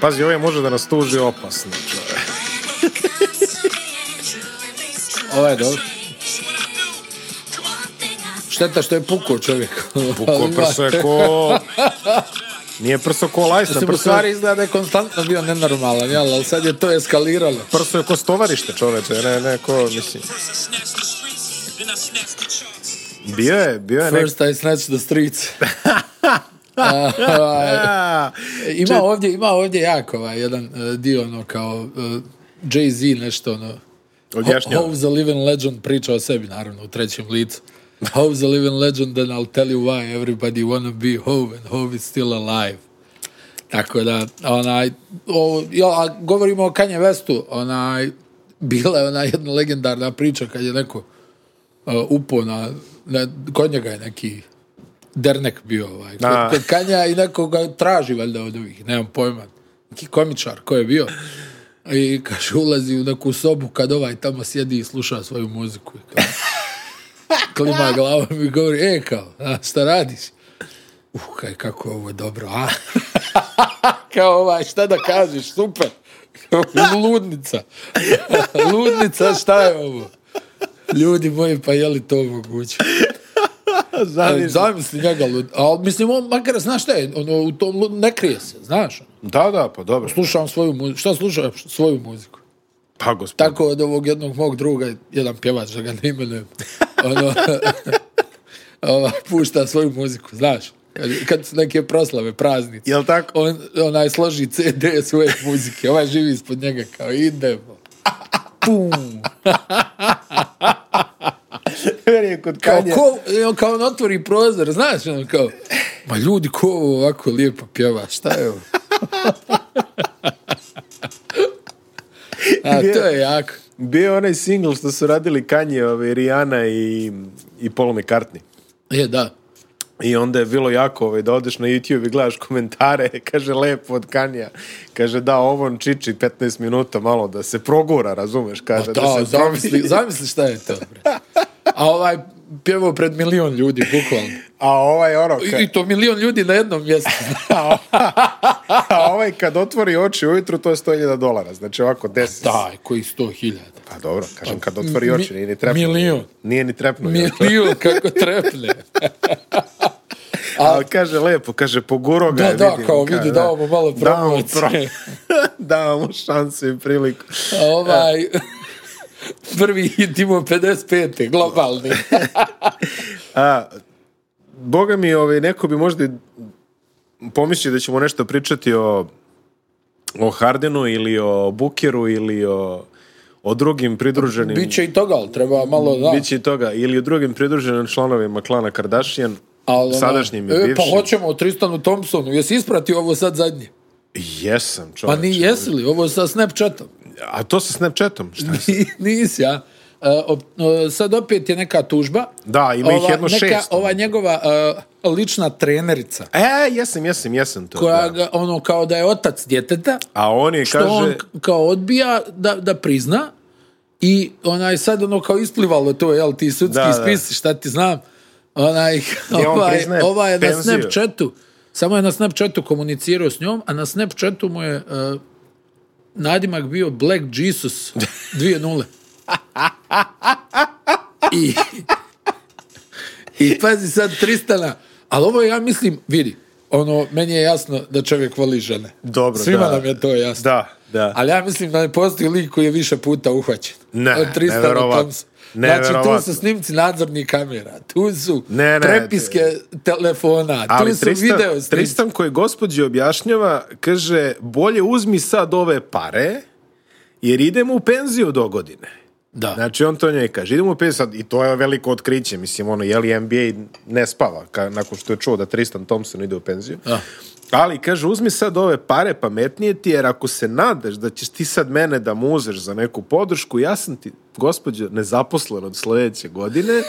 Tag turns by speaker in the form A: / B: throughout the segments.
A: Pazi, ovaj može da nas tuži opasno, čove.
B: Ovo Ovaj je dobro. Šteta što je puko čovjek.
A: Puko prso je ko... Nije prso ko lajsna,
B: Mislim, u
A: prso
B: stvari
A: je,
B: izgleda da je konstantno bio nenormalan, jel? Ali sad je to eskaliralo.
A: prso je ko stovarište, čoveče, ne, ne, ko, mislim. Bio je, bio je Pa nek...
B: First I snatch the streets. A, ovaj,
A: A,
B: ima ovdje, ima ovdje jako ovaj, jedan eh, dio ono kao eh, Jay-Z nešto ono.
A: Objašnjava.
B: Hove's a living legend priča o sebi naravno u trećem licu. Hove's a living legend and I'll tell you why everybody wanna be Hove and Hove is still alive. Tako da, onaj, o, jo, a govorimo o Kanye Westu, onaj, bila je ona jedna legendarna priča kad je neko uh, upo na, na, kod njega je neki dernek bio ovaj, kod,
A: A.
B: kod Kanja i neko ga traži valjda od ovih, nemam pojma, neki komičar ko je bio. I kaže, ulazi u neku sobu kad ovaj tamo sjedi i sluša svoju muziku. I kao, klima glavom i govori, e kao, a, šta radiš? Uh, kaj, kako je ovo dobro, a? kao ovaj, šta da kažeš, super. Ludnica. Ludnica, šta je ovo? Ljudi moji, pa je li to moguće? Ali zamisli njega lud. Ali mislim, on makar, znaš šta je, ono, u tom lud, ne krije se, znaš. ono,
A: Da, da, pa dobro.
B: Slušam svoju muziku. Šta slušam? Svoju muziku.
A: Pa, gospod.
B: Tako od ovog jednog mog druga, jedan pjevač, da ga ne imenujem. Ono, ova, pušta svoju muziku, znaš. Kad, kad su neke proslave, praznice.
A: Jel tako?
B: On, onaj složi CD svoje muzike. Ovaj živi ispod njega kao idemo. Pum.
A: Vjerujem kod
B: Kao,
A: Kanje.
B: ko, e, on kao on otvori prozor, znaš, on kao, ma ljudi, ko ovo ovako lijepo pjeva, šta je ovo? A, to je jako.
A: Bio je onaj single što su radili Kanje, ove, Rihanna i, i Paul McCartney.
B: Je, da.
A: I onda je bilo jako ovaj, da odeš na YouTube i gledaš komentare, kaže lepo od Kanja, kaže da ovon čiči 15 minuta malo da se progura, razumeš, kaže
B: Pa Da,
A: da se
B: zamisli,
A: promijeni.
B: zamisli šta je to, bre. A ovaj pjevao pred milion ljudi, bukvalno.
A: A ovaj ono,
B: I,
A: ka,
B: I to milion ljudi na jednom mjestu.
A: a ovaj kad otvori oči ujutru to je 100.000 dolara, znači ovako 10.
B: Taj, koji sto hiljada.
A: Pa dobro, kažem kad otvori oči, nije ni trepno.
B: milion.
A: Nije ni
B: pa
A: trepno.
B: Milion, kako trepne.
A: Ali kaže lepo, kaže poguro ga
B: Da,
A: je,
B: da,
A: vidim,
B: kao
A: kaže,
B: vidi,
A: da.
B: dao mu malo
A: Dao mu
B: promocije.
A: pro- dao mu šansu i priliku.
B: A ovaj... Prvi hit imao 55. globalni.
A: Boga mi, ovaj, neko bi možda i pomislio da ćemo nešto pričati o, o Hardenu ili o Bukeru ili o, o drugim pridruženim...
B: Biće i toga, ali treba malo da.
A: Biće i toga. Ili o drugim pridruženim članovima klana Kardashian,
B: ali, onaj,
A: sadašnjim i
B: e,
A: bivšim.
B: Pa hoćemo o Tristanu Thompsonu. Jesi ispratio ovo sad zadnje?
A: Jesam,
B: Pa
A: čoveče.
B: ni jesi li? Ovo sa Snapchatom.
A: A to sa Snapchatom? Šta? je?
B: Ni- Nisi, ja. E, op, e, sad opet je neka tužba.
A: Da, ima ih jedno
B: neka,
A: šest. ono.
B: Ova njegova e, lična trenerica,
A: E, jesam, jesam, jesam to.
B: koja
A: da.
B: ga, ono, kao da je otac djeteta,
A: A on je,
B: što
A: kaže...
B: on k- kao odbija da, da prizna i onaj sad ono kao isplivalo to, jel ti sudski
A: Da, da.
B: spis, šta ti znam, onaj,
A: on
B: ovaj,
A: priznaje
B: ovaj je na
A: penziju.
B: Snapchatu, samo je na Snapchatu komunicirao s njom, a na Snapchatu mu je uh, nadimak bio Black Jesus 2.0. I, I pazi sad Tristana, ali ovo ja mislim, vidi, ono, meni je jasno da čovjek voli žene.
A: Dobro,
B: Svima
A: da.
B: nam je to jasno.
A: Da, da.
B: Ali ja mislim da ne postoji lik koji je više puta uhvaćen.
A: Ne,
B: Od Tristana
A: neverovatno.
B: Thompsona. Znači, tu
A: Neverovatno.
B: su snimci nadzornih kamera, tu su
A: Ne, ne,
B: prepiske telefona, tu su video snimci.
A: Tristan koji gospođi objašnjava, kaže, bolje uzmi sad ove pare, jer idemo u penziju do godine.
B: Da.
A: Znači, on to njoj kaže, idemo u penziju sad, i to je veliko otkriće, mislim, ono, je li NBA ne spava, ka, nakon što je čuo da Tristan Thompson ide u penziju.
B: Da.
A: Ali, kaže, uzmi sad ove pare, pametnije ti, jer ako se nadaš da ćeš ti sad mene da muzeš za neku podršku, ja sam ti, gospođo, nezaposlen od sljedeće godine.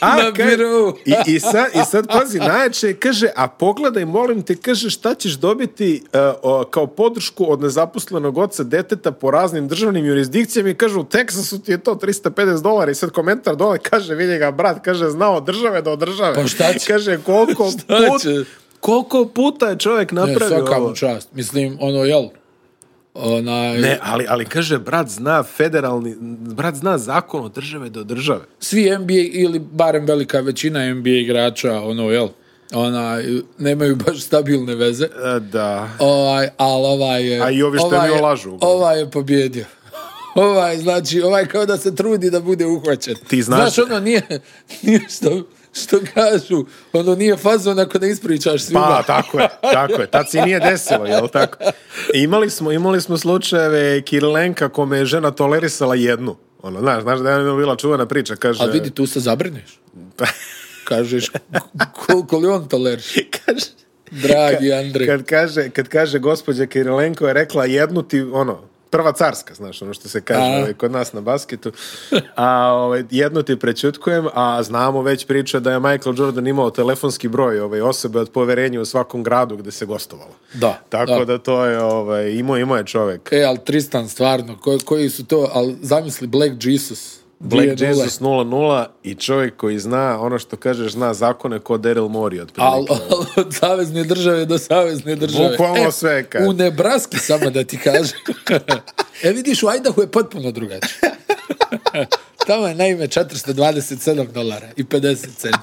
A: A,
B: Na
A: kaže-
B: birou.
A: I, i, sad, I sad, pazi, najjače, kaže, a pogledaj, molim te, kaže, šta ćeš dobiti uh, o, kao podršku od nezaposlenog oca deteta po raznim državnim jurisdikcijama i kaže, u Teksasu ti je to 350 dolara i sad komentar dole, kaže, vidi ga, brat, kaže, znao od države do države.
B: Pa šta će?
A: Kaže, koliko,
B: Šta
A: put,
B: će?
A: koliko puta je čovjek
B: Ne,
A: napravio
B: svaka
A: ovo.
B: mu čast. Mislim, ono, jel, Onaj,
A: Ne, ali, ali kaže, brat zna federalni, brat zna zakon od države do države.
B: svi NBA ili barem velika većina NBA igrača, ono, jel, onaj, nemaju baš stabilne veze.
A: E, da.
B: Ovaj, ali ovaj je...
A: A i ovi što
B: ovaj
A: mi
B: je-
A: lažu, uglavnom.
B: Ovaj je pobjedio. Ovaj, znači, ovaj kao da se trudi da bude uhvaćen.
A: Ti znaš-
B: Znaš, ono nije, nije što, što kažu, ono nije fazon ako ne ispričaš svima.
A: Pa, tako je, tako je. Tad se i nije desilo, jel tako? Imali smo, imali smo slučajeve Kirilenka kome je žena tolerisala jednu. Ono, znaš, znaš da je ono bila čuvena priča, kaže...
B: Ali vidi, tu se zabrneš.
A: Pa.
B: Kažeš, koliko li on toleriš?
A: kaže,
B: Dragi Andrej.
A: kad kaže, kad kaže gospođa Kirilenko je rekla jednu ti, ono, prva carska, znaš, ono što se kaže
B: A.
A: ovaj, kod nas na basketu, a ovaj, jednu ti prećutkujem, a znamo već priča da je Michael Jordan imao telefonski broj ovaj, osobe od poverenja u svakom gradu gde se gostovalo.
B: Da,
A: Tako da,
B: da.
A: to je, ovaj, imao, imao je čovek.
B: E, ali Tristan, stvarno, koji, koji su to, ali zamisli Black Jesus.
A: Black
B: 2:0.
A: Jesus 0-0 i čovjek koji zna, ono što kažeš, zna zakone ko Daryl Morey od
B: Al, al, od savezne države do savezne države. E,
A: Bukvalno sve, kaj.
B: U Nebraski, samo da ti kažem. e, vidiš, u Idahu je potpuno drugačije. Tamo je naime 427 dolara i 50 centi.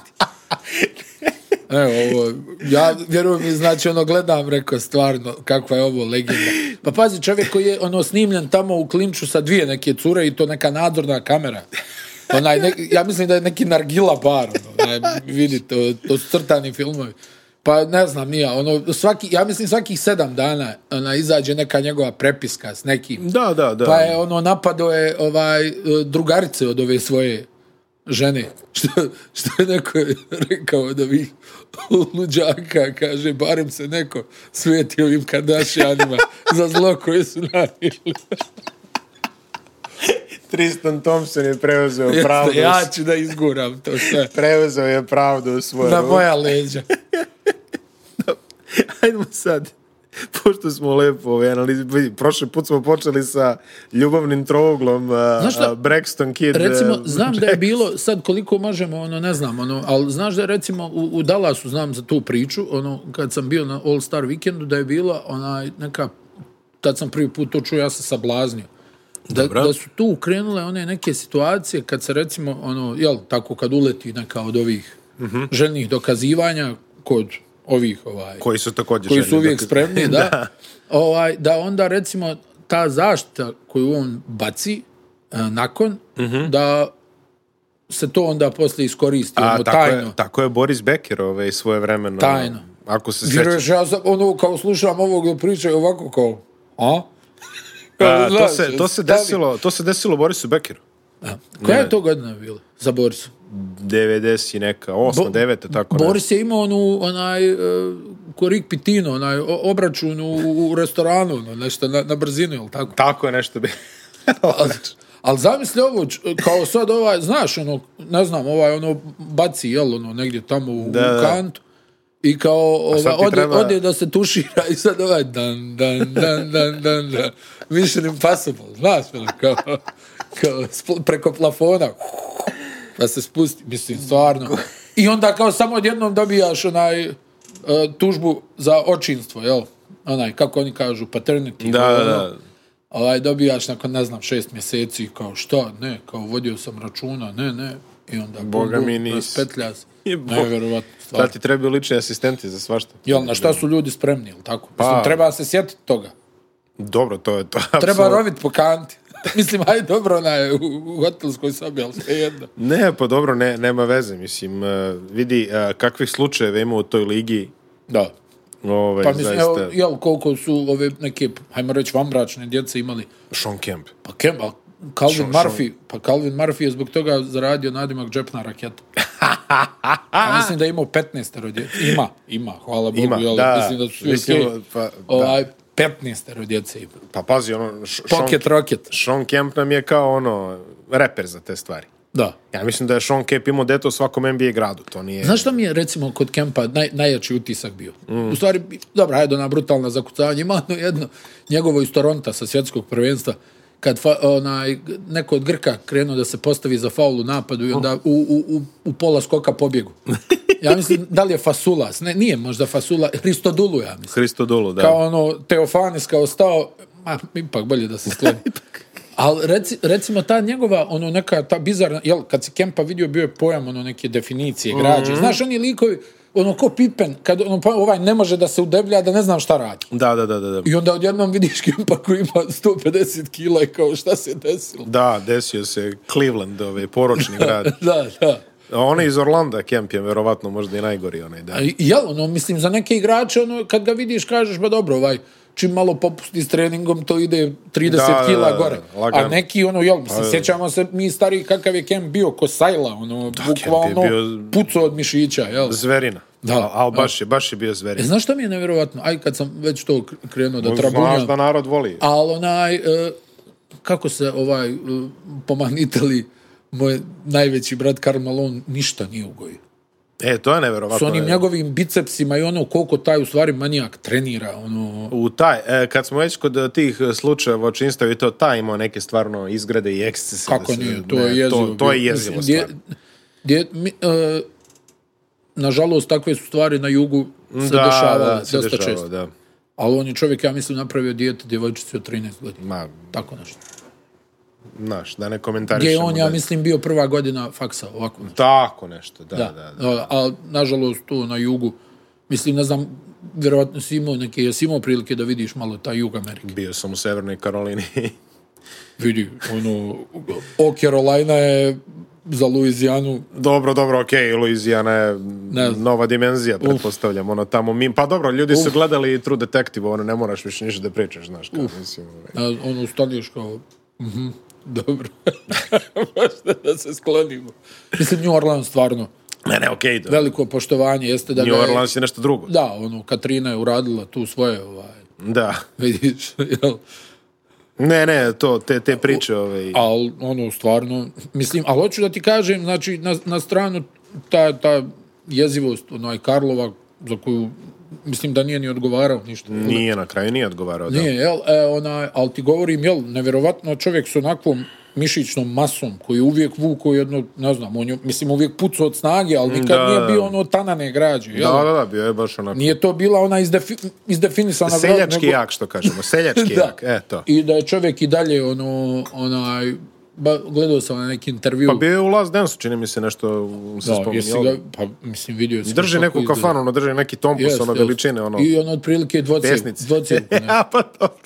B: Evo, ovo, ja vjerujem mi, znači, ono, gledam, rekao, stvarno, kakva je ovo legenda. Pa pazi, čovjek koji je, ono, snimljen tamo u klinču sa dvije neke cure i to neka nadzorna kamera. Onaj, ne, ja mislim da je neki nargila bar, ono, onaj, vidi, to, to su crtani filmovi. Pa ne znam, nije, ono, svaki, ja mislim svakih sedam dana ona, izađe neka njegova prepiska s nekim.
A: Da, da, da.
B: Pa je, ono, napado je ovaj, eh, drugarice od ove svoje žene. Što, što je neko rekao od ovih luđaka, kaže, barem se neko sveti ovim Kardashianima za zlo koje su nanijeli.
A: Tristan Thompson je preuzeo pravdu.
B: Ja ću da izguram to sve.
A: Preuzeo je pravdu u svoje
B: Na
A: ruke.
B: moja leđa.
A: Hajdemo sad, pošto smo lepo ovaj, analiz... vidi, prošli put smo počeli sa ljubavnim trouglom uh,
B: šta?
A: uh, Braxton Kid.
B: Recimo,
A: uh,
B: znam da je bilo, sad koliko možemo, ono, ne znam, ono, ali znaš da je recimo u, u Dallasu, znam za tu priču, ono, kad sam bio na All Star vikendu, da je bila onaj, neka, tad sam prvi put to čuo, ja sam sablaznio. Da,
A: Dobro.
B: da su tu krenule one neke situacije kad se recimo, ono, jel, tako kad uleti neka od ovih željnih dokazivanja kod ovih, ovaj,
A: Koji su također
B: koji su
A: željni
B: uvijek
A: da-
B: spremni, da, Ovaj, da onda recimo ta zaštita koju on baci e, nakon,
A: Mhm.
B: da se to onda poslije iskoristi,
A: A,
B: ono,
A: tako,
B: tajno.
A: je, tako je Boris Becker ovaj, svoje vremeno.
B: Tajno.
A: Ako se sjećaš.
B: Vjeruješ, ja sam, ono, kao slušam ovog da pričaju ovako kao, a?
A: A, to,
B: Znaš,
A: se, to, se
B: stavi.
A: desilo, to se desilo Borisu Beckeru.
B: A, koja je to godina bila za Borisa?
A: 90 i neka, 8, 9, tako ne.
B: Boris je imao onu, onaj, e, ko Rick Pitino, onaj o- obračun u, u restoranu, ono, nešto na, na brzinu, jel tako?
A: Tako je nešto bi.
B: Ali zamisli ovo, č- kao sad ovaj, znaš, ono, ne znam, ovaj, ono, baci, jel, ono, negdje tamo u,
A: da.
B: u kantu. I kao,
A: sad
B: ovaj,
A: ti
B: ode,
A: treba-
B: ode da se tušira i sad ovaj, dan, dan, dan, dan, dan, dan. Mission Impossible, znaš, ono, kao, kao spl- preko plafona, da se spusti, mislim, stvarno. I onda kao samo odjednom dobijaš onaj, e, tužbu za očinstvo, jel? Onaj, kako oni kažu, paternity.
A: Da, da,
B: ono.
A: da.
B: Ovaj, dobijaš nakon, ne znam, šest mjeseci, kao šta, ne, kao vodio sam računa, ne, ne, i onda
A: Boga mi nisi.
B: raspetlja se.
A: Je, bo- Znači-
B: Nevjerovatno,
A: Sad
B: stvarno.
A: ti trebaju lični asistenti za svašta.
B: Jel, na šta su ljudi spremni, jel tako? Pa,
A: Pa-
B: Mislim, treba se sjetiti toga.
A: Dobro, to je to.
B: Treba
A: apsolutno.
B: rovit po kanti. Mislim, aj dobro, ona je u, u hotelskoj sobi, ali sve jedno.
A: Ne, pa dobro, ne, nema veze, mislim, e, vidi e, kakvih slučajeva ima u toj ligi,
B: Da.
A: ovaj,
B: Pa mislim,
A: zaista,
B: evo, jel, koliko su ove neke, hajmo reći, vambračne djece imali.
A: Sean Kemp.
B: Pa Kemba, Calvin Murphy, pa Calvin Murphy je zbog toga zaradio nadimak džepna raketa. ja mislim da je imao 15 rodjece. Ima, ima, hvala Bogu.
A: Ima,
B: jel,
A: da,
B: mislim da su svi
A: mislim,
B: okej.
A: pa, da.
B: ovaj, 15 djece ima.
A: Pa pazi, ono, Š- Sean,
B: Pocket rocket.
A: Sean Kemp nam je kao, ono, reper za te stvari.
B: Da.
A: Ja mislim da je Sean Kemp imao dete u svakom NBA gradu, to nije...
B: Znaš šta mi je, recimo, kod Kempa naj, najjači utisak bio? U stvari, dobra, ajde, ona brutalna zakucavanja, ima ono jedno, njegovo iz Toronta sa svjetskog prvenstva, kad fa, onaj, neko od Grka krenuo da se postavi za faul u napadu i onda u, u, u, u pola skoka pobjegu. Ja mislim, da li je Fasulas? Ne, nije možda Fasula, Hristodulu, ja mislim.
A: Hristodulu, da.
B: Kao ono, Teofanis kao stao, ma, ipak bolje da se skloni. Ali reci, recimo ta njegova, ono neka, ta bizarna, jel, kad si Kempa vidio, bio je pojam ono neke definicije građe. Znaš, oni likovi, ono ko pipen, kad ono, pa, ovaj ne može da se udeblja, da ne znam šta radi.
A: Da, da, da, da. Da,
B: I onda odjednom vidiš Kempa koji ima 150 kila i kao šta se desilo.
A: da desio se Cleveland, ovaj, poročni grad.
B: Da, da.
A: A onaj iz Orlanda, Kemp je verovatno možda i najgori onaj, da.
B: A i- Jel, ono, mislim, za neke igrače, ono, kad ga vidiš, kažeš, ba dobro, ovaj, čim malo popusti s treningom, to ide 30
A: Da, da,
B: kila
A: da,
B: gore.
A: da, lagano. Pa-
B: A neki, ono, jel, mislim, sjećamo se, mi stari, kakav je Kemp bio, ko Sajla, ono, da, bukvalno,
A: bio-
B: puco od mišića, jel?
A: Zverina.
B: Da.
A: Al baš je, baš je bio
B: E,
A: zverina.
B: znaš što mi je nevjerovatno? Aj, kad sam već to krenuo da
A: Znaš
B: trabunjam,
A: da narod voli.
B: ali onaj, e, kako se ovaj, e, pomanitali, moj najveći brat Karl Malone ništa nije ugojio.
A: E, to je
B: S
A: neverovatno.
B: onim
A: ne.
B: njegovim bicepsima i ono koliko taj u stvari manijak trenira, ono...
A: U taj, e, kad smo već kod e, tih e, slučajeva očinstva i to, taj imao neke stvarno izgrade i ekscese.
B: Kako
A: se-
B: nije, to
A: ne,
B: je jezivo.
A: To, to je
B: bilo.
A: jezivo
B: Mislim,
A: stvarno.
B: Dje, dje, mi, e, nažalost, takve su stvari na jugu se
A: Da,
B: dešavale
A: da, se
B: dosta
A: dešavalo,
B: često.
A: da.
B: Ali on je čovjek, ja mislim, napravio dijete djevojčici od 13 godina.
A: Ma,
B: Tako nešto.
A: znaš, da ne
B: Gdje je
A: komentarišemo.
B: on, ja
A: da-
B: mislim, bio prva godina faksa, ovako nešto.
A: Tako nešto, da, da. da,
B: A, a, nažalost, tu na jugu, mislim, ne znam, vjerovatno si imao neke, jesi imao prilike da vidiš malo taj jug Amerike.
A: Bio sam u Severnoj Karolini.
B: Vidi, ono, o Carolina je za Luizijanu
A: dobro, dobro, okej, okay, Louisiana je
B: Ne znam.
A: nova dimenzija, pretpostavljam, ono tamo mi... Pa dobro, ljudi su gledali i True Detective, ono, ne moraš više ništa da pričaš, znaš, kao, mislim, ovaj.
B: A ono, staneš kao, mhm, dobro, možda da se sklonimo. Mislim, New Orleans stvarno,
A: Ne, ne, okej, okay, da.
B: veliko poštovanje jeste da... ga
A: New
B: je-
A: Orleans je nešto drugo.
B: Da, ono, Katrina je uradila tu svoje, ovaj,
A: Da.
B: vidiš, jel?
A: Ne, ne, to, te, te priče, ovaj...
B: Ali, ono, stvarno, mislim, ali hoću da ti kažem, znači, na, na stranu ta, ta jezivost, onaj Karlova, za koju, mislim da nije ni odgovarao ništa.
A: Nije, na kraju nije odgovarao, da.
B: Nije, jel, e, ona, ali ti govorim, jel, nevjerovatno čovjek s onakvom mišićnom masom koji je uvijek vuko jedno, ne znam, on je, mislim, uvijek pucu od snage, ali nikad
A: Da,
B: nije
A: da.
B: bio ono tanane građe, jel?
A: Da, da, da, bio je baš onako...
B: Nije to bila ona izdefi, izdefinisana građa,
A: Seljački jak, što kažemo, seljački
B: Da.
A: jak, e, to.
B: I da je čovjek i dalje, ono, onaj, ba, gledao sam na neki intervju.
A: Pa bio je u Last Dance, čini mi se nešto se
B: da, jesi
A: spominjalo.
B: ga, pa, mislim, vidio sam.
A: Drži neku kafanu, ono, drži neki tompus, ono, veličine, ono,
B: I ono, otprilike dvocir,
A: pesnice.
B: dvocir.
A: ja, pa dobro.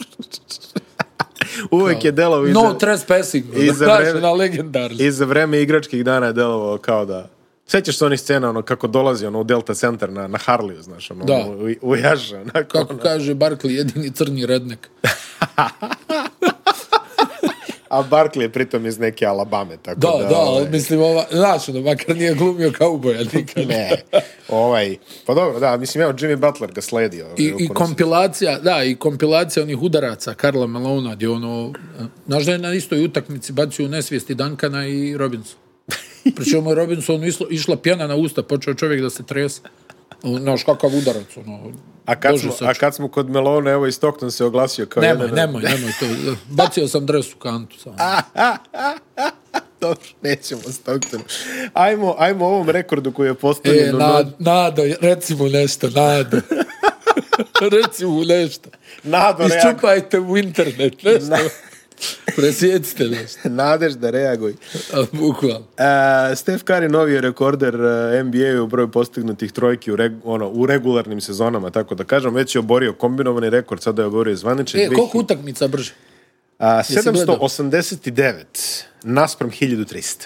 A: Uvek je delovo i,
B: No
A: za,
B: trespassing, ono,
A: I za
B: znaš,
A: vreme-
B: na legendarno.
A: i za vreme igračkih dana je delovo kao da... Sjećaš se onih scena, ono, kako dolazi, ono, u Delta Center na, na Harliju, znaš, ono,
B: Da.
A: u, u jaže, onako.
B: Kako kaže Barkley, jedini crni rednek.
A: A Barkley je pritom iz neke Alabame, tako
B: Da,
A: da... ovaj,
B: da, ali mislim, ova, znaš, ono, makar nije glumio kauboja nikad.
A: Ne, ovaj... Pa dobro, da, mislim, evo, Jimmy Butler ga sledio. ovaj,
B: I, I
A: uporno se-
B: kompilacija, da, i kompilacija onih udaraca Karla Malona, gdje ono, eh, znaš da je na istoj utakmici bacio u nesvijesti Dankana i Robinson. Pričemu je Robinson išla, išla pjena na usta, počeo čovjek da se trese. Ono, Znaš, kakav udarac, ono,
A: A kad,
B: Bože
A: smo, a
B: sačuvaj.
A: kad smo kod Melona, evo i Stockton se oglasio kao
B: Nemoj,
A: jedan...
B: nemoj, nemoj to. Bacio sam dres u kantu samo.
A: Dobro, nećemo Stocktonu. Ajmo, ajmo ovom rekordu koji je postavljen.
B: E,
A: u
B: na,
A: Nod-
B: nada, reci mu nešto, nada. reci mu nešto.
A: Nado reaguje.
B: Iščupajte u internet, nešto. Presjecite nešto,
A: Nadež da reaguj.
B: a, bukvalno.
A: Uh, Steph Curry novi je rekorder uh, NBA u broju postignutih trojki u, reg, ono, u regularnim sezonama, tako da kažem. Već je oborio kombinovani rekord, sada je oborio zvaničan.
B: E, koliko utakmica brže?
A: Uh,
B: gledao?
A: 789 naspram 1300.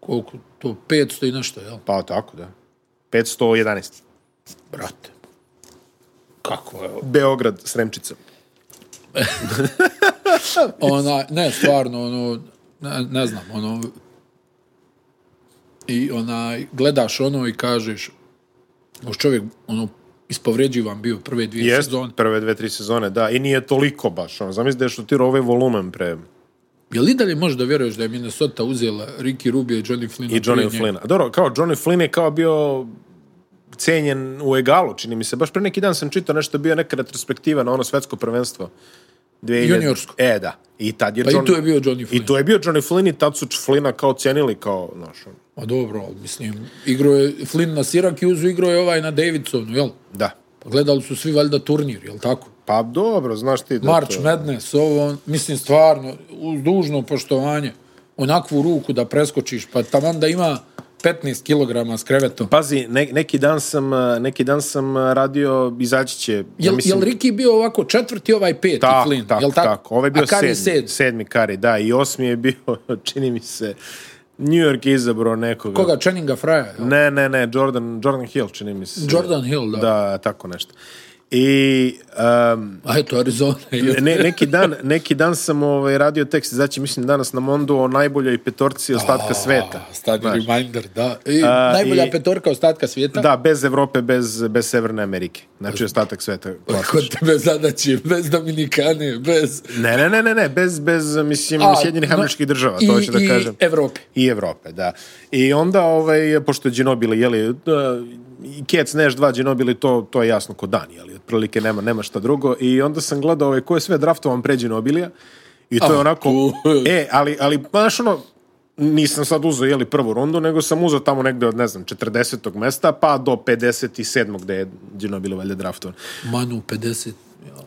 B: Koliko? To 500 i nešto, jel?
A: Pa tako, da. 511.
B: Brate. Kako je ovo?
A: Beograd s Remčicom.
B: Ona, ne, stvarno, ono, ne, ne znam, ono, i onaj, gledaš ono i kažeš, još čovjek, ono, ispovređivan bio prve dvije
A: Jest,
B: sezone.
A: prve dve, tri sezone, da. I nije toliko baš. Ono. Zamisli da je šutirao ovaj volumen pre...
B: Je li dalje možda vjeruješ da je Minnesota uzela Ricky Rubio i Johnny Flynn?
A: I Johnny Flynn. Dobro, kao Johnny Flynn je kao bio cenjen u egalu, čini mi se. Baš pre neki dan sam čitao nešto, bio neka retrospektiva na ono svetsko prvenstvo. 2000...
B: Juniorsko.
A: E, da. I tad je
B: Pa
A: Johnny...
B: i tu je bio Johnny Flynn.
A: I tu je bio Johnny Flynn i tad su Flynna kao cenili kao, znaš, ono,
B: Pa dobro, ali mislim, igro je Flynn na Sirakiuzu, igro je ovaj na Davidsonu, jel?
A: da.
B: Pa gledali su svi valjda turnir, jel tako?
A: Pa dobro, znaš ti da
B: March
A: to...
B: Madness, ovo, on, mislim, stvarno, uz dužno poštovanje, onakvu ruku da preskočiš, pa taman da ima 15 kg s krevetom.
A: Pazi, ne, neki dan sam, uh, neki dan sam uh, radio, izaći će... ja
B: Jel,
A: mislim-
B: jel Riki bio ovako četvrti, ovaj peti,
A: Tak,
B: Flynn,
A: tak,
B: jel tako?
A: tak. Ovo je bio
B: A kad
A: sedmi,
B: je sedmi?
A: sedmi Kari, da, i osmi je bio, čini mi se, New York je izabrao nekoga.
B: Koga, Channinga Fraja? Jel?
A: Ne, ne, ne, Jordan, Jordan Hill, čini mi se.
B: Jordan Hill, da.
A: Da, tako nešto. I um,
B: A eto, Arizona. jel?
A: ne, neki, dan, neki dan sam ovaj, radio tekst, znači mislim danas na Mondu o najboljoj petorci ostatka sveta.
B: A, Stadi reminder, da. I, najbolja
A: i-
B: petorka ostatka svijeta.
A: Da, bez Evrope, bez, bez Severne Amerike. Znači ostatak sveta.
B: Kod tebe zadaće, bez Dominikane, bez...
A: Ne, ne, ne, ne, ne, bez, bez mislim,
B: A,
A: Sjedinjenih
B: no,
A: američkih država, to
B: i-
A: hoću da
B: i
A: kažem.
B: Evrope.
A: I Evrope, da. I onda, ovaj, pošto je Ginobili, jeli, uh, i Kec, Neš, dva Ginobili, to, to je jasno ko dan, jeli, otprilike nema, nema šta drugo. I onda sam gledao ovaj, ko je sve draftovan pre Ginobilija i to je
B: A,
A: onako,
B: tu.
A: e, ali, ali, znaš, ono, nisam sad uzeo, jeli, prvu rundu, nego sam uzeo tamo negde od, ne znam, 40. mesta, pa do 57. gde je Ginobili valjda draftovan.
B: Manu 50.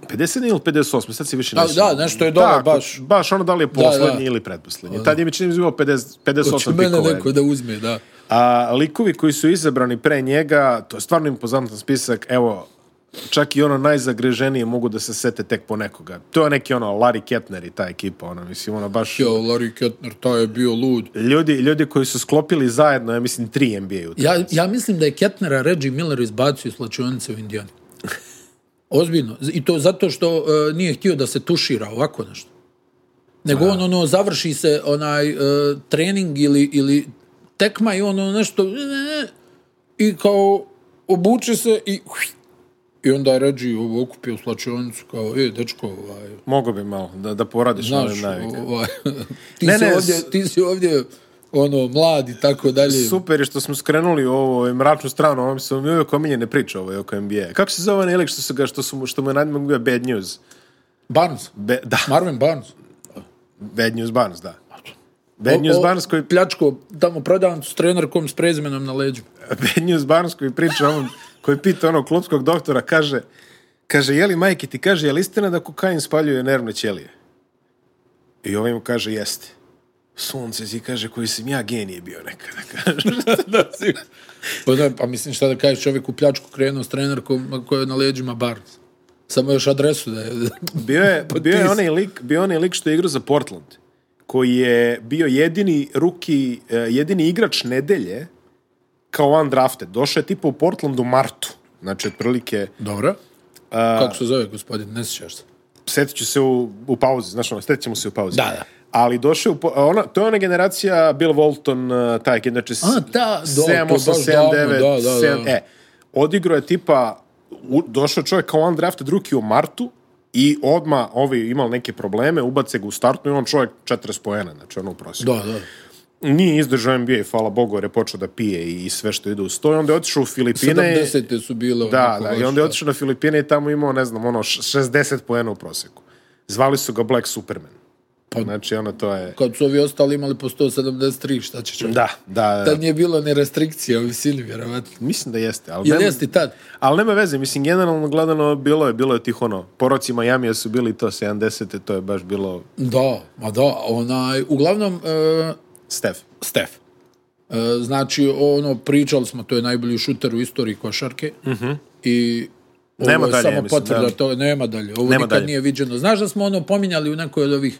A: 57 ili 58, sad si više
B: Da,
A: ne sjećam.
B: da, nešto je dole,
A: Tako,
B: baš.
A: Baš ono da li je poslednji
B: da.
A: ili predposlednji. Tad je mi čini mi se bilo 50,
B: Hoće
A: 58
B: mene
A: pikova.
B: neko da uzme, da.
A: A likovi koji su izabrani pre njega, to je stvarno impozantan spisak, evo, čak i ono najzagreženije mogu da se sete tek po nekoga. To je neki ono Larry Kettner i ta ekipa, ono, mislim, ono baš...
B: Jo, Larry Kettner, to je bio lud.
A: Ljudi, ljudi koji su sklopili zajedno, ja mislim, tri NBA utakmice.
B: Ja, ja mislim da je Kettnera Reggie Miller izbacio iz slačionice u Indijani. Ozbiljno. I to zato što uh, nije htio da se tušira ovako nešto. Nego on ono završi se onaj uh, trening ili, ili tekma i ono nešto ne, ne, ne, i kao obuče se i i onda je Reggie ovo okupio u slačionicu kao e dečko ovaj
A: Mogu bi malo da, da poradiš na ovim
B: znaš
A: navikama.
B: ovaj, ti,
A: Ne,
B: ne, si
A: ne,
B: ovdje,
A: s-
B: ti si ovdje ono mlad i tako dalje
A: Super je što smo skrenuli u ovu ovaj, mračnu stranu, ovom su mi uvijek omiljene priče ovaj, oko NBA. Kako se zove onaj lik što, su ga, što, su, mu- što mu je nadimog bio Bad News?
B: Barnes
A: Be, da,
B: Marvin Barnes
A: Bad News Barnes, da. Bad News Barnes koji,
B: Pljačko, tamo prodavancu s trenerkom s prezmenom na leđu.
A: Bad News Barnes koji priča ovom, koji pita onog klubskog doktora, kaže, kaže, je li majke ti kaže, je li istina da kokain spaljuje nervne ćelije? I ovaj mu kaže, jeste. Sunce si kaže, koji sam ja genije bio nekada, kaže.
B: Pa, da, pa mislim šta da kažeš, čovjek u pljačku krenuo s trenerkom koji je na leđima Barnes. Samo još adresu da je...
A: Bio je,
B: Pa
A: bio
B: ti
A: je
B: si-
A: onaj lik, bio je onaj lik što je igrao za Portland, koji je bio jedini ruki, eh, jedini igrač nedelje kao undrafted. Došao je tipa u Portland u martu. Znači, otprilike,
B: Dobro. A... Kako se zove gospodin, ne sjećaš se.
A: setit ću se u, u pauzi, znaš ono, setit ćemo se u pauzi.
B: Da, da.
A: Ali došao je u, po- ona, to je ona generacija Bill Walton, eh, taj, znači,
B: A, da, do, to je
A: 7, 8,
B: baš
A: 7,
B: davno,
A: 9,
B: da, da,
A: 7,
B: da.
A: e, odigrao je tipa, u, došao čovjek kao undrafted drugi u martu i odma ovi imali neke probleme, ubace ga u startnu i on čovjek 40 poena, znači ono u prosjeku.
B: Da, da.
A: Nije izdržao NBA, hvala Bogu, jer je počeo da pije i sve što ide uz to. I onda je otišao u Filipine.
B: 70. su bile...
A: Da,
B: onako
A: da,
B: baš,
A: i onda je otišao na Filipine i tamo imao, ne znam, ono, š- 60 poena u proseku. Zvali su ga Black Superman.
B: Pa-
A: Znači, ono, to je...
B: Kad su ovi ostali imali po 173, šta će čovjek?
A: Da, da, da.
B: Tad nije bilo ni restrikcija u visini, vjerovatno.
A: Mislim da jeste, ali...
B: Jel
A: nema-
B: jeste tad?
A: Ali nema veze, mislim, generalno gledano bilo je, bilo je tih ono, poroci Majamija su bili to 70. to je baš bilo
B: Da, ma da, onaj... Uglavnom, e,
A: Stef.
B: Stef. E, Znači, ono, pričali smo, to je najbolji šuter u istoriji košarke. I ovo
A: Mhm. Nema
B: je
A: dalje, ja
B: samo
A: mislim,
B: potvrda
A: da.
B: toga, nema dalje. Ovo
A: Nema
B: nikad
A: dalje.
B: nije viđeno. Znaš da smo ono pominjali u nekoj od ovih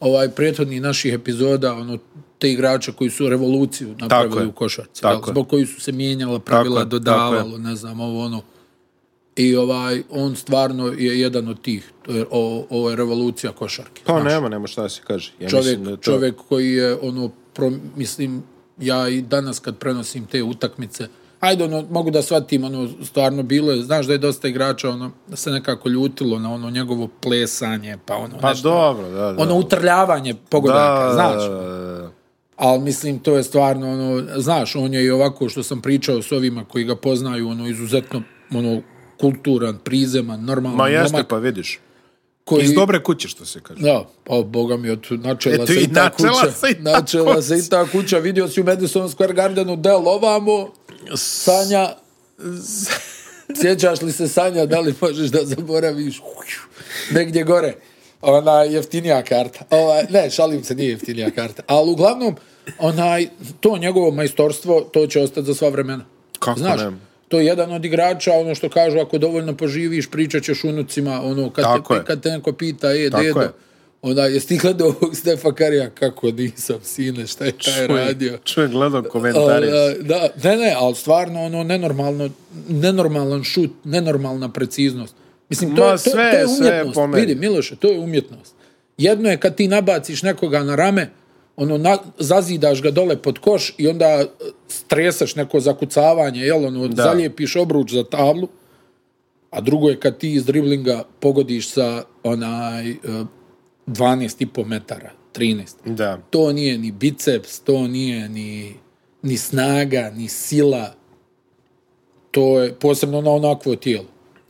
B: ovaj prethodnih naših epizoda, ono, te igrače koji su revoluciju napravili
A: Tako je.
B: u košarci.
A: Tako
B: jel?
A: je.
B: Zbog koji su se mijenjala pravila,
A: Tako je, tako
B: dodavalo, ne znam, ovo ono. I ovaj, on stvarno je jedan od tih. To je, o, ovo je revolucija košarke
A: Pa nema, nema šta da se kaže. Ja
B: čovjek,
A: Pa mislim da je to-
B: čovjek koji je ono pro, mislim ja i danas kad prenosim te utakmice ajde ono mogu da shvatim ono stvarno bilo je znaš da je dosta igrača ono da se nekako ljutilo na ono njegovo plesanje pa ono
A: Pa
B: nešto,
A: dobro, da, da.
B: ono utrljavanje pogodaka
A: da,
B: znaš
A: da, da, da.
B: ali mislim to je stvarno ono znaš on je i ovako što sam pričao s ovima koji ga poznaju ono izuzetno ono kulturan, prizeman, normalan
A: Ma jeste,
B: momak
A: pa vidiš.
B: koji
A: Iz dobre kuće, što se kaže.
B: Da, pa boga mi, od načela
A: Eto
B: se
A: E, i
B: i ta
A: načela
B: kuća.
A: se i ta
B: načela
A: kuća.
B: se i ta kuća. Vidio si u Madison Square Gardenu del ovamo, Sanja Sjećaš li se Sanja, da li možeš da zaboraviš? Negdje gore. Ona jeftinija karta. Ova, ne, šalim se, nije jeftinija karta. Ali uglavnom, onaj, to njegovo majstorstvo, to će ostati za sva vremena.
A: Kako
B: Znaš,
A: ne?
B: to je jedan od igrača, ono što kažu, ako dovoljno poživiš, pričat ćeš unucima, ono, kad,
A: Tako
B: te,
A: je.
B: kad te neko pita, e,
A: Tako
B: dedo,
A: je.
B: onda, jesi ti gledao ovog Stefa Karija? Kako nisam, sine, šta je taj radio?
A: Čovjek gledao komentare.
B: Al, e, da, ne, ne, ali stvarno ono nenormalno, nenormalan šut, nenormalna preciznost. Mislim, to,
A: Ma,
B: je, to,
A: sve-
B: to je
A: sve
B: umjetnost.
A: po meni.
B: Vidi, Miloše, to je umjetnost. Jedno je kad ti nabaciš nekoga na rame, ono, na, zazidaš ga dole pod koš i onda e, stresaš neko zakucavanje, jel, ono,
A: Da.
B: zalijepiš obruč za tablu, a drugo je kad ti iz driblinga pogodiš sa onaj e, 12,5 metara, 13
A: Da.
B: to nije ni biceps, to nije ni, ni snaga, ni sila. To je posebno na onakvo tijelo.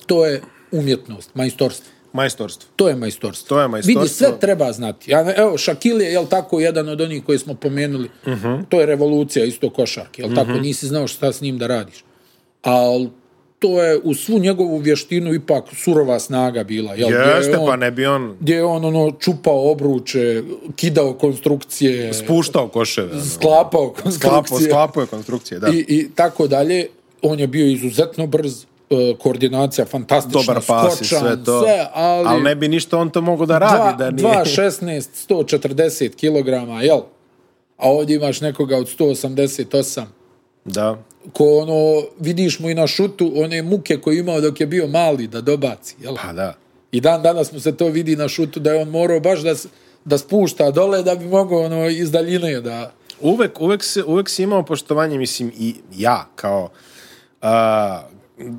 B: To je umjetnost, majstorstvo.
A: Majstorstvo.
B: To je majstorstvo.
A: To je majstorstvo.
B: Vidi, sve treba znati. Ja, ne- evo, Šakil je, jel tako, jedan od onih koji smo pomenuli.
A: Mhm.
B: To je revolucija, isto košarke, jel tako? Nisi znao šta s njim da radiš. Ali to je u svu njegovu vještinu ipak surova snaga bila. Jel, gdje je
A: Jeste,
B: on-
A: pa ne bi on
B: Gdje je on ono, čupao obruče, kidao konstrukcije
A: puštao koševe. ono.
B: sklapao
A: Sklapao,
B: konstrukcije
A: sklapao je konstrukcije, da.
B: i, i tako dalje. On je bio izuzetno brz, e, koordinacija fantastična,
A: Dobar pas i
B: skočan,
A: sve to.
B: sve, ali,
A: Al ne bi ništa on to mogao da
B: dva,
A: radi, da nije.
B: 2.16, 140 kg, jel? A ovdje imaš nekoga od 188
A: Da.
B: ko ono, vidiš mu i na šutu one muke koje je imao dok je bio mali da dobaci, jel?
A: Pa da.
B: I dan danas mu se to vidi na šutu da je on morao baš da, s- da spušta dole da bi mogao ono iz daljine da...
A: uvek, uvek, se, uvek si imao poštovanje, mislim, i ja kao a,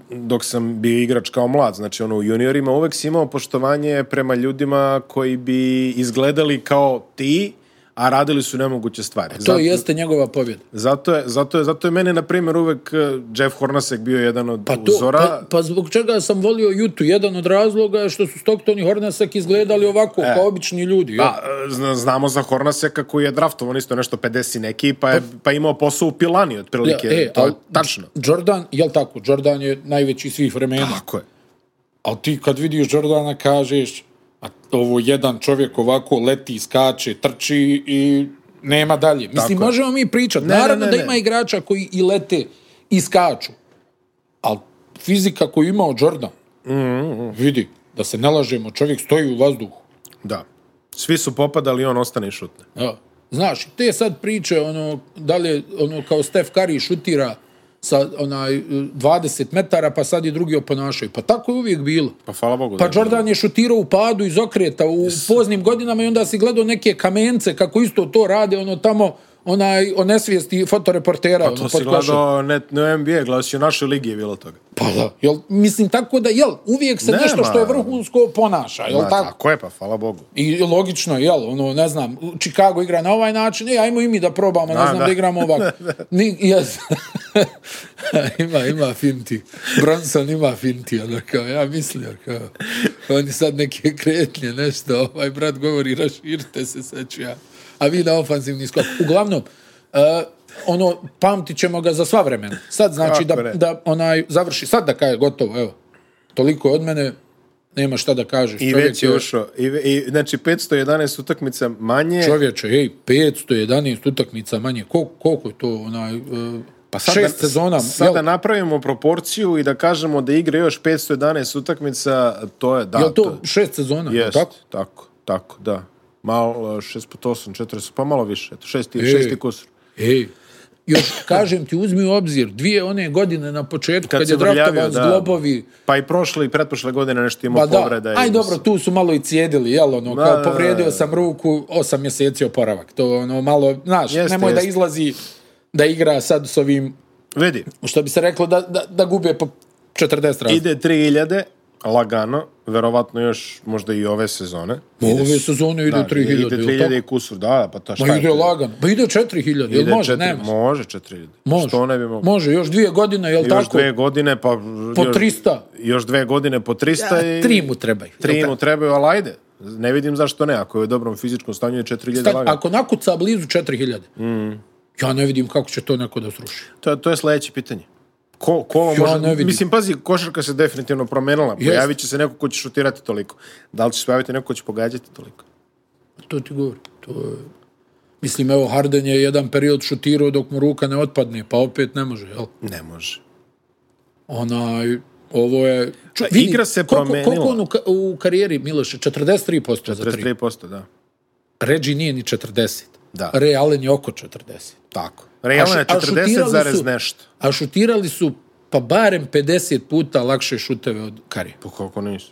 A: dok sam bio igrač kao mlad, znači ono u juniorima, uvek si imao poštovanje prema ljudima koji bi izgledali kao ti, a radili su nemoguće stvari.
B: To jeste njegova pobjeda.
A: zato, je, zato, je, zato je mene, na primjer, uvek eh, Jeff Hornacek bio jedan od
B: Pa to,
A: uzora.
B: pa, pa zbog čega sam volio Jutu? Jedan od razloga je što su Stockton i Hornacek izgledali ovako, kao obični ljudi. jel?
A: E, Pa, e, zna- znamo za Hornaceka koji je draftovan isto nešto 50 neki, pa je, pa je imao posao u Pilani, otprilike.
B: Ja, e,
A: to je
B: al-
A: tačno.
B: Jordan, jel tako, Jordan je najveći svih vremena.
A: Tako je.
B: Ali ti kad vidiš Jordana kažeš, a ovo jedan čovjek ovako leti, skače, trči i nema dalje. Mislim,
A: Tako je.
B: možemo mi pričat.
A: Ne, ne,
B: Naravno
A: ne,
B: da
A: ne.
B: ima igrača koji i lete i skaču. Ali fizika koju je imao Jordan,
A: Mm,
B: vidi, da se ne lažemo, čovjek stoji u vazduhu.
A: Da. Svi su popadali, on ostane i šutne.
B: Ja. Znaš, te sad priče, ono, da li je, ono, kao Stef Curry šutira sa, onaj, 20 metara, pa sad i drugi oponašaju. Pa tako je uvijek bilo.
A: Pa hvala Bogu.
B: Pa
A: da je
B: Jordan je šutirao u padu iz okreta u poznim godinama i onda si gledao neke kamence kako isto to rade, ono tamo onaj onesvijesti fotoreportera
A: bilo.
B: ono,
A: Pa To si
B: pod košem.
A: gledao ne, ne NBA, gledao si u našoj ligi je bilo toga.
B: Pa da, jel, mislim tako da, jel, uvijek se
A: Nema.
B: nešto što je vrhunsko ponaša, jel
A: Ma,
B: tako?
A: tako je, pa hvala Bogu.
B: I logično, jel, ono, ne znam, Chicago igra na ovaj način, e, ajmo i mi da probamo, ne
A: Da,
B: znam, da,
A: da.
B: igramo ovako. Ni, jes. ima, ima finti. Bronson ima finti, ono, kao, ja mislio, kao, oni sad neke kretnje, nešto, ovaj brat govori, raširite se, sad ću ja. A vi na ofanzivni skok. Uglavnom, uh, ono, pamtit ćemo ga za sva vremena. Sad, znači,
A: Kako
B: da,
A: ne.
B: da, onaj, završi, sad da kaje, gotovo, evo. Toliko od mene, nema šta da kažeš.
A: I
B: Čovjek
A: već je ušao. I, ve- i, znači, 511 utakmica manje.
B: Čovječe, ej, 511 utakmica manje. Koliko, koliko je to onaj... e,
A: Pa sad
B: šest
A: da,
B: sezona.
A: Sad
B: jel,
A: da napravimo proporciju i da kažemo da igra još 511 utakmica, to je, da.
B: jel to šest sezona? jel
A: jest,
B: Tako?
A: tako? tako, da. Malo, 6 put 8, 40, pa malo više. Eto, šesti,
B: E.
A: šesti kusur.
B: Ej, još kažem ti, uzmi u obzir, dije one godine na početku kad,
A: se
B: je draftovan
A: vrljavio,
B: s globovi,
A: Pa i prošle i pretprošle godine nešto imao
B: pa da,
A: povreda. i-
B: aj dobro, tu su malo i cijedili, jel ono,
A: Da,
B: kao
A: da, da.
B: povrijedio sam ruku, osam mjeseci oporavak, to ono malo, znaš,
A: Jeste,
B: nemoj da
A: jeste.
B: izlazi da igra sad s ovim,
A: Vidi,
B: što bi se reklo, da, da, da gube po 40 razlika.
A: Ide 3000, lagano, verovatno još možda i ove sezone.
B: Ove sezone ide
A: Da,
B: 3000, jel
A: Ide
B: tako?
A: 3000 i kusur, da, pa to šta
B: Ma
A: je
B: ide
A: to?
B: lagano. Pa ide 4000, jel
A: Ide
B: može?
A: četiri-
B: Nema.
A: Može 4000.
B: Može.
A: Što ne bi moglo?
B: Može, još dvije godine, jel
A: Još
B: tako?
A: dve godine, pa...
B: Po
A: još-
B: 300.
A: Još dve godine po 300 i...
B: A, Tri mu trebaju. jel
A: Tri
B: tako?
A: mu trebaju, ali ajde. Ne vidim zašto ne, ako je u dobrom fizičkom stanju je 4000
B: Sad,
A: lagano.
B: ako nakuca
A: Mm.
B: blizu 4000, ja ne vidim kako će to neko da sruši.
A: To, to je sledeće pitanje. Ko, ko vam
B: Ja
A: može...
B: ne vidim.
A: Mislim, pazi, košarka se definitivno promenila.
B: Jest.
A: Pojavit će se neko ko će šutirati toliko. Da li će se pojaviti neko ko će pogađati toliko?
B: To ti govori. To je... Mislim, evo, Harden je jedan period šutirao dok mu ruka ne otpadne, pa opet ne može, jel?
A: Ne može.
B: Onaj, ovo je... Ču,
A: Pa igra se
B: Koliko, koliko
A: promenila.
B: on u, ka, u karijeri, Miloše? 43% za 3.
A: 33%, da.
B: Reggie nije ni 40.
A: Da.
B: Ray Allen je oko 40.
A: Tako. Realno
B: A
A: je
B: šu- a šutirali
A: 40 zarez
B: su-
A: nešto.
B: A šutirali su pa barem 50 puta lakše šuteve od Karija.
A: Pa koliko nisu?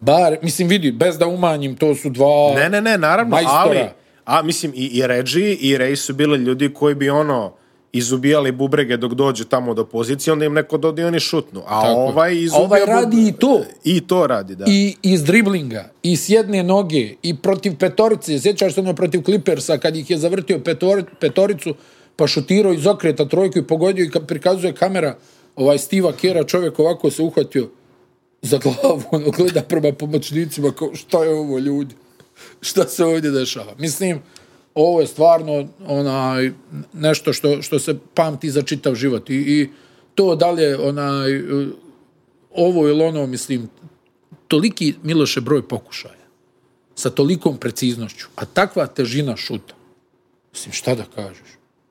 B: Bar, mislim, vidi, bez da umanjim, to su dva...
A: Ne, ne, ne, naravno,
B: Pa, Majstora.
A: ali... A, mislim, i, i Reggie i Ray su bili ljudi koji bi ono izubijali bubrege dok dođu tamo do pozicije, onda im neko dodi oni šutnu. A
B: Tako je.
A: ovaj
B: A
A: izubija
B: ovaj radi i to.
A: I to radi, da.
B: I iz driblinga, i s jedne noge, i protiv petorice. Sjećaš se ono protiv Clippersa kad ih je zavrtio petor, petoricu, pa šutirao iz okreta trojku i pogodio i ka- prikazuje kamera ovaj Stiva Kera, čovjek ovako se uhvatio za glavu, ono gleda prema pomoćnicima kao šta je ovo ljudi, šta se ovdje dešava. Mislim, ovo je stvarno onaj, nešto što, što se pamti za čitav život i, i to dalje onaj, eh, ovo ili ono, mislim, toliki Miloše broj pokušaja sa tolikom preciznošću, a takva težina šuta. Mislim, šta da kažeš?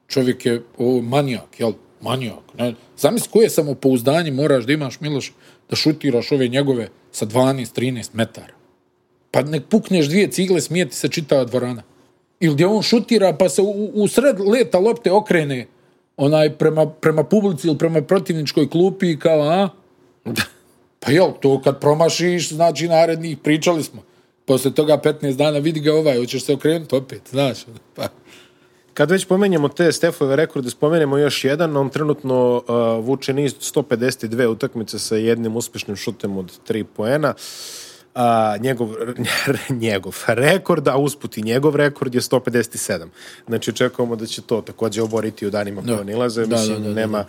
B: Čovjek je o, manijak, jel? Manijak. Ne? Zamisli koje samopouzdanje moraš da imaš, Miloš, da šutiraš ove njegove sa 12-13 metara. Pa nek pukneš dvije cigle, smijeti se čitava dvorana. Ili gdje on šutira, pa se u, u sred leta lopte okrene onaj prema, prema publici ili prema protivničkoj klupi i kao, a? Pa jel, to kad promašiš, znači narednih, pričali smo. Posle toga 15 dana vidi ga ovaj, hoćeš se okrenuti opet, znaš. ono, Pa,
A: Kad već pomenjamo te Stefove rekorde, spomenemo još jedan, on trenutno uh, vuče niz 152 utakmice sa jednim uspešnim šutem od 3 poena. A, njegov, njegov rekord, a usput i njegov rekord je 157. Znači očekujemo da će to takođe oboriti u danima koje nilaze.
B: Da,
A: Mislim,
B: da, da, da.
A: nema,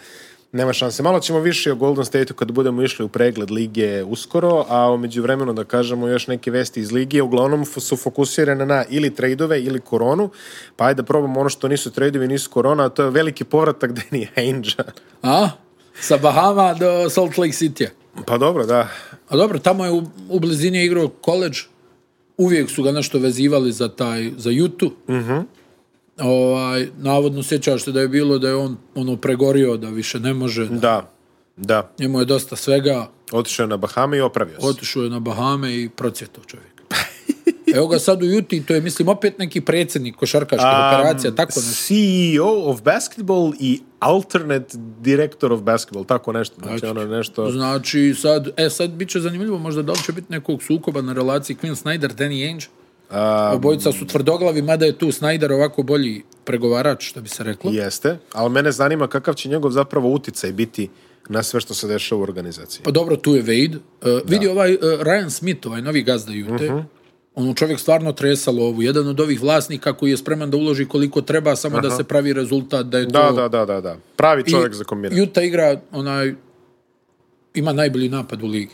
A: nema šanse. Malo ćemo više o Golden Stateu kad budemo išli u pregled lige uskoro, a umeđu vremenu da kažemo još neke vesti iz lige, uglavnom f- su fokusirane na ili trejdove ili koronu, pa ajde da probamo ono što nisu trejdovi, nisu korona, a to je veliki povratak Danny Ainge-a.
B: a? Sa Bahama do Salt Lake City-a.
A: Pa dobro, da.
B: A dobro, tamo je u, u blizini igrao koleđ. Uvijek su ga nešto vezivali za taj, za Jutu. Mm ovaj, navodno sjećaš se da je bilo da je on ono pregorio da više ne može. Da.
A: Da, da.
B: Njemu je dosta svega.
A: Otišao je na Bahame i opravio se.
B: Otišao je na Bahame i procjetao čovjek. Evo ga sad u Juti, to je, mislim, opet neki predsjednik košarkaške operacija, tako nešto.
A: CEO E of basketball i alternate director of basketball, tako nešto. Znači, ono nešto...
B: Znači, sad, e, sad bit će zanimljivo, možda da li će biti nekog sukoba na relaciji Quinn Snyder, Danny Ainge. Obojica su tvrdoglavi, mada je tu Snyder ovako bolji pregovarač, što bi se reklo.
A: Jeste, ali mene zanima kakav će njegov zapravo uticaj biti na sve što se dešava u organizaciji.
B: Pa dobro, tu je Wade. Uh, vidi ovaj uh, Ryan Smith, ovaj novi gazda Jute. Ono čovjek stvarno tresalo ovu. Jedan od ovih vlasnika koji je spreman da uloži koliko treba, samo da se pravi rezultat da je
A: Da,
B: to...
A: da, da, da, da. Pravi čovjek za kombinat.
B: Juta igra onaj ima najbolji napad u ligi.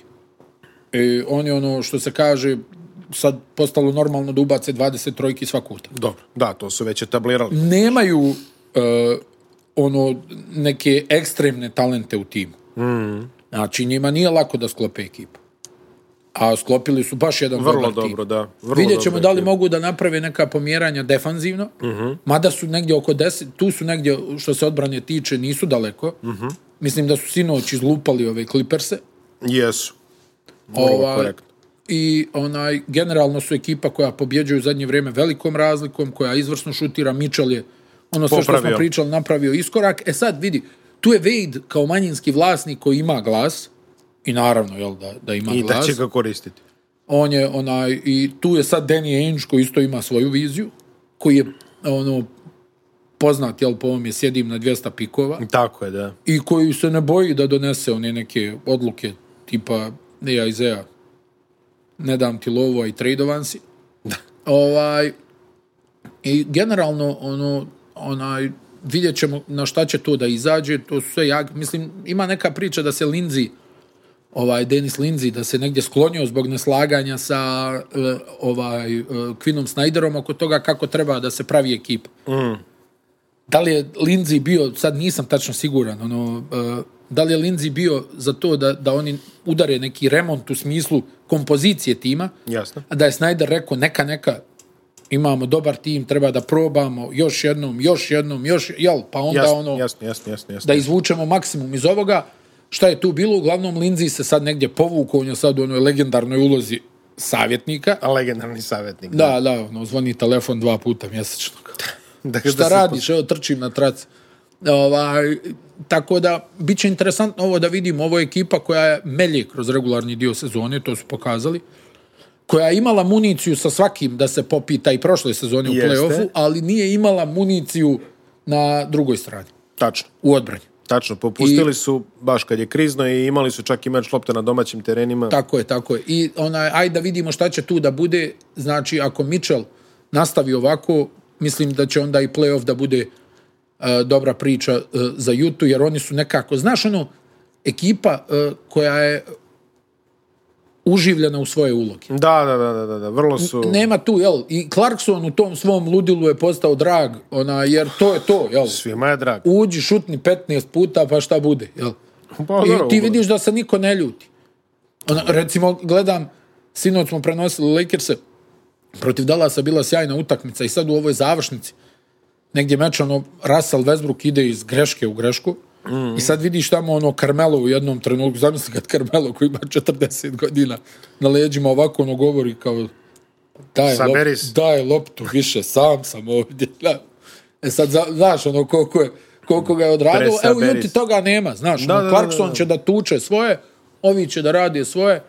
B: E, on je ono što se kaže sad postalo normalno da ubace 20 trojki svakog utakmicu.
A: Dobro. Da, to su već etablirali.
B: Nemaju e, ono neke ekstremne talente u timu. Mm. Znači njima nije lako da sklope ekipu. A sklopili su baš jedan
A: Vrlo
B: dobar
A: dobro,
B: tim.
A: da. Vrlo
B: Vidjet ćemo
A: dobro
B: da li
A: ekipa.
B: mogu da naprave neka pomjeranja defanzivno,
A: Mhm.
B: mada su negdje oko 10, tu su negdje, što se odbrane tiče, nisu daleko.
A: Mhm.
B: Mislim da su sinoć izlupali ove Clipperse.
A: Jesu. Vrlo
B: Ovaj,
A: korektno.
B: I onaj, generalno su ekipa koja pobjeđuje u zadnje vrijeme velikom razlikom, koja izvrsno šutira, Mitchell je ono sve što
A: Popravio.
B: smo pričali, napravio iskorak. E sad vidi, tu je Wade kao manjinski vlasnik koji ima glas, i naravno, jel, da, da ima
A: I
B: glas
A: da će ga koristiti.
B: on je onaj, i tu je sad Danny Ainge koji isto ima svoju viziju, koji je ono, poznat, jel, po ovom je sjedim na 200 pikova
A: Tako je, da.
B: i koji se ne boji da donese one neke odluke tipa ne ja Izeja ne dam ti lovu, a i tradovan si. Ovaj, I generalno, ono, onaj, vidjet ćemo na šta će to da izađe, to su sve jak, mislim, ima neka priča da se Lindsay, ovaj, Denis Lindsay, da se negdje sklonio zbog neslaganja sa eh, ovaj, eh, Quinnom Snyderom oko toga kako treba da se pravi
A: Mm.
B: ekipa da li je Lindsay bio, sad nisam tačno siguran, ono, uh, da li je Lindsay bio za to da, da oni udare neki remont u smislu kompozicije tima,
A: Jasno.
B: a da je Snyder rekao neka, neka, imamo dobar tim, treba da probamo još jednom, još jednom, još, jel, pa onda
A: Jasno,
B: ono,
A: jasno, jasno, jasno, jasno.
B: da izvučemo maksimum iz ovoga. Šta je tu bilo? Uglavnom, Lindsay se sad negdje povukao, on je sad u onoj legendarnoj ulozi savjetnika.
A: A legendarni savjetnik.
B: Da, da, ono, zvoni telefon dva puta mjesečno.
A: da
B: Šta
A: da se- pa-
B: radiš? Evo, trčim na trac. Ovaj, tako da, bit će interesantno ovo da vidimo. Ovo je ekipa koja je melje kroz regularni dio sezone, to su pokazali, koja je imala municiju sa svakim da se popita i prošle sezone u
A: Jeste.
B: play-offu, ali nije imala municiju na drugoj strani,
A: Tačno.
B: u odbranju.
A: Tačno, popustili su baš kad je krizno i imali su čak i meč lopte na domaćim terenima.
B: Tako je, tako je. I onaj, ajde da vidimo šta će tu da bude. Znači, ako Mitchell nastavi ovako, mislim da će onda i playoff da bude e, dobra priča e, za Jutu, jer oni su nekako, znaš ono, ekipa e, koja je uživljena u svoje uloge.
A: Da, da, da, da, da, da, vrlo su...
B: Nema tu, jel, i Clarkson u tom svom ludilu je postao drag, ona, jer to je to, jel.
A: Svima je drag.
B: Uđi, šutni 15 puta, pa šta bude, jel.
A: Pa, dobro,
B: I E, ti
A: ugo-
B: vidiš da se niko ne ljuti. Ona, recimo, gledam, sinoć smo prenosili Lakers-e, protiv Dallasa bila sjajna utakmica i sad u ovoj završnici, negdje meč, ono, Russell Westbrook ide iz greške u grešku i sad vidiš tamo ono Carmelo u jednom trenutku, zamisli kad Carmelo koji ima 40 godina na leđima ovako ono govori kao daj,
A: Saberi
B: lop,
A: se."
B: daj loptu više, sam sam ovdje. Da. E sad, za- znaš ono koliko je koliko ga je odradilo, evo
A: Presaberi
B: Juti
A: se.
B: toga nema, znaš,
A: Da,
B: da,
A: da, da,
B: Clarkson
A: da.
B: će da tuče svoje, ovi će da rade svoje.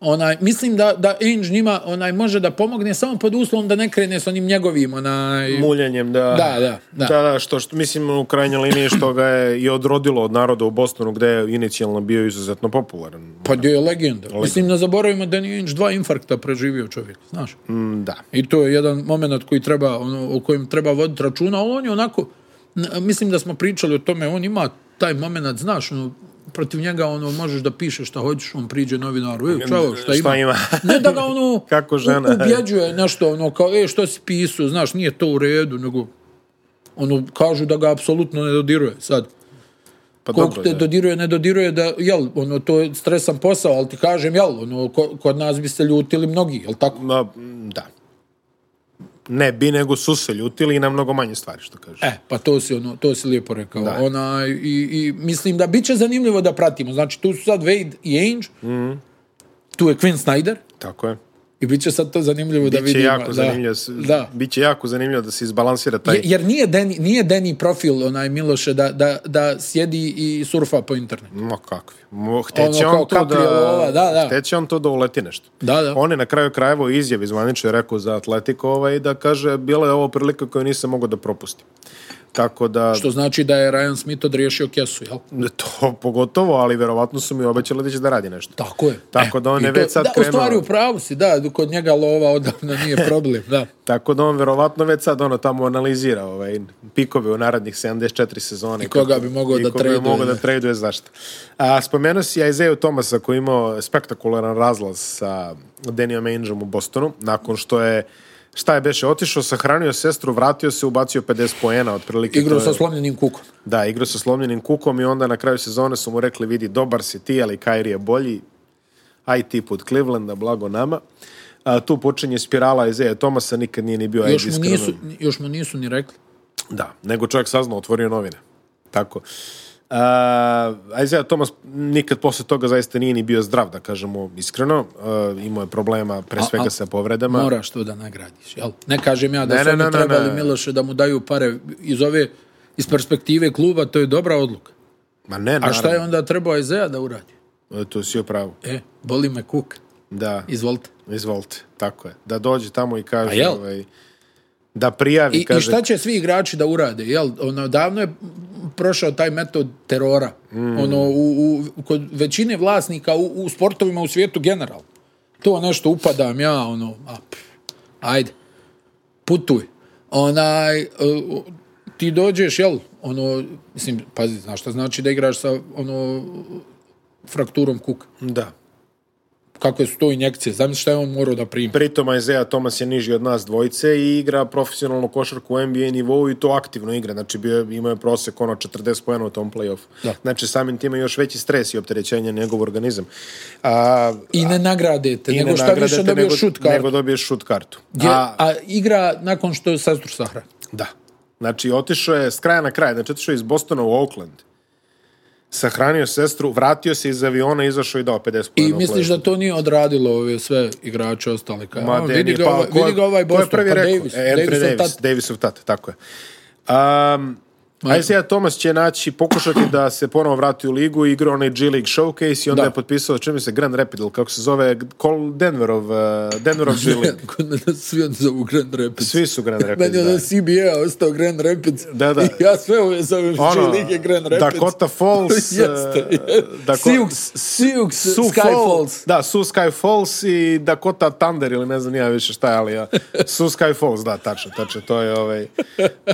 B: Onaj, mislim da, da Ainge njima onaj, može da pomogne samo pod uslovom da ne krene s onim njegovim onaj,
A: muljanjem da
B: Da, da, da.
A: da, da što, što mislim u krajnjoj liniji što ga je i odrodilo od naroda u Bostonu gde je inicijalno bio izuzetno popularan.
B: Pa gdje je legenda. Mislim, ne zaboravimo da nije Inč dva infarkta preživio čovjek, znaš.
A: Mm, Da.
B: I to je jedan moment koji treba, ono, o kojem treba voditi računa, ali on je onako, n- mislim da smo pričali o tome, on ima taj moment, znaš, ono, protiv njega ono možeš da pišeš šta hoćeš, on priđe novinaru, ej, čao, šta,
A: Šta ima?
B: ne da ga ono
A: Kako žena.
B: u- ubjeđuje nešto, ono kao, e, što si pisao, znaš, nije to u redu, nego ono, kažu da ga apsolutno ne dodiruje sad.
A: Pa
B: Koliko
A: dobro,
B: te
A: da.
B: dodiruje, ne dodiruje, da, jel, ono, to je stresan posao, ali ti kažem, jel, ono, ko, kod nas bi se ljutili mnogi, jel tako?
A: Ma, mm, da. Ne bi, nego su se ljutili i na mnogo manje stvari, što kaže.
B: E, pa to si, ono, to si lijepo rekao. Ona, i, I mislim da bit će zanimljivo da pratimo. Znači, tu su sad Wade i Ainge,
A: Mhm.
B: tu je Quinn Snyder,
A: Tako je.
B: i bit će sad to zanimljivo da
A: Biće
B: vidimo.
A: jako,
B: da,
A: zanimljivo, s-
B: Da.
A: biće jako zanimljivo da se izbalansira taj...
B: Je- Jer nije Deni, nije Deni profil, onaj Miloše, da, da, da sjedi i surfa po internetu.
A: Ma kakvi. Mo,Hteće
B: Ono kao
A: on to da,
B: Caprilova, da, da.
A: Hteće on to da uleti nešto.
B: Da, da.
A: On je na kraju krajeva u izjavi zvanično je rekao za Atletico ovaj, da kaže bila je ovo prilika koju nisam mogao da propustim. Tako da,
B: Što znači da je Ryan Smith odriješio kesu, jel?
A: to pogotovo, ali verovatno su mi obećali da će da radi nešto.
B: Tako je. E,
A: Tako da on
B: I
A: je
B: to-
A: već sad
B: da,
A: krenuo.
B: U stvari, u pravu si, da, kod njega lova odavno nije problem, da.
A: Tako da on verovatno već sad ono tamo analizira ovaj, pikove u narednih 74 sezone. I
B: koga bi mogao da
A: I koga bi
B: traduje,
A: mogao da
B: da.
A: traduje, zašto. A, spomenuo si Isaiah Thomasa koji je imao spektakularan razlaz sa Dannyom Aingeom u Bostonu, nakon što je šta je beše, otišao, sahranio sestru, vratio se, ubacio 50 poena, otprilike.
B: Igrao
A: to je-
B: sa slomljenim kukom.
A: Da, igrao sa slomljenim kukom i onda na kraju sezone su mu rekli vidi, dobar si ti, ali Kyrie je bolji. Aj ti put Clevelanda, blago nama. A, tu počinje spirala Isaiah Thomasa, nikad nije ni bio
B: Još
A: ajde,
B: mu,
A: Pa iskreno.
B: nisu, još mu nisu ni rekli.
A: Da, nego čovjek saznao, otvorio novine. Tako. Uh, Isaiah Thomas nikad posle toga zaista nije ni bio zdrav, da kažemo iskreno. Uh, imao je problema pre svega
B: a-
A: sa povredama.
B: Moraš to da nagradiš, jel? Ne kažem ja da
A: Ne,
B: su
A: ne,
B: oni
A: ne, ne,
B: trebali
A: ne.
B: Miloše da mu daju pare iz ove, iz perspektive kluba, to je dobra odluka.
A: Ma ne,
B: A
A: naravno.
B: šta je onda trebao Ezea da uradi?
A: E, Tu si upravo.
B: E, boli me kuk.
A: Da,
B: Izvolite.
A: izvolite. Tako je. Da dođe tamo i kaže...
B: A jel?
A: Ovaj, da prijavi,
B: I, I
A: kaže...
B: šta će svi igrači da urade? Jel, ono, davno je prošao taj metod terora.
A: Mm.
B: Ono, u, u, kod većine vlasnika u, u sportovima u svijetu generalno. To nešto upadam ja, ono, a, pff, ajde, putuj. Onaj, e, o, ti dođeš, jel, ono, mislim, pazi, znaš šta znači da igraš sa, ono, frakturom kuka?
A: Da.
B: kakve su to injekcije, znam šta je on morao da primi.
A: Pritom Isaiah Thomas je niži od nas dvojice i igra profesionalnu košarku u NBA nivou i to aktivno igra. Znači, bio, je- imao je prosek ono 40 pojena u tom play-offu.
B: Da.
A: Znači, samim time još veći stres i opterećenje na njegov organizam. A,
B: I ne nagradete,
A: i
B: nego
A: ne
B: šta
A: nagradate,
B: više dobio
A: nego,
B: šut kartu.
A: Nego dobiješ šut kartu.
B: Gdje- a, igra nakon što je sestru Sahra.
A: Da. Znači, otišao je s kraja na kraj. Znači, otišao je iz Bostona u Oakland. Sahranio sestru, vratio se iz aviona, izašao i dao 50
B: I
A: pojena u
B: misliš
A: play-offu.
B: da to nije odradilo ove sve igrače ostale? Ka,
A: Ma,
B: a, vidi,
A: Denny,
B: ga,
A: pa,
B: ovaj,
A: ko-
B: vidi ga ovaj
A: ko je
B: Boston,
A: prvi
B: pa
A: rekao?
B: Davis.
A: E, Anthony
B: Davisov
A: Davis,
B: tat.
A: Davisov tata, tako je. Um, Isaiah Thomas će naći, pokušati da se ponovo vrati u ligu, igrao onaj G League Showcase i onda
B: Da.
A: je potpisao, čini se, Grand Rapid, ili kako se zove, Col Denverov, uh, Denverov G League.
B: Kod nas svi oni zovu Grand Rapids.
A: Svi su Grand Rapids,
B: Meni je ono
A: da.
B: da CBA ostao Grand Rapids.
A: Da, da.
B: I ja sve ove zovem ono, G Lige Grand Rapids.
A: Dakota Falls, uh,
B: Jeste.
A: Dako-
B: Siux, Siux,
A: Su
B: Sky Falls.
A: Da, Su Sky Falls i Dakota Thunder ili ne znam ja više šta je, ali ja. Su Sky Falls, da, tačno, tačno, to je ovaj,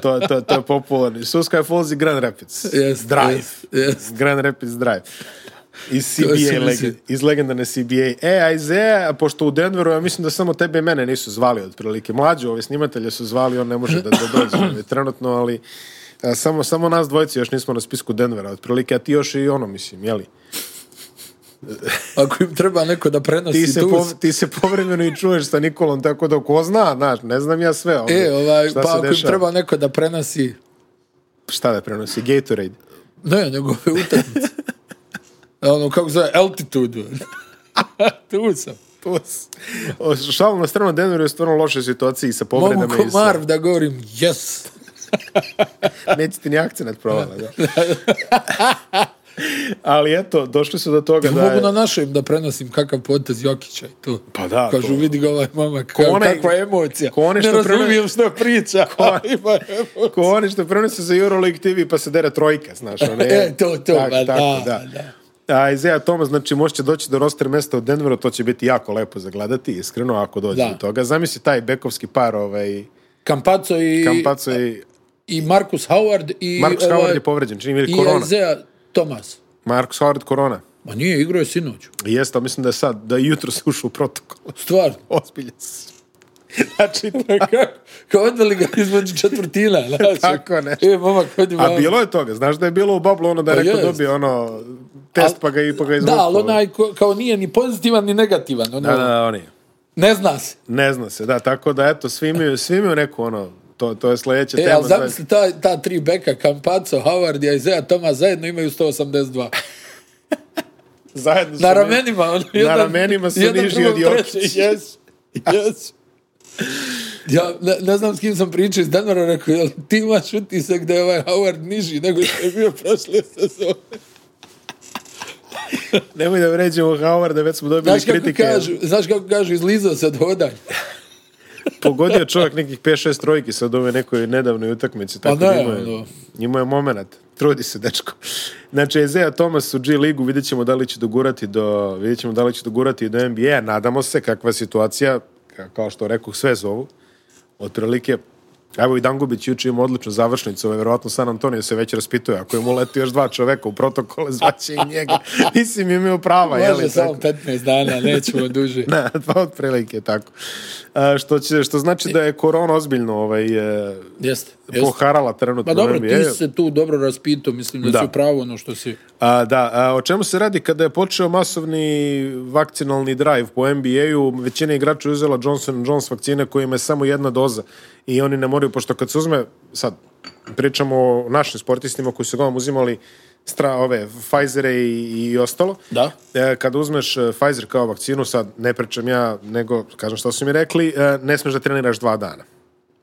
A: to, to, to je popularni. Su Sky Falls i Grand Rapids.
B: Jeste,
A: Drive.
B: jeste, jeste.
A: Grand Rapids Drive. Iz,
B: To sam
A: CBA
B: mislio.
A: legend, iz legendarne CBA. E, a iz E, pošto u Denveru, ja mislim da samo tebe i mene nisu zvali otprilike. Mlađe ove snimatelje su zvali, on ne može da, da dođe ovaj, trenutno, ali a, samo, samo nas dvojice još nismo na spisku Denvera otprilike, a ti još i ono, mislim, jeli?
B: Ako im treba neko da prenosi
A: ti se,
B: tu.
A: pov, ti se povremeno i čuješ sa Nikolom, tako da ko zna, znaš, ne znam ja sve. Ovdje,
B: E, ovaj,
A: šta
B: pa
A: se
B: ako im
A: dešava.
B: treba neko da prenosi
A: Šta da prenosi? Gatorade.
B: Ne, njegove utakmice. ono, kako zove, altitude. ono. tu sam.
A: To s- o, Šalom na stranu, Denver je u stvarno lošoj situaciji sa povredama.
B: Mogu ko
A: i sa-
B: Marv da govorim, yes.
A: Neće ti ni akcenat provala, da. Ali eto, došli su do toga da...
B: Mogu
A: je-
B: na našem da prenosim kakav potez Jokića i to.
A: Pa da,
B: Kažu,
A: to-
B: vidi ga ovaj mama, ka,
A: onaj-
B: kakva emocija.
A: ko onaj
B: ne
A: što preno-
B: razumijem što priča. Ko... Ima emocija.
A: Ko oni što prenose za Euroleague TV pa se dere trojka, znaš. One,
B: E, to, to,
A: tako,
B: ba,
A: tako,
B: da,
A: da. A Isaiah Thomas, znači, moće doći do roster mesta u Denveru, to će biti jako lepo zagledati, iskreno, ako dođe
B: Da.
A: do toga. Zamisli taj bekovski par, ovaj,
B: Campazzo i,
A: Kampaco i...
B: i Marcus Howard e, i,
A: Marcus
B: ovaj,
A: Howard je povređen, čini mi je
B: i
A: korona.
B: Isaiah Thomas.
A: Marcus Howard korona.
B: Ma nije, igrao je sinoć.
A: Jeste, ali mislim da je sad, da je jutro se ušao u protokol.
B: Stvarno.
A: Ozbiljan si. Znači,
B: Kako? Kao odveli ga između četvrtina. znaš.
A: Tako nešto.
B: E, momak, hodi
A: A
B: malo.
A: bilo je toga, znaš da je bilo u bablu ono da je
B: Pa
A: rekao
B: jest.
A: dobio ono test
B: Al-
A: pa ga, i- pa ga izvukao.
B: Da, ali onaj ko, kao nije ni pozitivan ni negativan. Ono,
A: Da, da, da, on je.
B: Ne zna se.
A: Ne zna se, da, tako da eto, svi imaju, svi imaju neku ono, to, to je sljedeća
B: E,
A: tema.
B: ali zamisli ta, ta tri beka, Campazzo, Howard i Isaiah Thomas zajedno imaju 182.
A: zajedno su
B: Na
A: oni-
B: ramenima. Ono, jedan,
A: ramenima su
B: jedan
A: niži
B: drugom
A: od Jokića.
B: treći, Jes, jes. Ja ne, ne znam s kim sam pričao iz Denvera, rekao, jel ti imaš utisak da je ovaj Howard niži nego što je bio prošle sezone?
A: Nemoj da vređemo Howarda, već smo dobili
B: Znaš kako
A: kritike.
B: kažu, znaš kako kažu, izlizao se od hodanja.
A: Pogodio čovjek nekih 5-6 trojki sad u ovoj nekoj nedavnoj utakmici. Tako
B: ne,
A: Pa da ima, je,
B: ono.
A: ima je moment. Trudi se, dečko. Znači, Ezea Thomas u G ligu, vidjet ćemo da li će dogurati do, vidjet ćemo da li će dogurati do NBA. Nadamo se kakva je situacija, ka- kao što rekao, sve zovu. Otprilike, Evo i Dangubić juče ima odličnu završnicu, ovaj, verovatno San Antonio se već raspituje, ako im uleti još dva čoveka u protokole, zvaće i njega. Mislim, imaju prava, jeli?
B: Može
A: Pa tako?
B: samo 15 dana, nećemo duže.
A: Da, pa otprilike tako. A, što, će, što znači da je korona ozbiljno ovaj, e,
B: Jeste. jeste.
A: poharala trenutno
B: Pa dobro, ti
A: NBA.
B: si se tu dobro raspitao, mislim da,
A: Da.
B: si upravo ono što si...
A: A, da, a, o čemu se radi kada je počeo masovni vakcinalni drive po NBA-u, većina igrača je uzela Johnson Jones vakcine kojima je samo jedna doza i oni ne moraju, pošto kad se uzme, sad, pričamo o našim sportistima koji su gledam uzimali stra, ove, Pfizere i, i ostalo.
B: Da.
A: E, kada uzmeš e, Pfizer kao vakcinu, sad ne pričam ja, nego kažem što su mi rekli, e, ne smeš da treniraš dva dana.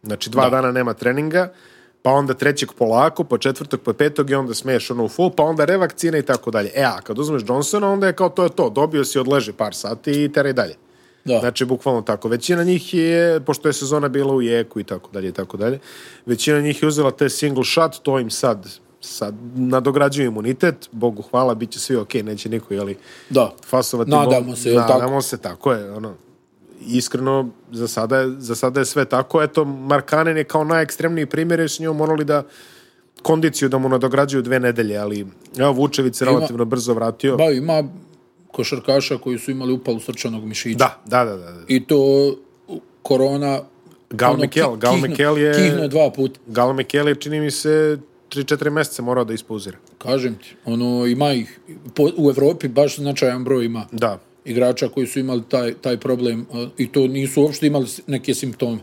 A: Znači dva dana nema treninga, pa onda trećeg polako, pa četvrtog, pa petog i onda smeješ ono u full, pa onda revakcina i tako dalje. E, a kad uzmeš Johnsona, onda je kao to je to, dobio si, odleži par sati i teraj dalje.
B: Da.
A: Znači, bukvalno tako. Većina njih je, pošto je sezona bila u jeku i tako dalje i tako dalje, većina njih je uzela te single shot, to im sad, sad nadograđuje imunitet, Bogu hvala, bit će svi okej, neće niko, jeli,
B: Da.
A: fasovati.
B: Nadamo
A: bol-
B: se, jel tako?
A: Nadamo se, tako je. Ono, iskreno, za sada, je, za sada je sve tako. Eto, Markanen je kao najekstremniji primjer, jer su njom morali da kondiciju da mu nadograđuju dve nedelje, ali evo Vučević se relativno brzo vratio.
B: Ba, ima košarkaša koji su imali upalu srčanog mišića.
A: Da, da, da. da. da.
B: I to korona...
A: Gal
B: ono,
A: Mikel,
B: ki-
A: Gal
B: kihnu-
A: Mikel je-
B: Kihnuo dva puta.
A: Gal Mikel je, čini mi se, 3-4 meseca morao da ispauzira.
B: Kažem ti, ono, ima ih. Po, u Evropi baš značajan broj ima
A: Da.
B: igrača koji su imali taj, taj problem a, i to nisu uopšte imali s- neke simptome.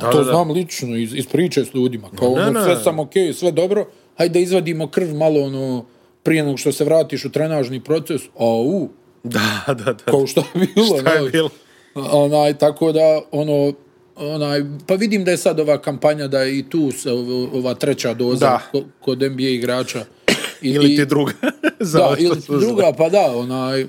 A: Da,
B: Da, to
A: da,
B: da,
A: da.
B: znam lično iz, iz priče s ljudima. Kao
A: Ne,
B: ono,
A: ne.
B: sve sam okej, sve dobro, hajde da izvadimo krv malo ono, prije nego što se vratiš u trenažni proces, au,
A: Da, da, da.
B: kao što je bilo.
A: Šta je
B: ne?
A: bilo?
B: Onaj, tako da, ono, onaj, pa vidim da je sad ova kampanja da je i tu se ovo- ova treća doza
A: Da.
B: ko- kod NBA igrača. I,
A: Ili
B: i-
A: ti druga. za
B: da,
A: ovo što
B: ili
A: su uzeli.
B: druga, pa da, onaj,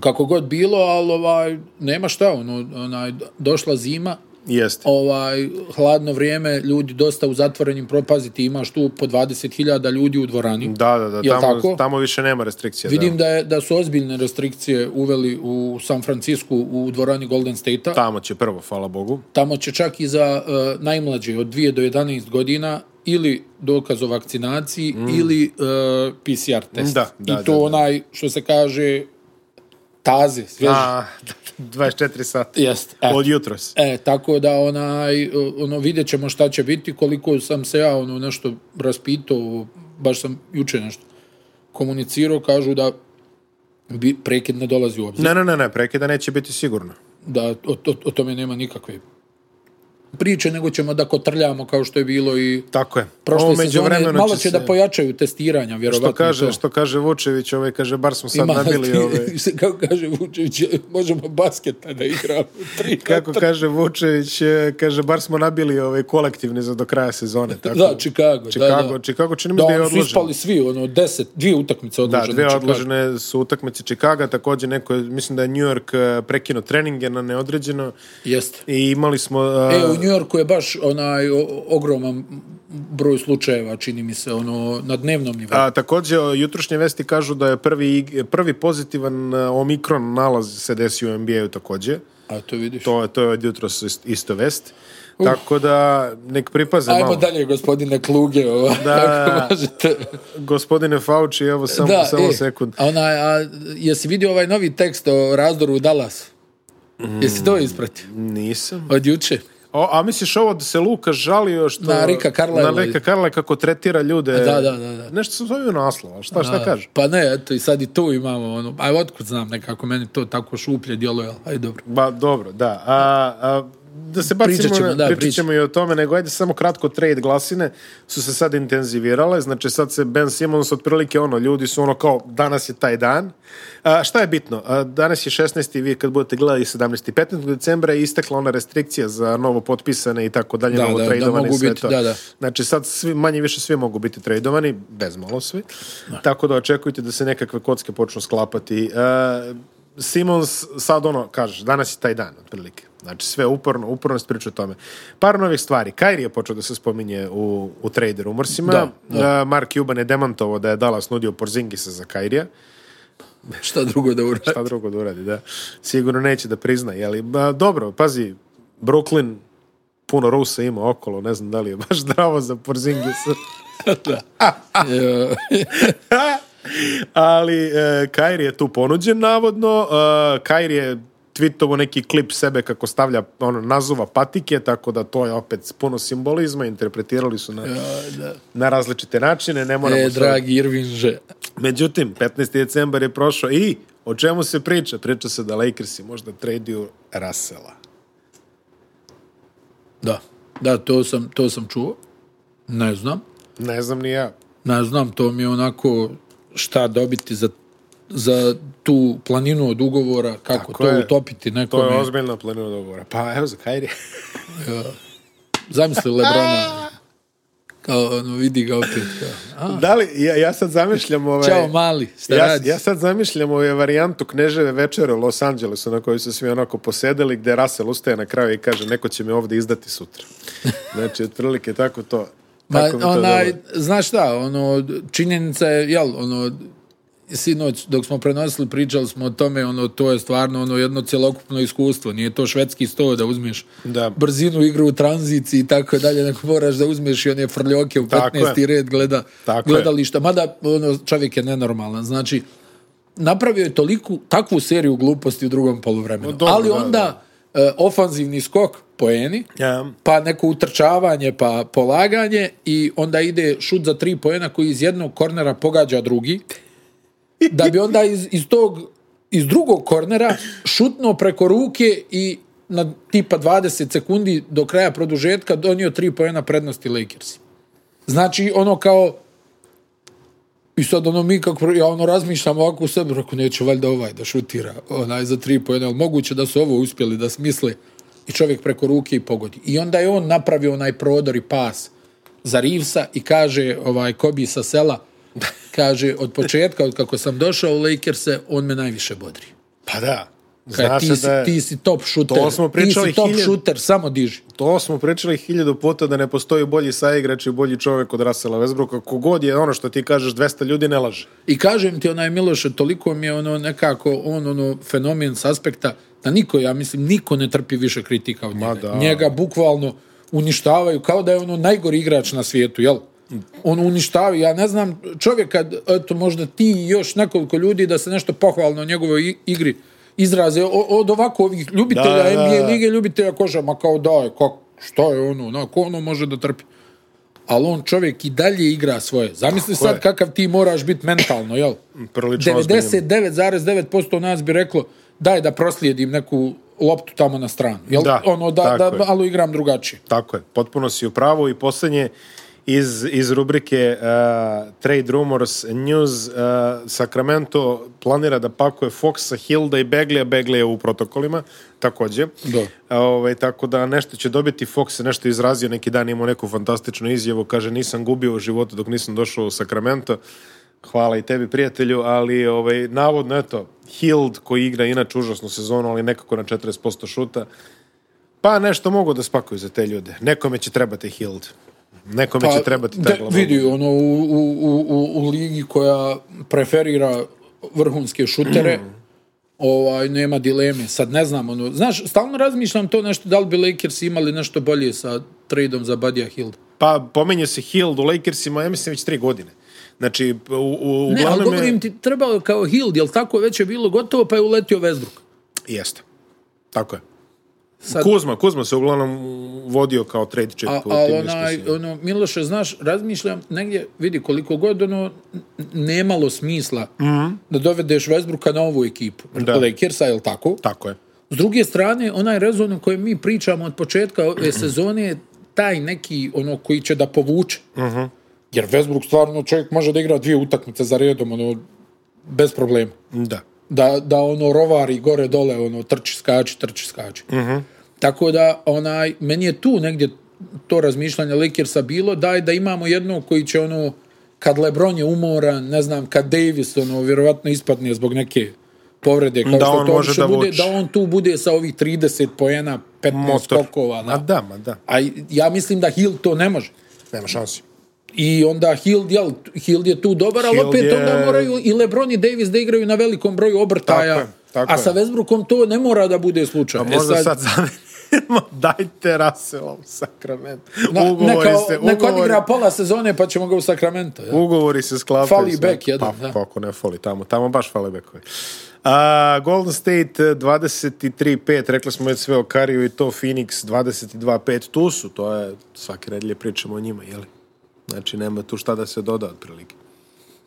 B: kako god bilo, ali ovaj, nema šta, ono, onaj, došla zima,
A: Jeste.
B: ovaj, hladno vrijeme, ljudi dosta u zatvorenim propaziti, imaš tu po 20.000 ljudi u dvorani.
A: Da, da, da.
B: Jel
A: Tamo,
B: tako?
A: tamo više nema restrikcija.
B: Vidim da, je, da su ozbiljne restrikcije uveli u San Francisco u dvorani Golden State-a.
A: Da. Tamo će prvo, hvala Bogu.
B: Tamo će čak i za uh, najmlađe od 2 do 11 godina ili dokaz o vakcinaciji mm. ili uh, PCR test.
A: Da, da,
B: I to
A: da, da.
B: onaj što se kaže taze, svježi.
A: A, 24 sata.
B: Jeste. E,
A: Od jutros.
B: e, tako da onaj, uh, ono, vidjet ćemo šta će biti, koliko sam se ja ono nešto raspitao, baš sam juče nešto komunicirao, kažu da bi, prekid ne dolazi u obzir.
A: Ne, ne, ne, ne, prekida neće biti sigurno.
B: da o, o, o tome nema nikakve priče, nego ćemo da kotrljamo kao što je bilo i
A: Tako je.
B: prošle
A: Ovo
B: sezone.
A: međuvremeno
B: Malo će
A: se-
B: da pojačaju testiranja, vjerovatno.
A: Što kaže,
B: to.
A: što kaže Vučević, ovaj kaže, bar smo sad
B: Ima-
A: nabili ovaj...
B: kako kaže Vučević, možemo basketa da igramo. Tri,
A: Kako kaže Vučević, eh, kaže, bar smo nabili ovaj kolektivni za do kraja sezone. Tako,
B: Da, znači, Chicago,
A: Chicago,
B: da, da.
A: Chicago čini mi
B: Da,
A: se da je
B: oni su
A: odložen.
B: ispali svi, ono, deset, dvije utakmice
A: Da,
B: odložene.
A: dvije
B: Chicago.
A: odložene su utakmice Chicaga, također neko, je- mislim da je New York eh, prekinuo treninge na neodređeno
B: Jeste.
A: i imali smo... eh,
B: E, u Njujorku je baš onaj o, ogroman broj slučajeva, čini mi se, ono, na dnevnom nivou.
A: A, također, jutrošnje vesti kažu da je prvi, ig- prvi pozitivan eh, omikron nalaz se desio u NBA-u također.
B: A to vidiš.
A: To, je- to je od jutros ist- isto vest. Tako da, nek pripaze
B: Ajmo
A: malo.
B: dalje, gospodine Kluge, ovo, da,
A: da.
B: ako možete.
A: Gospodine Fauci, evo samo,
B: da,
A: samo
B: e,
A: sekund.
B: A onaj, a, jesi vidio ovaj novi tekst o razdoru u Dallasu?
A: Mm.
B: Jesi to ispratio?
A: Nisam.
B: Od juče?
A: O, a misliš ovo da se Luka žalio što...
B: Na Ricka Carlisle.
A: Na Rika Karla kako tretira ljude.
B: Da, da, da, da.
A: Nešto sam zovio naslov, a šta, šta
B: A,
A: kaže?
B: Pa ne, eto, i sad i tu imamo ono, aj otkud znam nekako, meni to tako šuplje djeluje, ali aj dobro.
A: Ba, dobro, da. A, a, da se bacimo,
B: Pričat ćemo,
A: na-
B: da,
A: pričat
B: pričat.
A: ćemo i o tome, nego ajde samo kratko trade glasine su se sad intenzivirale, znači sad se Ben Simmons otprilike ono, ljudi su ono kao danas je taj dan. A, šta je bitno? A, danas je 16. vi kad budete gledali 17. 15. decembra je istekla ona restrikcija za novo potpisane i tako dalje,
B: Da,
A: novo
B: da, da
A: tradovane i
B: mogu
A: sve
B: biti,
A: to.
B: da, da.
A: Znači sad svi, manje više svi mogu biti tradovani, bezmalo svi. Tako da očekujte da se nekakve kocke počnu sklapati. E, Simons sad ono, kažeš, danas je taj dan, otprilike. Znači sve uporno, uporno se priča o tome. Par novih stvari. Kairi je počeo da se spominje u, u trade rumorsima.
B: Da,
A: E, Mark Cuban je demantovo da je Dallas nudio Porzingisa za Kairija.
B: Šta drugo da uradi?
A: Šta drugo da uradi, da. Sigurno neće da prizna, jeli? Ba, dobro, pazi, Brooklyn puno Rusa ima okolo, ne znam da li je baš zdravo za Porzingisa.
B: E,
A: Ali e, Kairi je tu ponuđen, navodno. E, Kairi je tweetovo neki klip sebe kako stavlja, ono, nazuva patike, tako da to je opet puno simbolizma, interpretirali su na, na različite načine, ne moramo
B: e,
A: sad-
B: dragi Irvinže,
A: Međutim, 15. decembar je prošao i o čemu se priča? Priča se da Lakersi možda traduju Rasela.
B: da, da, to sam, to sam čuo, ne znam,
A: Ne znam ni ja.
B: ne znam, to mi je onako šta dobiti za, za tu planinu od ugovora,
A: Tako
B: kako to
A: je.
B: utopiti
A: To
B: nekome.
A: je ozbiljna planina dogovora. Pa evo za Kairi.
B: Zamisli Lebrona. Kao, ono, vidi ga opet. Kao, a,
A: Da li, ja, ja sad zamišljam ovaj...
B: čao mali, šta
A: Ja,
B: radiš?
A: ja sad zamišljam ovaj varijantu Kneževe večere u Los Angelesu na kojoj su svi onako posedeli gde Russell ustaje na kraju i kaže neko će me ovdje izdati sutra. Znači, otprilike tako to.
B: Ma,
A: Tako mi to
B: onaj,
A: deluje.
B: znaš šta, ono, činjenica je, jel, ono, sinoć, dok smo prenosili, pričali smo o tome, ono, to je stvarno, ono, jedno cjelokupno iskustvo, nije to švedski sto da uzmeš
A: Da.
B: brzinu, igru u tranziciji i tako dalje, nego moraš da uzmeš i one frljoke u
A: Tako je.
B: 15. red gleda,
A: Tako je.
B: gledališta, mada, ono, čovjek je nenormalan, znači, napravio je toliku, takvu seriju gluposti u drugom poluvremenu.
A: No, dobro,
B: Ali
A: da,
B: onda e, ofanzivni skok poeni,
A: Ja.
B: pa neko utrčavanje, pa polaganje i onda ide šut za tri poena koji iz jednog kornera pogađa drugi. Da bi onda iz, iz tog iz drugog kornera šutno preko ruke i na tipa 20 sekundi do kraja produžetka donio tri poena prednosti Lakers. Znači, ono kao I sad ono mi kako, ja ono razmišljam ovako u sebi, rekao neće valjda ovaj da šutira, onaj za tri pojene, ali moguće da su ovo uspjeli da smisle i čovjek preko ruke i pogodi. I onda je on napravio onaj prodor i pas za Reevesa i kaže ovaj Kobi sa sela, kaže od početka, od kako sam došao u Lakers-e, on me najviše bodri.
A: Pa da.
B: Kaj,
A: Zna
B: ti,
A: se
B: si,
A: da je,
B: ti si top šuter,
A: To smo
B: ti si
A: pričali
B: top
A: hiljad-
B: šuter, samo diži.
A: to smo pričali hiljadu puta da ne postoji bolji saigrač i bolji čovjek od Rasela Vesbruka. Kogod je ono što ti kažeš, 200 ljudi ne laže.
B: I kažem ti, onaj Miloše, toliko mi je ono nekako, on ono fenomen s aspekta da niko, ja mislim, niko ne trpi više kritika od njega.
A: da.
B: Njega bukvalno uništavaju, kao da je ono najgori igrač na svijetu, jel? On uništava, ja ne znam, čovjek kad, eto, možda ti i još nekoliko ljudi da se nešto pohvalno o njegovoj i- igri izraze, o- od ovako ovih ljubitelja
A: Da, da,
B: NBA
A: da.
B: lige, ljubitelja koša, ma kao daj, kako, što je ono, na, ko ono može da trpi? ali on čovjek i dalje igra svoje. Zamisli
A: Tako
B: sad
A: je.
B: kakav ti moraš biti mentalno, jel?
A: Prilično ozbiljan.
B: 99,9% nas bi reklo daj da proslijedim neku loptu tamo na stranu. Jel?
A: Da,
B: ono, da,
A: tako
B: da,
A: je.
B: ali igram drugačije.
A: Tako je, potpuno si u pravu i posljednje iz, iz rubrike uh, Trade Rumors News uh, Sacramento planira da pakuje Foxa, Hilda i Beglija Beglija je u protokolima takođe
B: Da.
A: Ove, tako da nešto će dobiti Fox je nešto izrazio neki dan imao neku fantastičnu izjavu kaže nisam gubio u životu dok nisam došao u Sacramento Hvala i tebi, prijatelju, ali ovaj, navodno, eto, Hild, koji igra inače užasnu sezonu, ali nekako na 40% šuta, Pa nešto mogu da spakuju za te ljude. Nekome će trebati Hild. Nekome će trebati ta
B: de,
A: glava.
B: Pa, vidi, ono, u, u, u, u, u ligi koja preferira vrhunske šutere,
A: Mm.
B: ovaj, nema dileme. Sad ne znam, ono, znaš, stalno razmišljam to nešto, da li bi Lakers imali nešto bolje sa tradeom za Badija Hilda.
A: Pa pomenje se Hild u Lakersima, ja mislim, već tri godine. Znači, u, u,
B: Ne, ali
A: uglavnom
B: govorim
A: je...
B: ti, trebao je kao Hild, jel tako već je bilo gotovo, pa je uletio Westbrook.
A: Jeste. Tako je.
B: Sad-
A: Kuzma, Kuzma se uglavnom vodio kao trade chip
B: A,
A: u
B: ali
A: tim
B: onaj,
A: diskusijama.
B: ono, Miloše, znaš, razmišljam negdje, vidi, koliko god ono, n- nemalo smisla da dovedeš Westbrooka na ovu ekipu.
A: Da.
B: Lakersa, jel tako?
A: Tako je.
B: S druge strane, onaj rezon o kojem mi pričamo od početka ove sezone je taj neki, ono, koji će da povuče. Jer Westbrook stvarno čovjek može da igra dvije utakmice za redom, ono, bez problema
A: Da.
B: da, da ono rovari gore dole ono trči skači trči skači
A: Mhm.
B: tako da onaj meni je tu negdje to razmišljanje Lakersa bilo daj da imamo jednog koji će ono kad LeBron je umoran ne znam kad Davis ono vjerovatno ispadne zbog neke povrede kao
A: Da
B: što
A: on
B: to
A: može
B: obično
A: da
B: bude,
A: vuče.
B: da on tu bude sa ovih 30 poena 15
A: Motor.
B: skokova
A: A
B: da.
A: da, ma da.
B: a ja mislim da Hill to ne može
A: Nema šansi.
B: I onda Hild, jel, Hild je tu dobar, ali
A: Hield
B: opet
A: je-
B: onda moraju i Lebron i Davis da igraju na velikom broju obrtaja.
A: Tako je, tako
B: a sa
A: je.
B: Westbrookom to ne mora da bude slučaj. E
A: A Pa možda sad, zamenimo, dajte Rasela u Sakrament.
B: na,
A: ugovori
B: neka,
A: se,
B: neka
A: ugovori,
B: odigra pola sezone pa ćemo ga u Sacramento. Ja.
A: Ugovori se sklapaju.
B: Fali
A: sve.
B: bek jedan,
A: pa,
B: da.
A: Pa ako ne fali tamo, tamo baš fali bekovi. A, Golden State eh, 23-5, rekli smo već sve o Kariju i to Phoenix 22-5, tu su, to je, svake redlje pričamo o njima, jeli? Znači, nema tu šta da se doda, otprilike.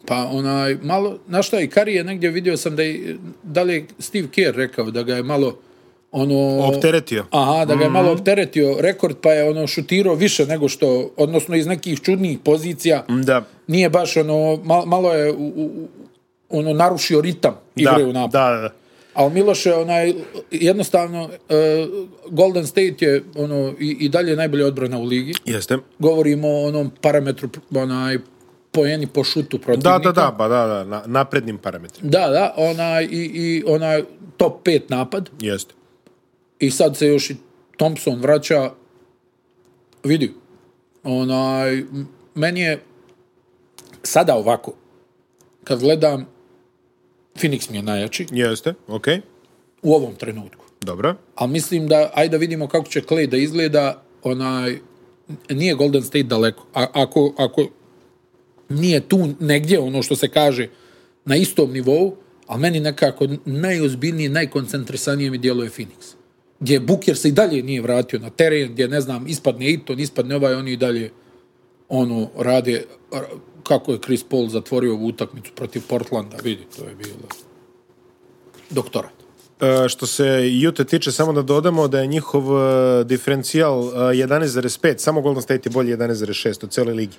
B: Pa onaj, malo, na šta i Kari je negdje vidio sam da je, da li je Steve Kerr rekao da ga je malo ono...
A: Opteretio. Mhm.
B: Aha, da ga je malo opteretio rekord, pa je ono šutirao više nego što, odnosno iz nekih čudnih pozicija.
A: Da,
B: nije baš ono, malo, malo je u, u, u- ono narušio ritam
A: da,
B: igre u napadu.
A: da, da.
B: Ali Miloše, onaj, jednostavno, e, Golden State je ono, i, i dalje najbolja odbrana u ligi.
A: Jeste.
B: Govorimo o onom parametru, onaj, poeni po šutu protivnika.
A: Da, da, da, ba, da, da, na, naprednim parametrima.
B: Da, da, onaj, i, i onaj top 5 napad.
A: Jeste.
B: I sad se još i Thompson vraća. Vidi, onaj, m- meni je sada ovako, kad gledam, Phoenix mi je najjači
A: Jeste, okej,
B: u ovom trenutku.
A: dobro.
B: Ali mislim da, ajde da vidimo kako će Clay da izgleda, onaj, n- nije Golden State daleko. A, ako, ako nije tu negdje, ono što se kaže, na istom nivou, ali meni nekako najozbiljnije, najkoncentrisanije mi djeluje Phoenix. Gdje Booker se i dalje nije vratio na teren, gdje, ne znam, ispadne Iton, ispadne ovaj, oni i dalje ono, rade, r- kako je Chris Paul zatvorio ovu utakmicu protiv Portlanda, vidi, to je bilo doktorat.
A: E, što se Jute tiče, samo da dodamo da je njihov e, diferencijal e, 11,5, samo Golden State je bolji 11,6 u cijeloj ligi.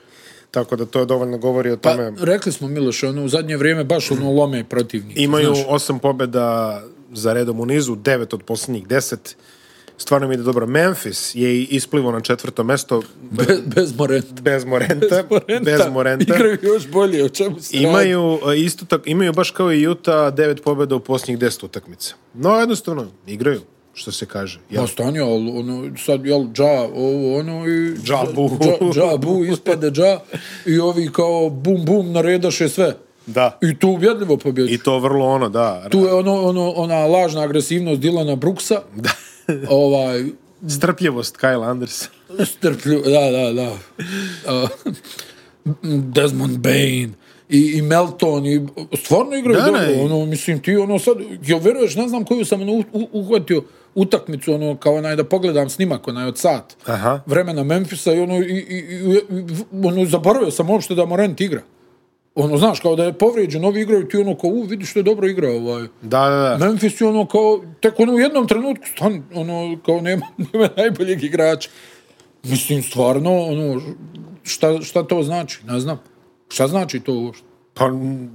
A: Tako da to dovoljno govori o
B: Pa,
A: tome.
B: rekli smo, Miloš, ono, u zadnje vrijeme baš ono lome protivnik.
A: Imaju osam pobjeda za redom u nizu, devet od posljednjih deset. Stvarno mi ide dobro. Memphis je i isplivo na četvrto mesto
B: Bez, bez Morenta.
A: bez Morenta. Bez Morenta.
B: Igraju još bolje, o čemu se radi?
A: Imaju, e, isto tako, imaju baš kao i Juta devet pobjeda u posljednjih deset utakmica. No, jednostavno, igraju, što se kaže. Ja,
B: Ma stanje, ali ono, sad, jel, dža, ovo, ono, i...
A: Džabu.
B: Dža, džabu, ispade dža, i ovi kao bum, bum, naredaše sve.
A: da.
B: I tu ubjedljivo pobjeđu.
A: I to vrlo ono, da.
B: Tu je ono, ono, ona lažna agresivnost Dilana Brooksa. Da. ovaj,
A: Strpljivost Kyle Anderson.
B: strplju, da, da, da. A, Desmond Bain i, i Melton i stvarno igraju
A: Da,
B: dobro,
A: ne.
B: ono, mislim ti, ono sad, ja veruješ, ne znam koju sam ono, u- u- uhvatio utakmicu, ono, kao onaj da pogledam snimak, onaj od sat
A: Aha.
B: vremena Memfisa i ono, i, i, i, i ono, zaboravio sam uopšte da Morent igra. Ono, znaš, kao da je povrijeđen, ovi igraju ti ono kao, u, vidiš što je dobro igra ovaj.
A: Da, da, da.
B: Memphis je ono kao, tek ono u jednom trenutku, stan, ono, kao nema, nema najboljeg igrača. Mislim, stvarno, ono, šta, šta to znači, ne znam. Šta znači to uopšte?
A: Pa, m,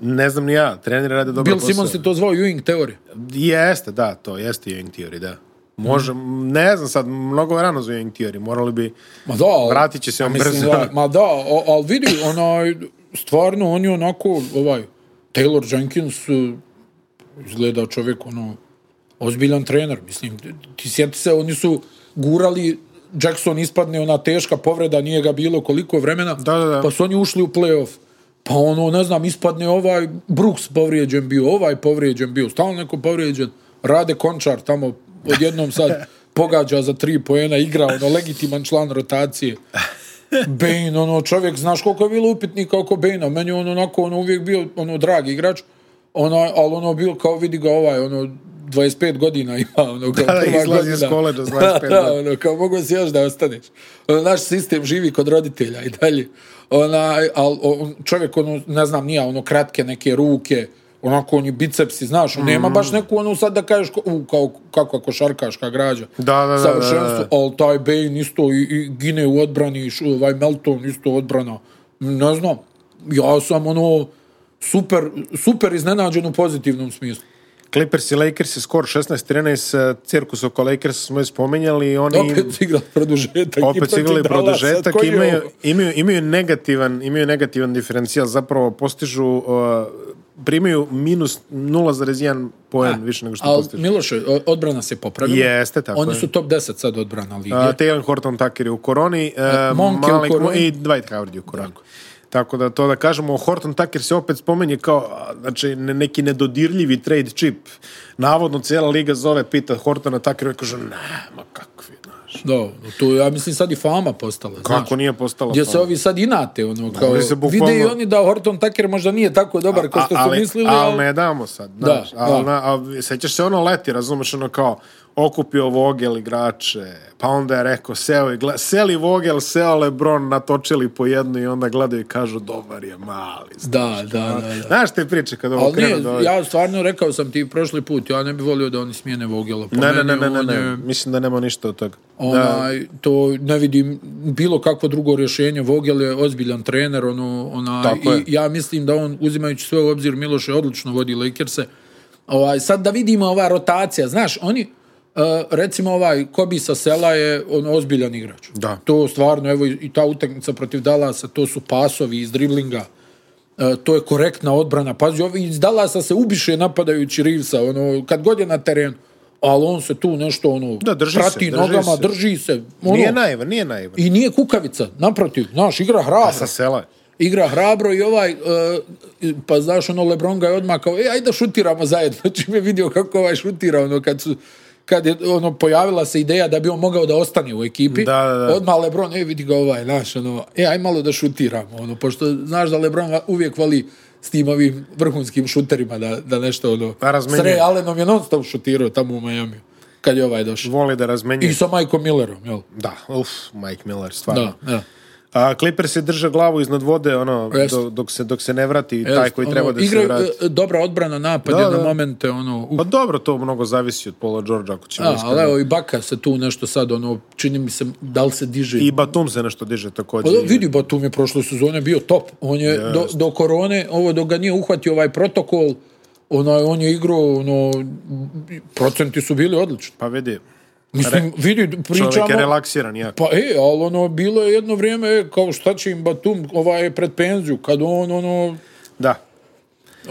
A: ne znam ni ja, treneri rade dobro
B: Bill Simmons je to zvao Ewing teorija.
A: Jeste, da, to jeste Young Theory, da. Može, ne znam sad, mnogo je rano za Young Theory, morali bi...
B: Ma da, ali,
A: Vratit će se on
B: mislim,
A: brzo.
B: Da, ma da, o- ali vidi, onaj, stvarno, on je onako, ovaj, Taylor Jenkins eh, izgleda čovjek, ono, ozbiljan trener, mislim, ti- ti sjeti se, oni su gurali, Jackson ispadne, ona teška povreda, nije ga bilo koliko vremena,
A: Da, da, da.
B: pa su oni ušli u playoff. Pa ono, ne znam, ispadne ovaj, Brooks povrijeđen bio, ovaj povrijeđen bio, stalno neko povrijeđen, Rade Končar tamo odjednom sad pogađa za tri poena, igra, ono, legitiman član rotacije. Bane, ono, čovjek, znaš koliko je bilo upitnika oko Bane-a, meni je on onako, ono, uvijek bio, ono, drag igrač, ono, ali ono, bio kao, vidi ga ovaj, ono, 25 godina ima, ono, kao
A: Da, da,
B: prva
A: izlazi iz
B: godina.
A: koleđa s 25
B: da,
A: godina.
B: ono, kao, mogu si još da ostaneš. Ono, naš sistem živi kod roditelja i dalje. Ona, al, on, čovjek, ono, ne znam, nije, ono, kratke neke ruke, onako, oni bicepsi, znaš, on nema
A: Mm.
B: baš neku, ono, sad da kažeš, ko- u, kao, kako košarkaška građa.
A: Da, da, da, da, da.
B: Savršenstvo, ali taj Bane isto i, i gine u odbrani, i š- ovaj Melton isto odbrana. Ne znam, ja sam ono super, super iznenađen u pozitivnom smislu.
A: Clippers i Lakers je skor 16-13, cirkus oko Lakers smo je spominjali i oni...
B: Opet su igrali produžetak. i
A: opet su
B: protiv
A: igrali
B: Dallasa,
A: produžetak,
B: koji je
A: imaju,
B: ovo?
A: imaju, imaju, negativan, imaju negativan diferencijal, zapravo postižu, uh, primaju minus 0,1 poen više nego što
B: Al,
A: postižu.
B: Miloše, o- odbrana se popravila.
A: Jeste, tako
B: Oni
A: je.
B: su top 10 sad odbrana lige.
A: A, Taylor Horton Tucker je u koroni, e,
B: Monk je u
A: Malik Mo-
B: koroni.
A: i Dwight Howard je u koroni. Tako da to da kažemo, Horton Tucker se opet spomenje kao a, znači, ne- neki nedodirljivi trade chip. Navodno cijela liga zove, pita Hortona Tuckera i kaže, ne, ma kakvi, znaš.
B: Da, to, ja mislim sad i fama postala. znaš.
A: Kako nije postala
B: Gdje se
A: fama?
B: ovi sad inate, ono, kao,
A: se bukvalno-
B: vide i oni da Horton Tucker možda nije tako dobar kao
A: A-
B: što su mislili,
A: ali ne damo sad, znaš.
B: Da,
A: ali,
B: da.
A: na- a, sećaš se ono leti, razumeš, ono kao, okupio Vogel igrače, pa onda je rekao, seo i gleda, seli Vogel, seo Lebron, natočili po jednu i onda gledaju i kažu, dobar je mali. znaš.
B: Da, da, da. da.
A: Znaš te priče kad ovo
B: Ali
A: krenu
B: nije,
A: Znači, da ove-
B: ja stvarno rekao sam ti prošli put, ja ne bih volio da oni smijene Vogela. Po
A: Ne, ne,
B: meni
A: ne, ne, ne,
B: on
A: ne,
B: je-
A: mislim da nema ništa od toga.
B: Onaj, to ne vidim bilo kakvo drugo rješenje. Vogel je ozbiljan trener, ono, onaj,
A: Tako je.
B: i ja mislim da on, uzimajući sve u obzir, Miloše odlično vodi Lakers-e. Ovaj, sad da vidimo ova rotacija, znaš, oni, uh, recimo ovaj Kobi sa sela je ono, ozbiljan igrač.
A: Da.
B: To stvarno, evo i- i ta utakmica protiv Dallasa, to su pasovi iz driblinga, E, to je korektna odbrana. Pazi, ovi iz Dallasa se ubiše napadajući Reevesa, ono, kad god je na terenu. Ali on se tu nešto, ono,
A: Da, drži se,
B: prati
A: drži
B: nogama,
A: se.
B: drži se. Ono,
A: Nije naivan, nije naivan.
B: I nije kukavica, naprotiv, znaš, igra hrabro.
A: Sa sela.
B: Igra hrabro i ovaj, e, pa Znači, znaš, ono, Lebron ga je odmah kao, e, ajde da šutiramo zajedno. Čim je vidio kako ovaj šutira, ono, kad su kad je ono, pojavila se ideja da bi on mogao da ostane u ekipi,
A: Da, da, da.
B: odmah Lebron, e, vidi ga ovaj, znaš, ono, e, aj malo da šutiramo, ono, pošto znaš da Lebron va- uvijek voli s tim ovim vrhunskim šuterima da, da nešto, ono,
A: Pa
B: s
A: razmenjuje.
B: Ray Allenom je non stop šutirao tamo u Miami, kad je ovaj došao.
A: Voli da razmenjuje.
B: I sa Majkom Millerom, jel?
A: Da, uf, Mike Miller, stvarno.
B: Da, da.
A: A Clippers se drže glavu iznad vode, ono,
B: Jest.
A: do, dok, se, dok se ne vrati
B: Jest,
A: taj koji
B: ono,
A: treba da
B: igraju,
A: se vrati.
B: e, e, Dobra odbrana, napad
A: Da,
B: je
A: da.
B: na momente, ono, u
A: Pa dobro, to mnogo zavisi od Paula George, ako ćemo
B: Da,
A: iskreno.
B: ali evo i Baka se tu nešto sad, ono, čini mi se, da li se diže.
A: I
B: I,
A: Batum se nešto diže također.
B: vidi, Batum je prošle sezone bio top. On je do, do korone, ovo, dok ga nije uhvatio ovaj protokol, ono, on je igrao, ono, procenti su bili odlični.
A: Pa vidi,
B: Mislim, vidi,
A: čovjek je
B: pričamo...
A: relaksiran jako.
B: Pa e, ali ono, bilo je jedno vrijeme, e, kao šta će im Batum, ovaj, je pred penziju, kad on, ono,
A: Da.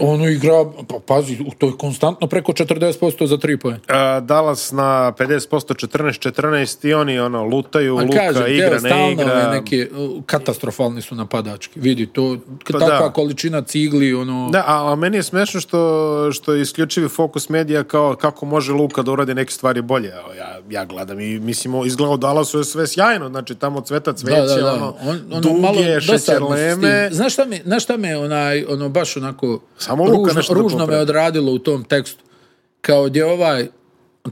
B: ono igra, pa pazi, to je konstantno preko 40% za tri pojene.
A: A, E, Dallas na 50%, 14-14 i oni ono, lutaju,
B: Pa
A: Luka igra, ne
B: stalno
A: igra.
B: ove neke, uh, katastrofalni su napadački. Vidi, to,
A: Pa
B: pa takva
A: da.
B: količina cigli, ono...
A: Da, a, a meni je smešno što, što je isključivi fokus medija kao kako može Luka da uradi neke stvari bolje. Evo, Ja, ja gledam i mislim, izgleda u Dallasu je sve sjajno, znači tamo cveta cveće, ono, duge,
B: dosadno s tim.
A: šećerleme.
B: Znaš šta me, znaš šta me onaj, ono, baš onako...
A: Samo Luka
B: ružno,
A: nešto da
B: ružno me
A: popravi.
B: odradilo u tom tekstu. Kao gdje ovaj,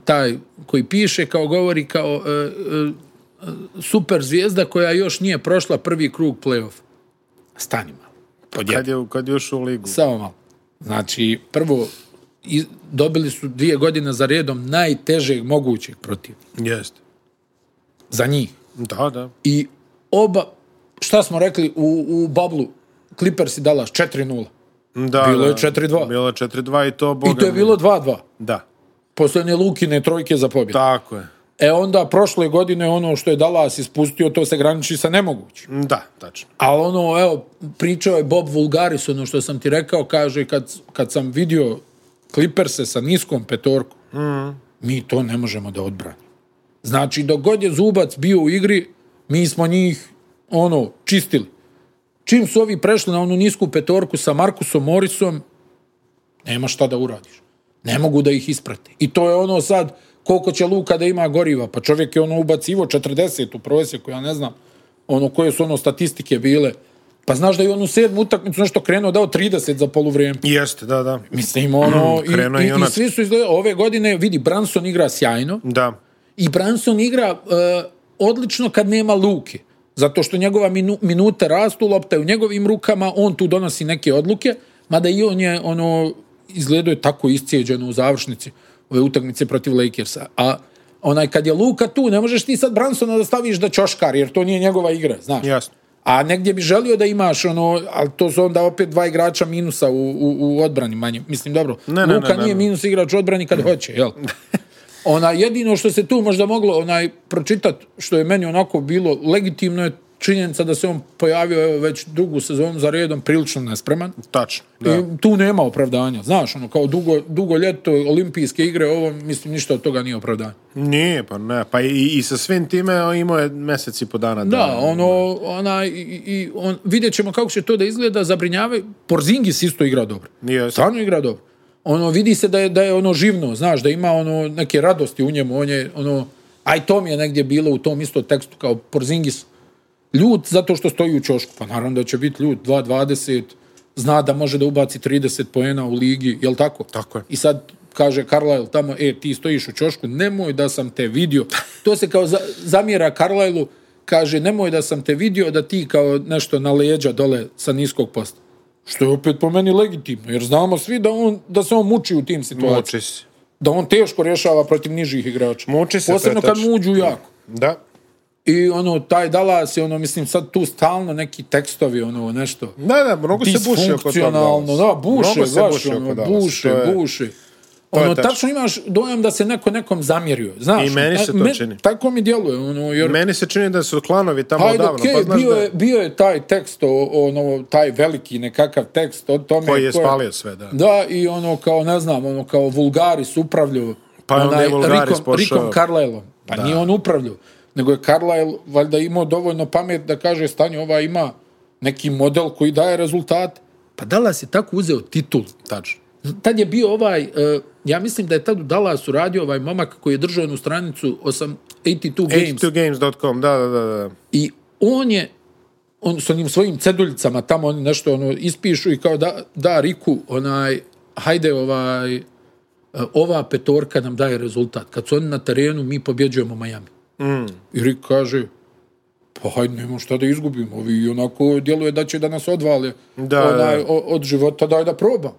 B: taj koji piše, kao govori kao e, e, super zvijezda koja još nije prošla prvi krug play-off. Stani malo. Pod jedan.
A: Kad je, kad je ušao u ligu.
B: Samo malo. Znači, prvo, i, dobili su dvije godine za redom najtežeg mogućeg protivnika.
A: Jeste.
B: Za njih.
A: Da, da.
B: I oba, šta smo rekli u, u bablu, Clippers i Dallas 4-0.
A: da
B: Bilo je
A: da.
B: 4:2.
A: Bilo je 4-2 i to, boga
B: I to je
A: mi.
B: bilo 2-2.
A: Da,
B: Posle one Lukine trojke za pobjedu.
A: tako je.
B: E onda prošle godine ono što je Dallas ispustio, to se graniči sa nemogućim.
A: Da, tačno.
B: Ali ono, evo, pričao je Bob Vulgaris, ono što sam ti rekao, kaže, kad, kad sam vidio Clippers-e sa niskom petorkom, mi to ne možemo da odbranimo. Znači, dok god je Zubac bio u igri, mi smo njih, ono, čistili. Čim su ovi prešli na onu nisku petorku sa Markusom Morisom, nema šta da uradiš. Ne mogu da ih isprate. I to je ono sad, koliko će Luka da ima goriva. Pa čovjek je ono ubacivo 40 u prosjeku, ja ne znam, ono, koje su ono statistike bile. Pa znaš da je onu sedmu utakmicu nešto krenuo, dao 30 za poluvrijeme.
A: Jeste, da, da.
B: Mislim, ono, i,
A: Mm, krenuo
B: i,
A: je
B: i,
A: junački.
B: svi su izgledali, ove godine, vidi, Branson igra sjajno,
A: Da.
B: i Branson igra e, odlično kad nema Luke. Zato što njegova minu, minute rastu, lopta je u njegovim rukama, on tu donosi neke odluke, mada i on je, ono, izgledao je tako iscijeđeno u završnici ove utakmice protiv Lakersa. A onaj, kad je Luka tu, ne možeš ti sad Bransona da staviš da čoškar, jer to nije njegova igra, znaš.
A: Jasno.
B: A negdje bi želio da imaš ono, ali to su onda opet dva igrača minusa u, u, u odbrani manje. Mislim, dobro,
A: Ne, ne,
B: Luka
A: ne, ne,
B: nije
A: ne.
B: minus igrač u odbrani kad hoće, jel? Ona, jedino što se tu možda moglo onaj pročitat, što je meni onako bilo legitimno je činjenica da se on pojavio evo, već drugu sezonu za redom prilično nespreman.
A: Tačno, da.
B: I tu nema opravdanja, znaš, ono, kao dugo, dugo ljeto, olimpijske igre, ovo, mislim, ništa od toga nije opravdanje.
A: Nije, pa ne. Pa i, i sa svim time o, imao je mesec i po dana.
B: Da, ono, ona, i, i- i on, vidjet ćemo kako će to da izgleda, zabrinjavaju. Porzingis isto igra dobro.
A: Jeste.
B: Stvarno igra dobro. Ono, vidi se da je, da je ono živno, znaš, da ima ono neke radosti u njemu, on je, ono, a i to mi je negdje bilo u tom istom tekstu, kao Porzingis, ljut zato što stoji u čošku, pa naravno da će biti ljut, 2.20, zna da može da ubaci 30 poena u ligi, jel tako?
A: Tako je.
B: I sad kaže Carlisle tamo, e, ti stojiš u čošku, nemoj da sam te vidio. To se kao za, zamjera Carlisle-u, kaže, nemoj da sam te vidio da ti kao nešto na leđa dole sa niskog posta. Što je opet po meni legitimno, jer znamo svi da, on, da se on muči u tim situacijama.
A: Muči se.
B: Da on teško rješava protiv nižih igrača.
A: Muči se, to je
B: Posebno kad
A: tačno.
B: mu uđu jako.
A: Da.
B: I ono, taj Dallas je ono, mislim, sad tu stalno neki tekstovi, ono, nešto.
A: Da, da, mnogo se buši oko toga.
B: Disfunkcionalno,
A: Dallas.
B: da, buše,
A: Mnogo se
B: baš,
A: buši
B: ono,
A: oko Dallasa,
B: buše,
A: to je-
B: buše.
A: je
B: Ono,
A: tačno.
B: tačno imaš dojam da se neko nekom zamjerio, znaš.
A: I meni
B: a-
A: se to čini.
B: Tako mi djeluje, ono, jer...
A: Meni se čini da su klanovi tamo
B: Ajde,
A: odavno.
B: okej,
A: pa znaš
B: bio,
A: da,
B: je, bio je taj tekst, o, ono, taj veliki nekakav tekst o tome...
A: Koji je
B: ko
A: spalio sve, da.
B: Da, i ono, kao, ne znam, ono, kao Vulgaris upravljao...
A: Pa je onda je Vulgaris
B: Rikom,
A: pošao.
B: Rikom Carlisleom. Pa nije on upravljao, nego je Carlisle valjda imao dovoljno pamet da kaže stanje ova ima neki model koji daje rezultat. Pa Dallas je tako uzeo titul.
A: Tačno.
B: Tad je bio ovaj, uh, ja mislim da je tad u Dallasu radio ovaj momak koji je držao jednu stranicu 8, 82 Games.
A: 82games.com, da, da, da, da.
B: I on je, on sa onim svojim ceduljicama tamo oni nešto ono ispišu i kao da, da Riku, onaj, hajde ovaj, e, ova petorka nam daje rezultat. Kad su oni na terenu, mi pobjeđujemo Miami. Mm. I Rik kaže, pa hajde, nemam šta da izgubimo. Ovi i onako djeluje da će da nas odvale
A: Da,
B: onaj,
A: da.
B: o- od života, daj da probam.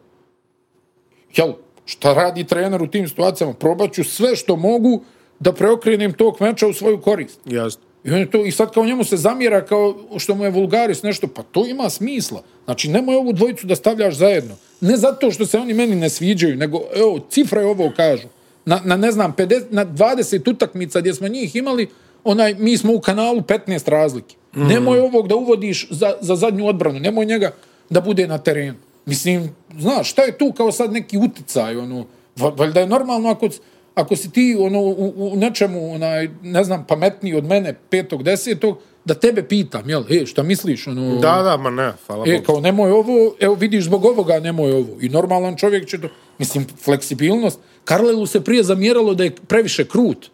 B: Jel, šta radi trener u tim situacijama? Probat ću sve što mogu da preokrenem tog meča u svoju korist.
A: Jasno.
B: I, on je to, I sad kao njemu se zamjera kao što mu je vulgaris nešto, pa to ima smisla. Znači, nemoj ovu dvojicu da stavljaš zajedno. Ne zato što se oni meni ne sviđaju, nego, evo, cifre ovo kažu. Na, na ne znam, 50, na 20 utakmica gdje smo njih imali, onaj, mi smo u kanalu 15 razlike. Mm. Nemoj ovog da uvodiš za, za zadnju odbranu, nemoj njega da bude na terenu. Mislim, znaš, šta je tu kao sad neki uticaj, ono, va- valjda je normalno ako, ako si ti ono, u, u nečemu, onaj, ne znam, pametniji od mene petog, desetog, da tebe pitam, jel, e, šta misliš, ono,
A: Da, da, ma ne, hvala
B: e,
A: Bogu.
B: kao nemoj ovo, evo vidiš zbog ovoga nemoj ovo. I normalan čovjek će to, mislim, fleksibilnost. Karlelu se prije zamjeralo da je previše krut.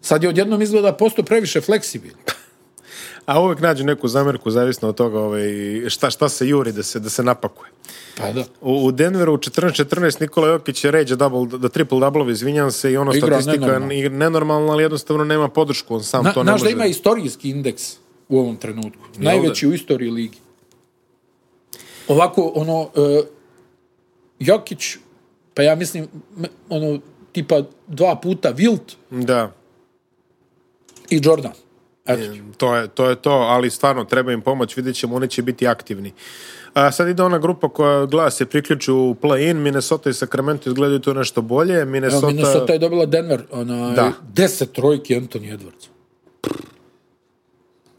B: Sad je odjednom izgleda posto previše fleksibilan.
A: A uvek nađu neku zamerku, zavisno od toga ovaj, šta, šta se juri da se, da se napakuje.
B: Pa da.
A: U, u Denveru u 14-14 Nikola Jokić je ređe double, da triple double, izvinjam se, i ono
B: Igra
A: statistika
B: nenormalno.
A: je nenormalna, ali jednostavno nema podršku, on sam
B: Na,
A: to ne
B: znaš
A: može.
B: da ima istorijski indeks u ovom trenutku. Najveći u istoriji ligi. Ovako, ono, uh, Jokić, pa ja mislim, m- ono, tipa dva puta Wilt
A: Da,
B: i Jordan. Eto.
A: to je, to je to, ali stvarno treba im pomoć, vidjet ćemo, oni će biti aktivni. A, sad ide ona grupa koja gleda se priključu u play-in, Minnesota i Sacramento izgledaju tu nešto bolje, Minnesota...
B: Minnesota... pa Minnesota je dobila Denver, onaj,
A: Da.
B: da. deset trojki Anthony Edwards.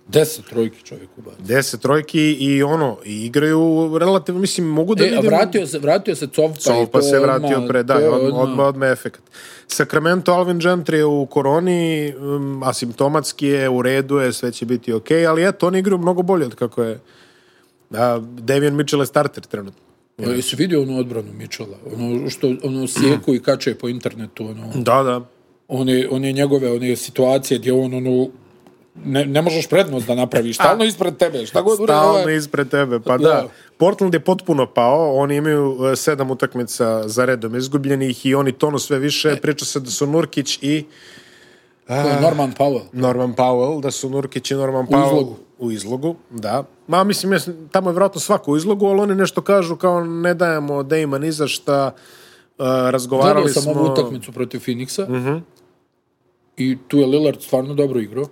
B: Deset trojki čovjek ubacio.
A: 10 trojki i ono, i igraju relativno, mislim, mogu da
B: E, a
A: vidim...
B: vratio se, vratio se Covpa.
A: Sol,
B: i
A: pa
B: to
A: se
B: je
A: vratio
B: odmah-
A: pre, da,
B: to je
A: odmah,
B: odmah-
A: odmah, odmah efekt. Sacramento Alvin Gentry je u koroni, um, asimptomatski je, u redu je, sve će biti okej, okay, ali eto, oni igraju mnogo bolje od kako je. A, Davion Mitchell je starter trenutno.
B: Ja, Jesi vidio onu odbranu Mičela? Ono što ono sjeku i kače po internetu, ono,
A: Da, da.
B: one, one njegove one situacije gdje on ono, ne, ne možeš prednost da napraviš, stalno ispred tebe,
A: Pa
B: šta god uradi,
A: Stalno
B: ovaj-
A: ispred tebe, pa da.
B: Da.
A: Portland je potpuno pao, oni imaju e, sedam utakmica za redom izgubljenih i oni tonu sve više. Priča se da su Nurkić i
B: to je Norman Powell.
A: Norman Powell, da su Nurkić i Norman Powell
B: izlogu.
A: u izlogu, da. Ma, mislim, jes- tamo je vjerojatno svako u izlogu, ali oni nešto kažu kao ne dajemo Dejma ni za šta, e,
B: Gledao
A: razgovarali
B: sam
A: smo... Mhm.
B: ovu utakmicu protiv Phoenixa i tu je Lillard stvarno dobro igrao.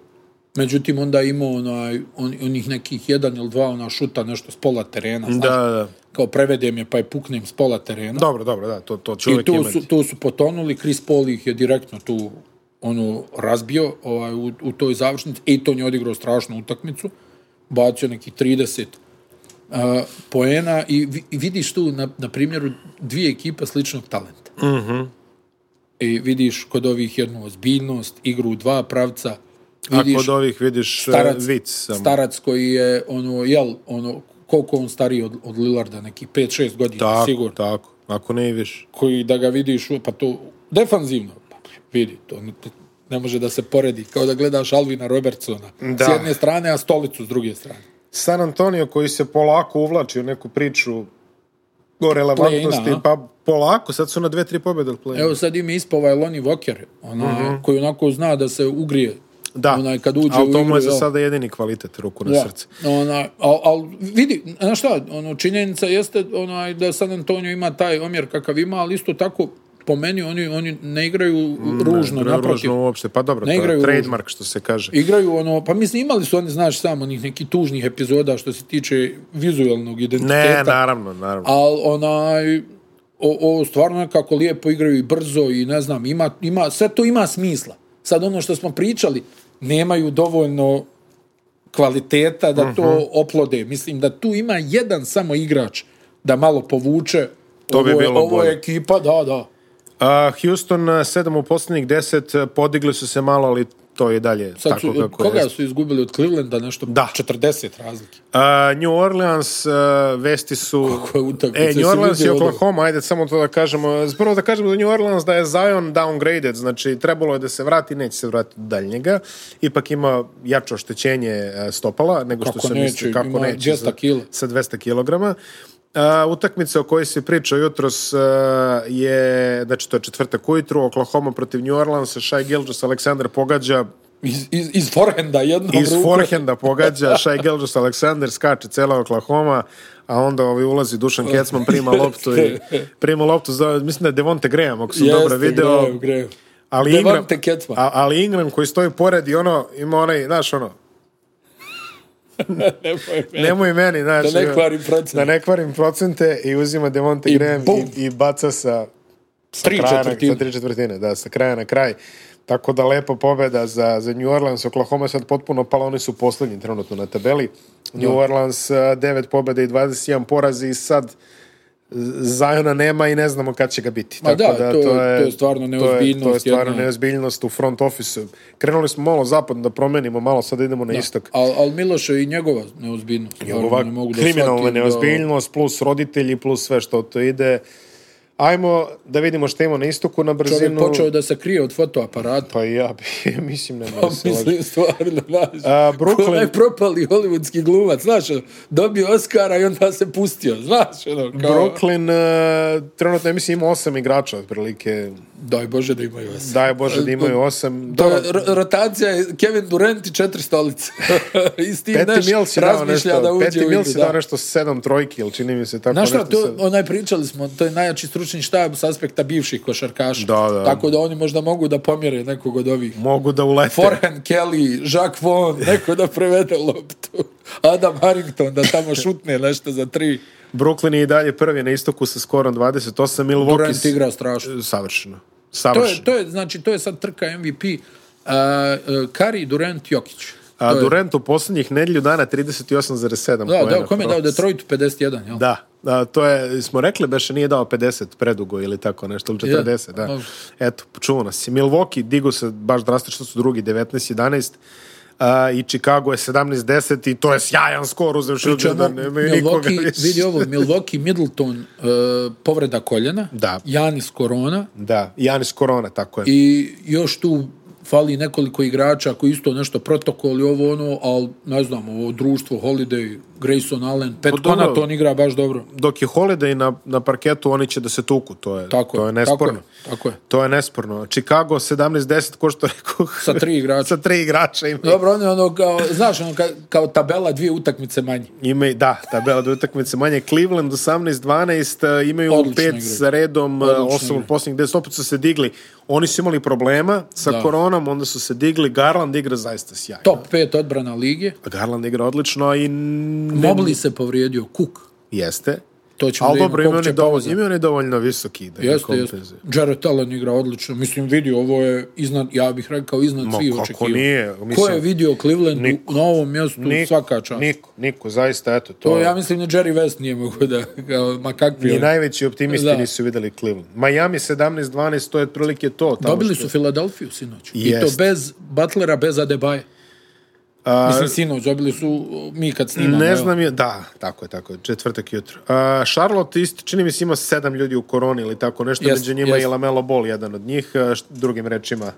B: Međutim, onda je imao onaj, on, onih nekih jedan ili dva ona šuta nešto s pola terena.
A: Da,
B: Znaš,
A: da, da.
B: kao prevedem je pa je puknem s pola terena.
A: Dobro, dobro, da, to, to ću
B: I
A: uvijek
B: tu
A: imati.
B: su, tu su potonuli, Chris Paul ih je direktno tu ono razbio ovaj, u, u toj završnici. Eton je odigrao strašnu utakmicu, bacio neki 30 uh, poena i, vi- i vidiš tu na, na primjeru dvije ekipe sličnog talenta. Mm -hmm.
A: Mhm.
B: I vidiš kod ovih jednu ozbiljnost, igru u dva pravca,
A: A
B: vidiš
A: kod ovih vidiš e,
B: starac,
A: vic samo.
B: starac koji je ono, jel, ono, koliko on stariji od, od Lillarda, neki 5-6 godina,
A: tako,
B: sigurno
A: tako, ako ne i više.
B: koji da ga vidiš, pa to defanzivno, pa vidi, to ne, ne može da se poredi, kao da gledaš Alvina Robertsona
A: Da.
B: s jedne strane, a stolicu s druge strane.
A: San Antonio koji se polako uvlači u neku priču o relevantnosti,
B: Play-ina, a?
A: pa polako, sad su na dve, tri pobjede od play
B: Evo sad im je ispao ovaj Lonnie Walker, ona, koji onako zna da se ugrije.
A: Mhm. Da,
B: onaj, kad uđe
A: ali
B: u
A: to
B: igru,
A: mu je za
B: jel?
A: sada jedini kvalitet ruku na
B: Da.
A: srce.
B: Ona, al, al, vidi, znaš šta, ono, činjenica jeste onaj, da San Antonio ima taj omjer kakav ima, ali isto tako, po meni, oni, oni ne igraju ružno,
A: Ružno
B: naprotiv.
A: uopšte, pa dobro,
B: Ne
A: to je
B: igraju
A: trademark što se kaže.
B: Igraju ono, pa mislim imali su oni, znaš, samo onih nekih tužnih epizoda što se tiče vizualnog
A: Ne,
B: identiteta.
A: naravno, naravno.
B: Ali onaj, o, o, stvarno nekako lijepo igraju i brzo i ne znam, ima, ima, sve to ima smisla. Sad ono što smo pričali, nemaju dovoljno kvaliteta da to
A: Mhm.
B: oplode. Mislim da tu ima jedan samo igrač da malo povuče.
A: To bi
B: ovo je,
A: bilo
B: ovo
A: bolje.
B: je ekipa, da, da.
A: A, Houston, a, sedam u posljednjih deset, a, podigli su se malo, ali to je dalje
B: Sad
A: tako
B: su, od
A: kako
B: koga
A: je.
B: su izgubili od Clevelanda nešto
A: Da.
B: 40 razlike.
A: A, New Orleans, a, vesti su...
B: Kako je utakmica,
A: E,
B: jesi
A: New Orleans i
B: vidio ovo?
A: Oklahoma, ajde samo to da kažemo. Prvo da kažemo za New Orleans da je Zion downgraded, znači trebalo je da se vrati, neće se vratiti dalj njega. Ipak ima jače oštećenje e, stopala nego što
B: Kako
A: se
B: neće,
A: misli. Kako
B: ima
A: neće.
B: 200
A: sa-
B: kila.
A: Sa 200 kilograma. A, utakmica o kojoj se priča jutros e, je, znači to je četvrtak ujutru, Oklahoma protiv New Orleansa, Shai Gilgis, Aleksandar pogađa
B: Iz, iz, iz forehanda jednom
A: iz
B: rukom.
A: forehenda pogađa Shai Gilgeous Alexander skače cela Oklahoma a onda ovaj ulazi Dušan Kecman prima loptu i prima loptu za, mislim da je Devonte Graham ako sam
B: Jeste,
A: dobro video
B: Graham, Graham.
A: ali
B: Devonte
A: Ingram,
B: Kecman.
A: a, ali Ingram koji stoji pored i ono ima onaj znaš ono
B: Nemoj me.
A: nemoj meni znaš, ono,
B: Da ne kvarim procente.
A: da ne kvarim procente i uzima Devonte
B: I
A: Graham
B: bum.
A: i, i baca sa
B: Tri
A: kraja na-
B: četvrtine.
A: Sa tri četvrtine, da, sa kraja na kraj. Tako da lepa pobeda za, za New Orleans. Oklahoma je sad potpuno pala, oni su posljednji trenutno na tabeli. New Orleans a, 9 pobjede i 21 porazi i sad Zajona nema i ne znamo kad će ga biti.
B: Ma da, to je- to je stvarno
A: to je- To je
B: neozbiljnost
A: stvarno
B: jedna.
A: neozbiljnost u front office Krenuli smo malo zapadno da promenimo, malo sad idemo na istok.
B: Al, al Miloše i njegova neozbiljnost. Njegova
A: Ova kriminalna neozbiljnost, plus roditelji, plus sve što to ide. Ajmo da vidimo što ima na istoku na
B: Da,
A: brzinu.
B: čovjek počeo da se krije od fotoaparata.
A: Pa i ja bi, mislim, ne
B: Pa
A: mogu se lažiti.
B: mislim stvarno, znaš.
A: A, Brooklyn-
B: Ko onaj propali hollywoodski glumac, znaš, ono, dobio Oscara i onda se pustio, znaš, ono, kao...
A: Brooklyn, uh, trenutno, ja mislim, ima osam igrača, otprilike.
B: Daj Bože da imaju Oscara.
A: Daj Bože da imaju osam.
B: To
A: Dobro,
B: je ro- rotacija je Kevin Durant i četiri stolice. I Steve
A: Peti
B: Nash
A: Mills je dao
B: razmišlja
A: nešto,
B: da uđe
A: Peti
B: u
A: Mills
B: igru.
A: je dao
B: da.
A: nešto sedam trojki, ili čini mi se tako
B: Znaš šta,
A: nešto.
B: to,
A: sa-
B: onaj pričali smo, to je najjači stručni štab s aspekta bivših košarkaša.
A: Da, da.
B: Tako da oni možda mogu da pomjere nekog od ovih.
A: Mogu da ulete.
B: Forehand Kelly, Jacques Vaughn, neko da prevede loptu. Adam Harrington da tamo šutne nešto za tri.
A: Brooklyn je i dalje prvi na istoku sa skorom 28.
B: Durant
A: Milwaukee...
B: igra strašno.
A: Savršeno.
B: To
A: Savršeno.
B: je, to je, znači, to je sad trka MVP. Uh, Kari, Durant, Jokić.
A: A
B: To je-
A: Durant u posljednjih nedelju dana 38,7
B: Da,
A: poena.
B: da, kom je dao Detroitu 51, jel?
A: Da, da, to je, smo rekli, beše nije dao 50 predugo ili tako nešto, ili 40, da.
B: Može.
A: Eto, čuo nas je. Milwaukee digo se baš drastično su drugi, 19-11, a, i Chicago je 17-10 i to je sjajan skor, uzevši obzir da nemaju nikoga
B: Milwaukee,
A: više.
B: vidi ovo, Milwaukee, Middleton, uh, povreda koljena,
A: Da.
B: Janis Korona
A: Da, Janis Korona, tako je. I...
B: i još tu fali nekoliko igrača koji isto nešto protokol i ovo ono, ali ne znam, ovo društvo, Holiday, Grayson Allen, Pet
A: Pa dobro.
B: Connaughton igra baš dobro.
A: Dok je Holiday na, na parketu, oni će da se tuku, to je,
B: Tako
A: to je nesporno.
B: Tako je, tako je.
A: To je nesporno. Chicago 17-10, ko što rekao.
B: Sa tri igrača.
A: Sa tri igrača ima.
B: Dobro, ono, ono kao, znaš, ono ka, kao tabela dvije utakmice manje.
A: Ima, i- da, tabela do utakmice manje. Cleveland 18-12, e, imaju
B: Odlično
A: pet
B: igraju.
A: za redom, e,
B: Odlično
A: osam od
B: igraju.
A: posljednjih deset, opet su se digli. Oni su imali problema sa
B: Da.
A: koronom, onda su se digli. Garland igra zaista sjajno.
B: Top 5 odbrana lige.
A: Garland igra odlično i... n-
B: Mobley se povrijedio, Cook.
A: Jeste.
B: To ćemo
A: Ali
B: da
A: dobro,
B: imamo
A: ima
B: koliko
A: oni,
B: će
A: dovoljno,
B: pauza.
A: ima oni dovoljno visoki da ga
B: Jeste, jeste.
A: kompenzuju.
B: Jared Allen igra odlično. Mislim, vidio, ovo je iznad, ja bih rekao, iznad
A: Ma,
B: svih
A: kako
B: očekivanja.
A: nije?
B: Ko
A: Mislim,
B: je vidio Cleveland
A: niko.
B: u na ovom mjestu
A: Niko,
B: svaka čast?
A: Niko, niko, zaista, eto, to,
B: To ja mislim da Jerry West nije mogu da, kao, ma kakvi
A: I
B: oni.
A: najveći optimisti
B: Da.
A: nisu videli Cleveland. Miami 17-12, to je otprilike to. Tamo
B: Dobili
A: što-
B: su Filadelfiju sinoć. I
A: Jest.
B: to bez Butlera, bez Adebaye. Mislim, sinoć, dobili su mi kad snimamo.
A: Ne
B: evo.
A: znam je, da, tako je, tako je, četvrtak jutro. A, Charlotte isto, čini mi se ima sedam ljudi u koroni ili tako nešto,
B: Jest,
A: među njima
B: jest.
A: je Lamelo Ball jedan od njih, a, št- drugim rečima,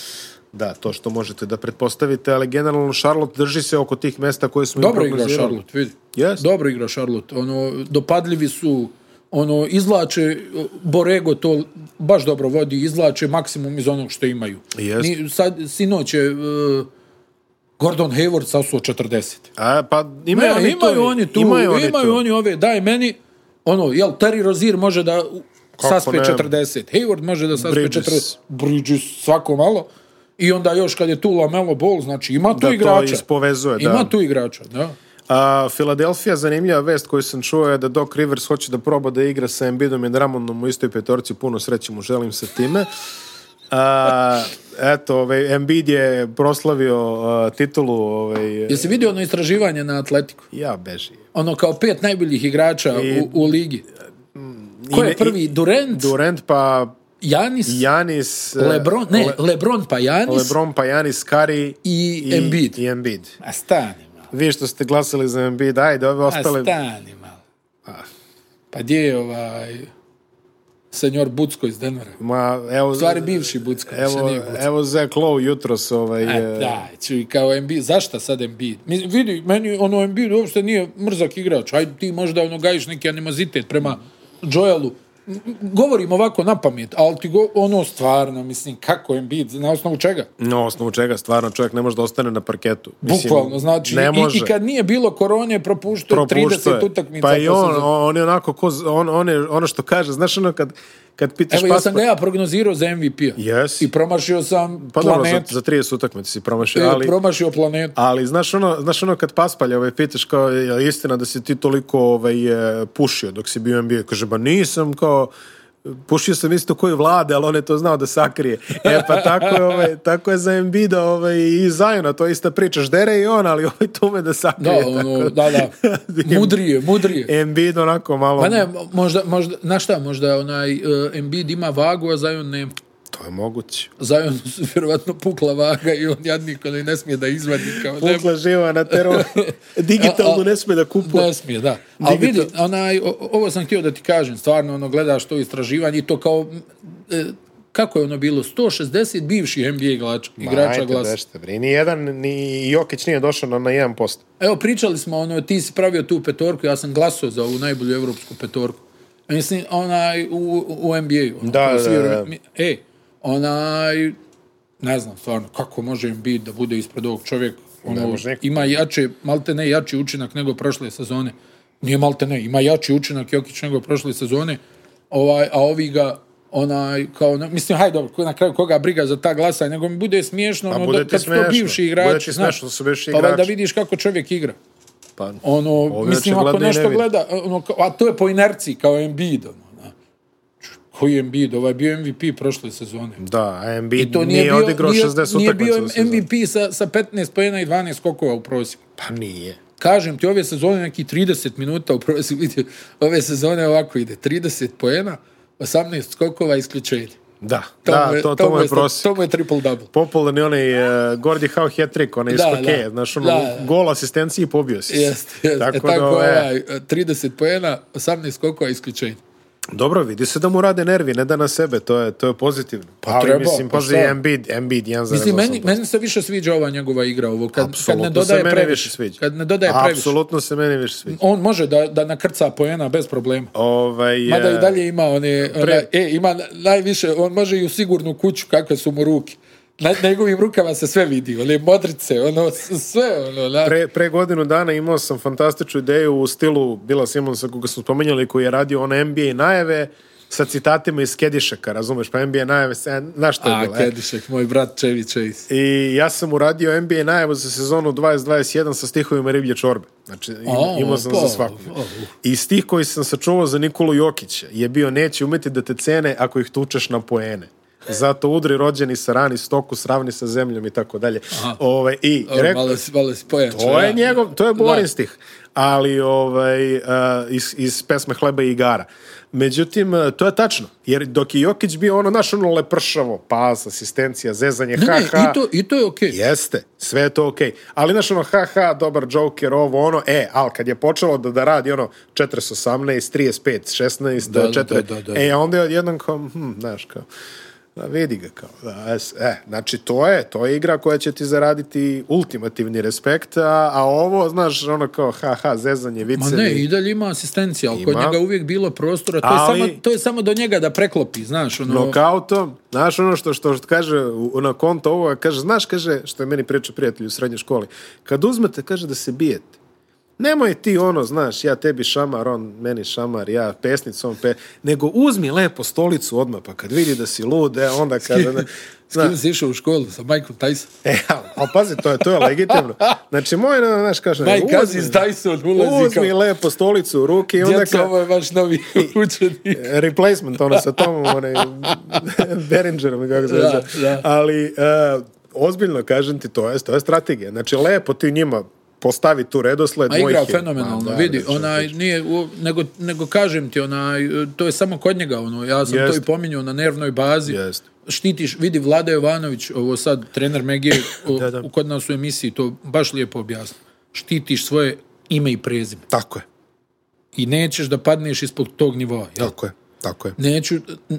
A: da, to što možete da pretpostavite, ali generalno Charlotte drži se oko tih mesta koje smo im
B: Dobro igra
A: prognozirali.
B: Charlotte, vidi.
A: Jest.
B: Dobro igra Charlotte. Ono, dopadljivi su, ono, izvlače, Borego to baš dobro vodi, izvlače maksimum iz onog što imaju.
A: Jest.
B: Ni, sad, sinoć je uh, Gordon Hayward sasuo 40.
A: A, pa
B: Ne,
A: imaju, oni,
B: imaju
A: to,
B: oni tu,
A: imaju oni tu.
B: ove, daj meni, ono, jel, Terry Rozier može da u-
A: Kako
B: saspe
A: ne?
B: 40, Hayward može da saspe
A: Bridges.
B: 40, Bridges svako malo, i onda još kad je tu Lamelo Ball, znači ima tu
A: Da to
B: igrača.
A: ispovezuje, da.
B: Ima tu igrača, da.
A: A, Filadelfija, zanimljiva vest koju sam čuo je da Doc Rivers hoće da proba da igra sa Embidom i Dramonom u istoj petorci. Puno sreće mu želim sa time. A, eto, ovaj, Embiid je proslavio a, titulu. Ovaj,
B: Jesi vidio ono istraživanje na Atletiku?
A: ja beži.
B: Ono kao pet najboljih igrača u, u ligi. Ko
A: I ne-
B: je prvi?
A: i-
B: Durant,
A: Durant pa
B: Janis,
A: Janis... e,
B: Lebron, ne,
A: Le-
B: Lebron pa Janis
A: Lebron pa Janis, Kari
B: i, Embiid.
A: I Embiid.
B: A stani malo,
A: Vi što ste glasali za Embiid, ajde, ove
B: a
A: ostale...
B: stani malo. Pa gdje je ovaj senjor Bucko iz Denvera?
A: Ma, evo,
B: U stvari bivši Bucko, više
A: evo,
B: nije Bucko.
A: evo Zach Lowe jutros ovaj...
B: A,
A: e,
B: da, čuj, kao Embiid, zašta sad Embiid? Mi, vidi, meni ono Embiid uopšte nije mrzak igrač, ajde ti možda ono gajiš neki animozitet prema Joelu. M- m- Govorim ovako na pamet, ali ti go, ono stvarno, mislim, kako Embiid, na osnovu čega?
A: Na osnovu čega stvarno čovjek ne može da ostane na parketu. Mislim,
B: Bukvalno, znači,
A: ne
B: i,
A: može.
B: i kad nije bilo korone, propuštao je
A: Propuštao je.
B: 30 utakmica.
A: Pa i
B: po
A: on,
B: sezoni.
A: on je onako, ko, z- on, on je ono što kaže, znaš ono kad, kad pitaš
B: Evo, ja sam
A: paspor-
B: ga ja prognozirao za MVP-a.
A: Yes.
B: I promašio sam
A: Pa dobro, za,
B: planet,
A: za 30 utakmice si promašio,
B: e,
A: ali...
B: promašio planet.
A: Ali, znaš ono, znaš ono kad paspalja, ovaj, pitaš kao, je li istina da si ti toliko ovaj, e, pušio dok si bio u NBA? Kaže, ba nisam, kao, pušio sam isto koji vlade, ali on je to znao da sakrije. E, pa tako je, ovaj, tako je za NBA da ovaj, i Zajona, to je ista priča, ždere i on, ali ovaj tu me da
B: Da,
A: sakrije.
B: ono, da, da.
A: Vidim. E-
B: Mudrije, mudrije.
A: Embiid onako malo...
B: Pa ne, možda, možda, na šta, možda onaj uh, Embiid ima vagu, a Zion ne.
A: To je moguće.
B: Zion su vjerovatno pukla vaga i on jadnik onaj ne smije da izvadi kao ne, pa-
A: Pukla živa na teru. Digitalno ne sme da kupuje.
B: ne smije, da. Ali vidi,
A: Digital-
B: onaj, o- ovo sam htio da ti kažem, stvarno ono, gledaš to istraživanje i to kao, m, e, kako je ono bilo, 160 bivših NBA igrača, igrača glasa.
A: Dešte, bre. Ni jedan, ni Jokić nije došao na, na 1%.
B: Evo, pričali smo, ono, ti si pravio tu petorku, ja sam glasao za ovu najbolju evropsku petorku. Mislim, onaj, u, u NBA-u. Ono,
A: Da,
B: kao svi
A: da, da.
B: vreme- mi- E, onaj, ne znam, stvarno, kako može im biti da bude ispred ovog čovjeka? Ono,
A: može nikako.
B: ima jače, malte ne, jači učinak nego prošle sezone. Nije malte ne, ima jači učinak Jokić nego prošle sezone. Ovaj, a ovi ga, onaj, kao, ono- mislim, hajde, dobro, ko- na kraju koga briga za ta glasa, nego mi bude smiješno, ono,
A: bude
B: da,
A: ti
B: kad su to
A: smiješno.
B: bivši igrači.
A: Bude ti
B: znaš.
A: smiješno da su bivši
B: Pa valjda
A: igrači.
B: vidiš kako čovjek igra.
A: Pa,
B: Ono,
A: Ovi
B: mislim, ako
A: očigledno i ne
B: nešto
A: vide.
B: gleda, ono, kao- a to je po inerciji, kao Embiid, ono, na. Ču, koji je Embiid, ovaj je bio MVP prošle sezone.
A: Da, a Embiid
B: I to nije,
A: nije,
B: bio,
A: odigrao
B: nije,
A: 60
B: nije
A: utakmica.
B: bio
A: u sezoni.
B: MVP sa, sa 15 pojena i 12 skokova u prosjeku.
A: Pa nije.
B: Kažem ti, ove sezone neki 30 minuta u prosjeku, vidi, ove sezone ovako ide, 30 pojena, 18 skokova isključenje.
A: Da, da, to, to mu je prosjek.
B: To mu je triple-double.
A: Popularni onaj uh, Gordy Howe hat-trick, onaj iz
B: Da,
A: hokeja,
B: da.
A: znaš, ono,
B: Da, da.
A: gol asistenciji i pobio si. se.
B: Jeste, jeste. Tako, e,
A: Tako,
B: tako
A: da, e,
B: ovaj, 30 pojena, 18 skokova isključenje.
A: Dobro, vidi se da mu rade nervi, ne da na sebe, to je, to je pozitivno. Pa, Ali,
B: treba,
A: mislim,
B: pa
A: pazi,
B: šta?
A: Embiid, Embiid, 1,8%.
B: Mislim, meni, meni se više sviđa ova njegova igra ovo. Kad, kad ne
A: Apsolutno se
B: dodaje
A: meni
B: previše.
A: više sviđa.
B: Kad ne dodaje previše.
A: Apsolutno se meni više sviđa.
B: On može da, da nakrca poena bez problema.
A: Ovaj,
B: Mada
A: e,
B: i dalje ima one, one, e, ima na- najviše, on može i u sigurnu kuću kakve su mu ruke. Na na njegovim rukama se sve vidi, one modrice, ono, s- sve, ono, na,
A: Pre, pre godinu dana imao sam fantastičnu ideju u stilu Bila Simonsa koga smo spomenjali koji je radio one NBA najave sa citatima iz Kedišaka, razumeš? Pa NBA najave, se- znaš što je bilo?
B: a,
A: e?
B: Kedišek, moj brat Čevi Čevis.
A: I ja sam uradio NBA najavu za sezonu 2021 sa stihovima Riblje Čorbe. Znači, im,
B: O,
A: imao sam
B: pa,
A: za svaku.
B: o.
A: I stih koji sam sačuvao za Nikolu Jokića je bio neće umeti da te cene ako ih tučeš na poene. Zato udri rođeni sa rani stoku, sravni sa zemljom i tako dalje. Ove, I
B: O,
A: rekao,
B: Malo, si- malo si pojačao.
A: To
B: ja.
A: je njegov, to je
B: Znači, Da.
A: Borin stih. Ali ovaj, uh, iz, iz pesme Hleba i igara. Međutim, uh, to je tačno. Jer dok je Jokić bio ono, naš ono lepršavo, pas, asistencija, zezanje,
B: Ne,
A: ha,
B: ne,
A: ha.
B: i to, i to je okej.
A: Jeste, sve je to okej. Ali znaš ono, ha, ha, dobar Joker, ovo, ono, e, ali kad je počelo da, da radi ono 418, 35, 16,
B: Da, da,
A: 4,
B: da, da, da.
A: e, onda je odjednom kao, hm, znaš, kao, da vidi ga kao, da, es, e, znači to je, to je igra koja će ti zaraditi ultimativni respekt, a, a ovo, znaš, ono kao, ha, ha, zezanje,
B: Ma
A: vicevi.
B: ne, i dalje ima asistencija, ali kod
A: Ima.
B: njega uvijek bilo prostora. To,
A: Ali-
B: je samo, to je samo do njega da preklopi, znaš, ono...
A: nokautom, znaš ono što, što, što kaže u- na konto ovoga, kaže, znaš, kaže, što je meni pričao prijatelj u srednjoj školi, kad uzmete, kaže, da se bijete, nemoj ti ono, znaš, ja tebi šamar, on meni šamar, ja pesnicu, on pe... Nego uzmi lepo stolicu odmah, pa kad vidi da si lud, e, onda kaže... Ne,
B: S kim si išao u školu? Sa Michael Tyson?
A: E, ali, ali pazi, to je, to je legitimno. Znači, moj, ono, znaš, kaže,
B: Mike
A: uzmi-
B: Aziz Dyson ulazi
A: uzmi
B: kao...
A: lepo stolicu u ruke i onda
B: Djeca,
A: kao...
B: ovo je vaš novi učenik.
A: replacement, ono sa tom, onaj, Beringerom i kako se
B: Da,
A: zove.
B: da.
A: Ali, e, ozbiljno kažem ti, to je, to je strategija. Znači, lepo ti njima postavi tu redosled
B: Ma
A: mojih
B: igrao
A: je-
B: fenomenalno,
A: Ma, da,
B: vidi,
A: reći ću
B: onaj, nije, u- nego, nego kažem ti, onaj, to je samo kod njega, ono, ja sam
A: Jeste.
B: to i pominjao na nervnoj bazi.
A: Jeste.
B: Štitiš, vidi, Vlada Jovanović, ovo sad, trener Megije, o-
A: Da, da.
B: u- kod nas u emisiji, to baš lijepo objasnio. Štitiš svoje ime i prezime.
A: Tako je,
B: I nećeš da padneš ispod tog nivoa, jel?
A: tako je, tako je.
B: Neću,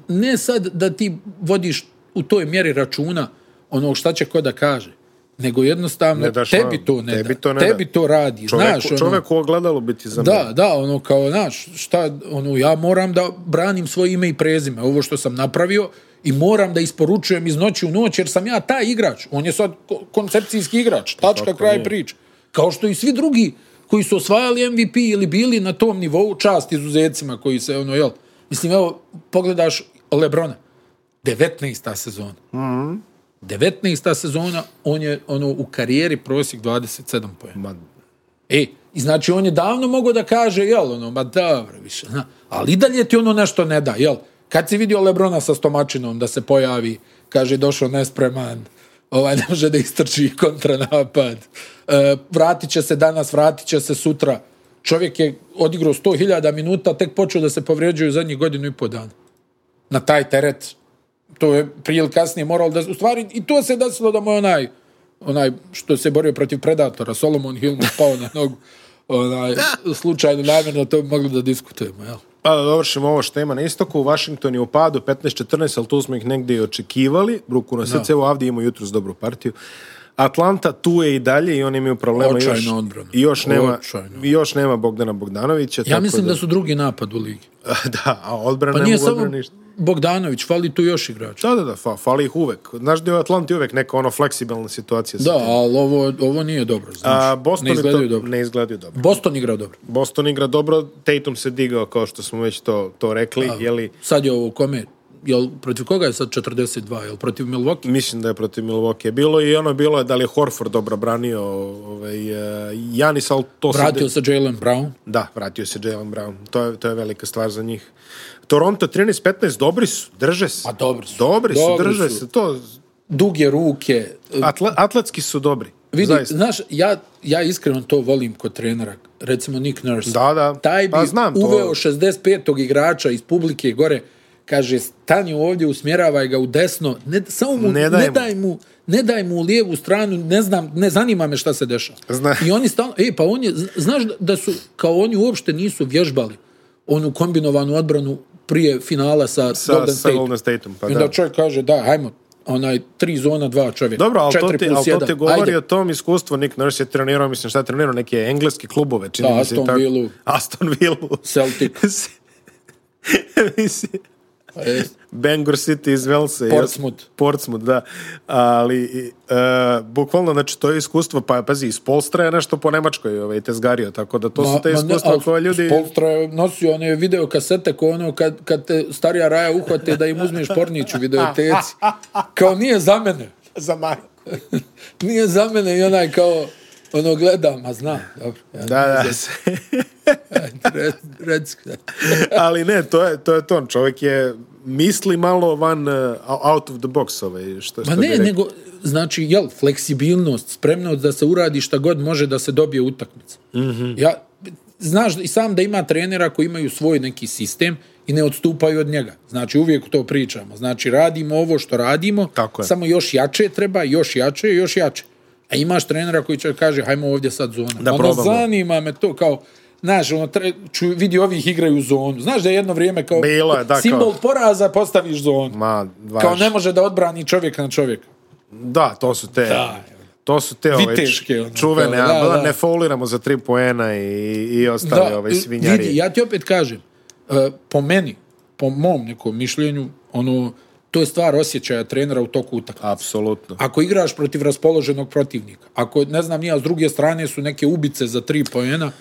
B: ne sad da ti vodiš u toj mjeri računa ono šta će ko da kaže, nego jednostavno
A: Ne daš
B: tebi
A: vam,
B: to ne
A: tebi
B: da.
A: to ne
B: tebi
A: da.
B: to radi,
A: Čovjek,
B: znaš. ono-
A: čovjek u ogledalu biti za
B: Da, da, ono kao, znaš, šta, ono, ja moram da branim svoje ime i prezime, ovo što sam napravio, i moram da isporučujem iz noći u noć, jer sam ja taj igrač. On je sad ko- koncepcijski igrač, tačka,
A: Tako
B: kraj
A: je.
B: priče. Kao što i svi drugi koji su osvajali MVP ili bili na tom nivou, čast izuzetcima koji se, ono, jel, mislim, evo, pogledaš Lebrona, 19. sezona.
A: Mhm.
B: 19. sezona, on je, ono, u karijeri prosjek 27 pojena.
A: Ma,
B: E, i znači on je davno mogao da kaže, jel, ono, ma dobro, više, na, ali i dalje ti ono nešto ne da, jel? Kad si vidio Lebrona sa stomačinom da se pojavi, kaže, došao nespreman, ovaj ne može da istrči kontranapad, e, vratit će se danas, vratit će se sutra. Čovjek je odigrao 100.000 minuta, tek počeo da se povrijeđuje u zadnjih godinu i po dana. Na taj teret. To je prije ili kasnije moralo da... U stvari, i to se desilo da mu je onaj onaj što se borio protiv Predatora, Solomon Hill mu pao na nogu, onaj, slučajno namjerno to bi mogli da diskutujemo, jel?
A: Pa da dovršimo ovo što ima na istoku. Washington je u padu 15-14, ali tu smo ih negdje i očekivali. Ruku na srce, evo ovdje imamo jutros dobru partiju. Atlanta tu je i dalje i oni imaju problema.
B: Očajna
A: još,
B: odbrana.
A: I još nema,
B: Očajna.
A: i još nema Bogdana Bogdanovića.
B: Ja mislim da su drugi napad u ligi.
A: da, a odbrana
B: Pa
A: ne
B: nije
A: mogu
B: samo
A: odbrana ništa.
B: Bogdanović, fali tu još igrača.
A: Da, da, da, fa, fali ih uvek. Znaš da je u Atlanti uvek neka ono fleksibilna situacija. sa
B: Da,
A: tim.
B: ali ovo, ovo nije dobro, znaš.
A: A, Boston
B: ne izgledaju
A: je to,
B: dobro.
A: Ne izgledaju dobro.
B: Boston igra dobro.
A: Boston igra dobro, Tatum se digao kao što smo već to, to rekli. Jeli,
B: Sad je ovo kome? Jel, protiv koga je sad 42? Jel protiv Milwaukee?
A: Mislim da je protiv Milwaukee bilo i ono bilo je da li je Horford dobro branio ovaj, eh, Janis, ali to se
B: Vratio se Jalen Brown.
A: Da, vratio se Jalen Brown. To je, to je velika stvar za njih. Toronto 13-15, dobri su, drže se.
B: Pa dobri su.
A: Dobri su,
B: Dobri
A: drže
B: su.
A: se. To,
B: Duge ruke,
A: atla, atletski su dobri.
B: Vidi,
A: zaista.
B: znaš, ja, ja iskreno to volim kod trenera. Recimo Nick Nurse.
A: Da, da.
B: Taj bi
A: Pa znam to.
B: uveo 65. igrača iz publike gore, kaže, stani ovdje, usmjeravaj ga u desno, ne, samo mu, ne,
A: Ne
B: daj,
A: daj
B: ne
A: mu.
B: daj mu. ne daj mu u lijevu stranu, ne znam, ne zanima me šta se dešava.
A: Zna-
B: I oni stalno, e, pa on je, zna- znaš da- da su, kao oni uopšte nisu vježbali onu kombinovanu odbranu prije finala sa,
A: Sa,
B: Golden
A: sa
B: State.
A: Golden Stateom, pa
B: I
A: da.
B: onda čovjek kaže, da, hajmo, onaj, tri zona, dva čovjeka.
A: Dobro, ali to,
B: četiri
A: ti,
B: plus
A: ali to
B: jedan,
A: ti govori
B: ajde.
A: o tom iskustvu. Nick Nurse je trenirao, mislim šta je trenirao, neke engleske klubove. Čini
B: Da,
A: mi se i
B: Aston
A: tako.
B: Villu.
A: Aston Villu.
B: Celtic.
A: mislim,
B: E,
A: Bangor City iz Velse.
B: Portsmouth.
A: Jes- Portsmouth, da. Ali, i, e, bukvalno, znači, to je iskustvo, pa pazi, iz Polstra je nešto po Nemačkoj ovaj, tezgario, tako da to su te
B: ne,
A: iskustva
B: ali
A: koje ljudi...
B: Spolstra je nosio one videokasete ko ono kad, kad te starija raja uhvate da im uzmeš pornić u videoteci. Kao nije za mene.
A: Za majku.
B: Nije za mene i onaj kao ono gledam, a znam. Dobro. Ja,
A: Da, da.
B: re, reci.
A: ali ne, to je, to je to. Čovjek je misli malo van, e, out of the box, ovaj, što, što
B: Ma
A: bi
B: Pa ne,
A: rekao.
B: nego, znači, jel, fleksibilnost, spremnost da se uradi šta god može da se dobije utakmica. Mm
A: Mhm.
B: -hmm. Ja, znaš i sam da ima trenera koji imaju svoj neki sistem i ne odstupaju od njega. Znači, uvijek to pričamo. Znači, radimo ovo što radimo,
A: Tako je.
B: samo još jače treba, još jače, još jače. A imaš trenera koji će kaže, hajmo ovdje sad zona.
A: Da
B: ono,
A: probamo.
B: zanima me to kao, Znaš, ono, tre, ču, vidi ovih igraju zonu. Znaš da je jedno vrijeme kao
A: Bilo je, da, kao-
B: simbol poraza postaviš zonu.
A: Ma,
B: Kao
A: vaš,
B: ne može da odbrani čovjek na čovjeka.
A: Da, to su te...
B: Da.
A: To su te ove
B: Viteške, ono,
A: čuvene,
B: kao, da,
A: a da,
B: da.
A: ne fauliramo za tri poena i, i ostale ove
B: i-
A: ovaj svinjarije.
B: Vidi, ja ti opet kažem, uh, po meni, po mom nekom mišljenju, ono, to je stvar osjećaja trenera u toku utakmice.
A: Apsolutno.
B: Ako igraš protiv raspoloženog protivnika, ako, ne znam, nija, s druge strane su neke ubice za tri pojena,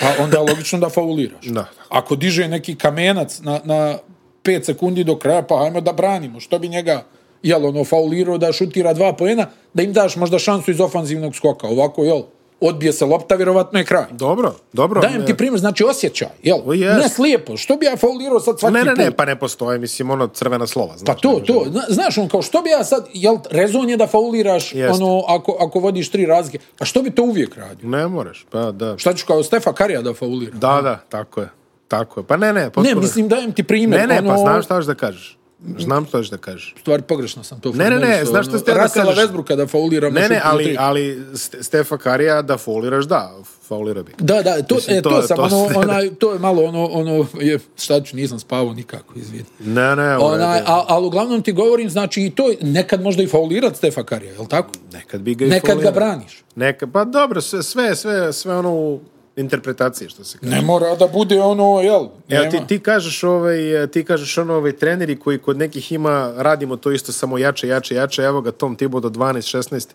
B: pa onda je logično da fauliraš.
A: Da.
B: Ako diže neki kamenac na, na 5 sekundi do kraja, pa hajmo da branimo. Što bi njega, jel, ono, faulirao da šutira dva pojena, da im daš možda šansu iz ofanzivnog skoka. Ovako, jel, odbije se lopta, vjerovatno je kraj.
A: Dobro, dobro.
B: Dajem ti primjer, znači osjećaj, jel?
A: O, jest.
B: Ne slijepo, što bi ja faulirao sad svaki
A: Ne, ne, ne,
B: put?
A: pa ne postoje, mislim, ono crvena slova. Znaš,
B: Pa to,
A: ne,
B: to, Zna- znaš on kao, što bi ja sad, jel, rezon je da fauliraš
A: Jeste.
B: ono, ako, ako vodiš tri razlike, a što bi to uvijek radio?
A: Ne moraš, pa da.
B: Šta ću kao Stefa Karija da faulira?
A: Da, da, tako je. Tako je. Pa ne, ne, potpuno.
B: ne, mislim, dajem ti primjer.
A: Ne, ne,
B: ono,
A: pa znam šta hoćeš da kažeš. Znam šta hoćeš da kažeš.
B: Stvar, pogrešno sam to
A: Ne, ne, ne,
B: formulisao,
A: znaš šta
B: ono,
A: ste da
B: Rasela
A: kažeš?
B: Vesbruka da fauliram.
A: Ne,
B: još
A: ne,
B: u
A: ali,
B: tri.
A: ali Ste- Stefa Karija da fauliraš, da, faulira bi.
B: Da, da, to,
A: Mislim,
B: e, to,
A: to-
B: sam,
A: to
B: ono,
A: ste-
B: onaj, to je malo ono, ono, je, šta ću, nisam spavao nikako, izvini.
A: Ne, ne, u
B: Onaj,
A: redu.
B: a, ali uglavnom ti govorim, znači i to, je- nekad možda i faulirat Stefa Karija, jel tako?
A: Nekad bi ga i
B: Nekad ga
A: faulirao.
B: braniš.
A: Neka, pa dobro, sve, sve, sve, sve ono u interpretaciji što se kaže.
B: Ne mora da bude ono, jel?
A: Evo, ti,
B: nema.
A: ti kažeš ovaj, eh, ti kažeš ono ovaj treneri koji kod nekih ima, radimo to isto samo jače, jače, jače, evo ga Tom Thibodeau 12, 16,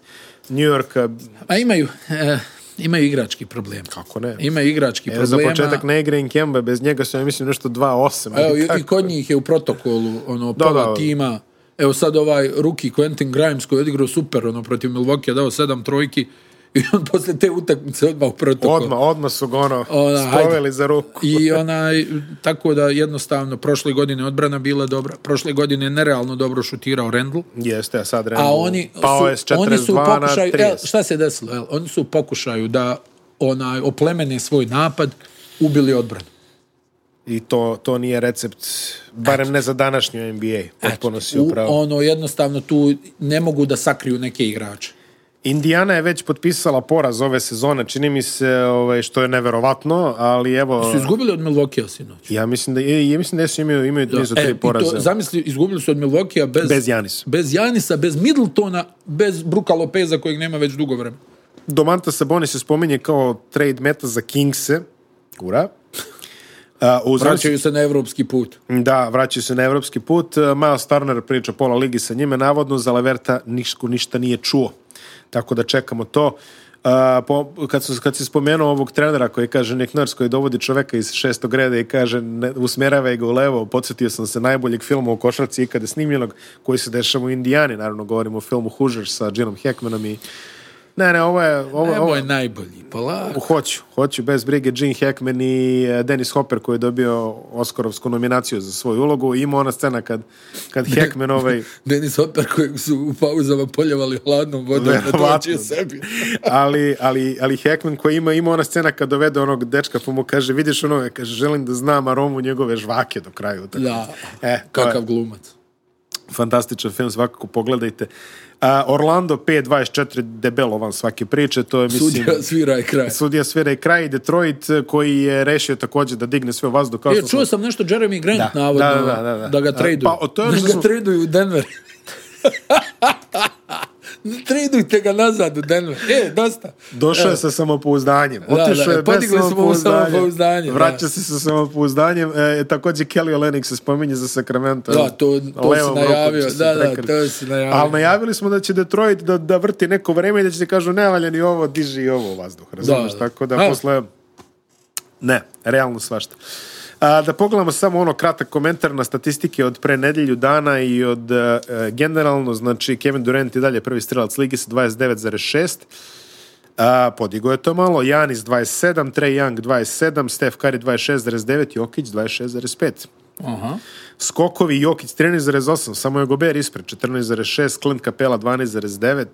A: New York, eh,
B: A imaju, e, imaju igrački problem.
A: kako ne?
B: Imaju igrački
A: Evo, za
B: problema.
A: početak ne igra Kemba, bez njega su, ja mislim, nešto 2-8.
B: Evo,
A: ili
B: i, i
A: tako.
B: kod njih je u protokolu ono, pola
A: da.
B: tima. Evo sad ovaj ruki Quentin Grimes koji je odigrao super ono, protiv Milwaukee, dao sedam trojki i on poslije te utakmice odmah u protokol.
A: Odma, odma su ga ono,
B: Ona, hajde.
A: spoveli za ruku.
B: I onaj, tako da jednostavno prošle godine odbrana bila dobra, prošle godine je nerealno dobro šutirao Rendl,
A: Jeste, a sad
B: a
A: Randall
B: oni
A: pao je s
B: su, oni su
A: 42
B: u
A: na
B: pokušaju, el,
A: 30.
B: šta se desilo, el, oni su u pokušaju da onaj, oplemene svoj napad, ubili odbranu.
A: I to, to nije recept, barem ne za današnju NBA. Potpuno si
B: U,
A: upravo.
B: ono, jednostavno tu ne mogu da sakriju neke igrače.
A: Indiana je već potpisala poraz ove sezone, čini mi se ovaj, što je neverovatno, ali evo...
B: Su izgubili od Milwaukee sinoć.
A: Ja mislim da, i, ja mislim da su imaju, imaju nizu
B: E,
A: tri
B: i
A: poraze.
B: to, zamisli, izgubili su od Milwaukee bez,
A: Bez Janisa.
B: bez Janisa, bez Middletona, bez Bruka Lopeza kojeg nema već dugo vremena.
A: Domanta Sabonis se spominje kao trade meta za Kingse. Ura. A, u zamisli-
B: Vraćaju se na evropski put.
A: Da, vraćaju se na evropski put. E, Miles Turner priča pola ligi sa njime. Navodno, za Leverta niško ništa nije čuo. Tako da čekamo to. Uh, po, kad, su, kad si spomenuo ovog trenera koji kaže Nick Nurse koji dovodi čoveka iz šestog reda i kaže ne, usmjeravaj ga u levo, podsjetio sam se najboljeg filma u košarci ikada snimljenog koji se dešava u Indijani, naravno govorimo o filmu Hoosier sa Jimom Hackmanom i ne, ne, ovo je ovo,
B: Ovo
A: ovo,
B: je najbolji, polako.
A: Hoću, hoću, bez brige. Gene Hackman i e, Dennis Hopper koji je dobio Oskarovsku nominaciju za svoju ulogu. Ima ona scena kad, kad Hackman ovaj...
B: Denis Hopper kojeg su u pauzama poljevali hladnom vodom da
A: Verovatno.
B: dođe sebi.
A: Ali, ali, ali Hackman koji ima, ima ona scena kad dovede onog dečka pa mu kaže, vidiš ono, kaže, želim da znam aromu njegove žvake do kraja. utakmice."
B: Da,
A: E, to
B: kakav
A: je
B: glumac.
A: fantastičan film, svakako pogledajte. A, Orlando 5-24, debelo van svake priče, to je, mislim...
B: Sudija svira je kraj.
A: Sudija svira i kraj i Detroit e, koji je rešio također da digne sve u vazduh. kao
B: Ja,
A: što smo-
B: E, čuo sam nešto Jeremy Grant
A: Da,
B: navodno,
A: da, da, da, da.
B: ga
A: A,
B: traduju.
A: pa, o, to je ono
B: da
A: što
B: ga
A: smo-
B: traduju u Denver. Ne Tradujte ga nazad u Denver. E, dosta.
A: Došao je sa samopouzdanjem. Otišao
B: da,
A: je bez
B: podigli smo mu
A: samopouzdanja.
B: samopouzdanje, da.
A: Vraća se sa samopouzdanjem. E, također Kelly Olenik se spominje za Sacramento.
B: Da, to- to
A: Levom
B: si
A: rukom
B: najavio,
A: će se
B: da, da,
A: prekriti.
B: to si najavio.
A: Ali najavili smo da će Detroit da, da vrti neko vreme i da će ti kažu ne valja ni ovo, diži i ovo u vazduh. Razumiješ?
B: Da, da.
A: Tako da
B: A.
A: posle... Ne, realno svašta. A, da pogledamo samo ono kratak komentar na statistike od pre nedelju dana i od e, e, generalno, znači Kevin Durant i dalje prvi strelac ligi sa 29,6. A, podigo je to malo. Janis 27, Trey Young 27, Steph Curry 26,9, Jokić 26,5.
B: Aha.
A: Skokovi Jokić 13,8, samo je Gober ispred 14,6, Clint Capela 12,9,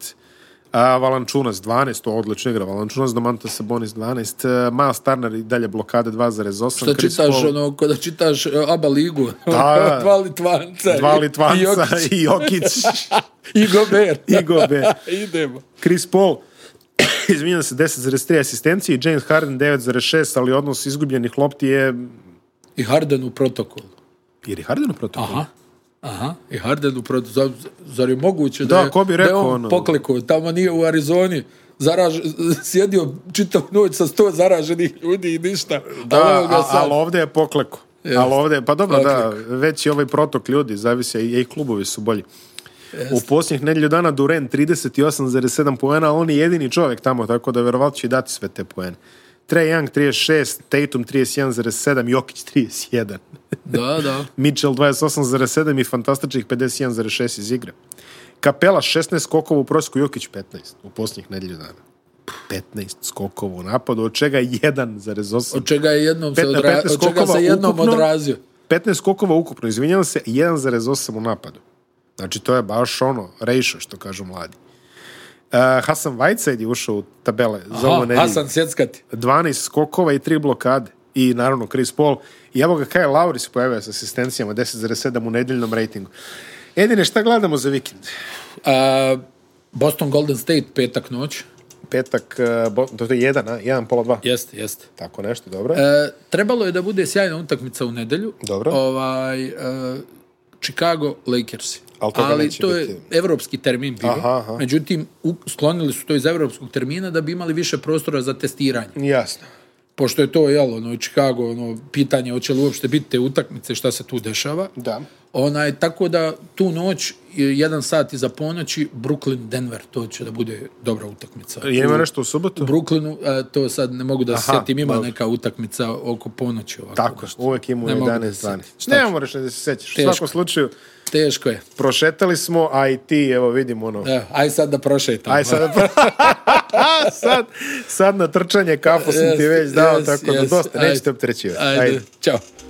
A: a Valančunas 12, to odlično igra, Valančunas, Domanta Sabonis 12, e, Miles Turner i dalje blokade 2,8.
B: Da
A: Chris
B: čitaš,
A: Paul-
B: ono, kada čitaš e, ABA ligu,
A: da.
B: dva Litvanca,
A: Dva
B: i- i,
A: Litvanca
B: Jokić,
A: i Jokić
B: i Gober.
A: i Gober.
B: Idemo.
A: Chris Paul izvinjam se 10,3 asistencije i James Harden 9,6, ali odnos izgubljenih lopti je
B: I Harden u protokolu.
A: Jer je Harden u protokolu?
B: Aha. Aha, i Harden u protu, zar, zar je moguće da,
A: Da,
B: je,
A: ko bi
B: da
A: rekao,
B: je on
A: ono?
B: poklikao, tamo nije u Arizoni, zaraž, sjedio čitavu noć sa sto zaraženih ljudi i ništa.
A: Da,
B: evo ga
A: a,
B: sad.
A: ali ovdje je pokleko.
B: Jeste.
A: Ali ovdje, je- pa dobro,
B: Poklek.
A: da, već i ovaj protok ljudi, zavisi, a i, i klubovi su bolji. U posljednjih nedelju dana Duren 38,7 poena, on je jedini čovjek tamo, tako da verovatno će i dati sve te poene. Trae Young 36, Tatum 31,7, Jokić 31,
B: Da, da.
A: Mitchell 28,7 i fantastičnih 51,6 iz igre. Kapela 16 skokova u prosjeku, Jokić 15 u posljednjih nedelju dana. 15 skokova u napadu, od čega 1,8.
B: Od čega je jednom se,
A: Pet-
B: odra...
A: 15
B: od čega
A: skokova
B: se jednom
A: ukupno?
B: odrazio.
A: 15 skokova ukupno, izvinjala se, 1,8 u napadu. Znači, to je baš ono, rejšo, što kažu mladi. Uh, Hasan Whiteside je ušao u tabele za ovu
B: Aha,
A: nedelju.
B: Hasan Sjeckati.
A: 12 skokova i 3 blokade. I naravno Chris Paul. I evo ga Kyle Lowry se pojavio sa asistencijama 10,7 u nedeljnom rejtingu. Edine, šta gledamo za vikend?
B: A, Boston Golden State, petak noć.
A: Petak, uh, bo, to je jedan, a? Jedan, pola, dva.
B: Jeste, jeste.
A: Tako nešto, dobro.
B: E, trebalo je da bude sjajna utakmica u nedelju.
A: Dobro.
B: Ovaj, e, Chicago Lakersi.
A: Ali toga
B: Ali
A: neće
B: to je
A: biti.
B: evropski termin bio.
A: Aha, aha.
B: Međutim, u, sklonili su to iz evropskog termina da bi imali više prostora za testiranje.
A: Jasno.
B: Pošto je to, jel, ono, Chicago, ono, pitanje hoće li uopšte biti te utakmice, šta se tu dešava.
A: Da.
B: Onaj, tako da tu noć, e, jedan sat iza ponoći, Brooklyn-Denver, to će da bude dobra utakmica.
A: Je ima nešto u subotu?
B: U Brooklynu, e, to sad ne mogu da se
A: Aha,
B: sjetim, ima
A: dobro.
B: neka utakmica oko ponoći ovako.
A: Tako, uvek ima u
B: Ne mogu da
A: 11,
B: se
A: 12.
B: sjetim. Šta
A: Ne
B: ću?
A: moraš ni da se sećaš. U
B: Teško.
A: svakom slučaju,
B: Teško je.
A: prošetali smo, a i ti, evo vidim ono,
B: E, aj sad da prošetam.
A: Aj sad, sad, sad na trčanje kafu sam ti
B: Jeste,
A: već dao,
B: jes,
A: tako da
B: jes,
A: dosta,
B: ajde.
A: nećete opterećivati.
B: Ajde,
A: Ajde.
B: čao.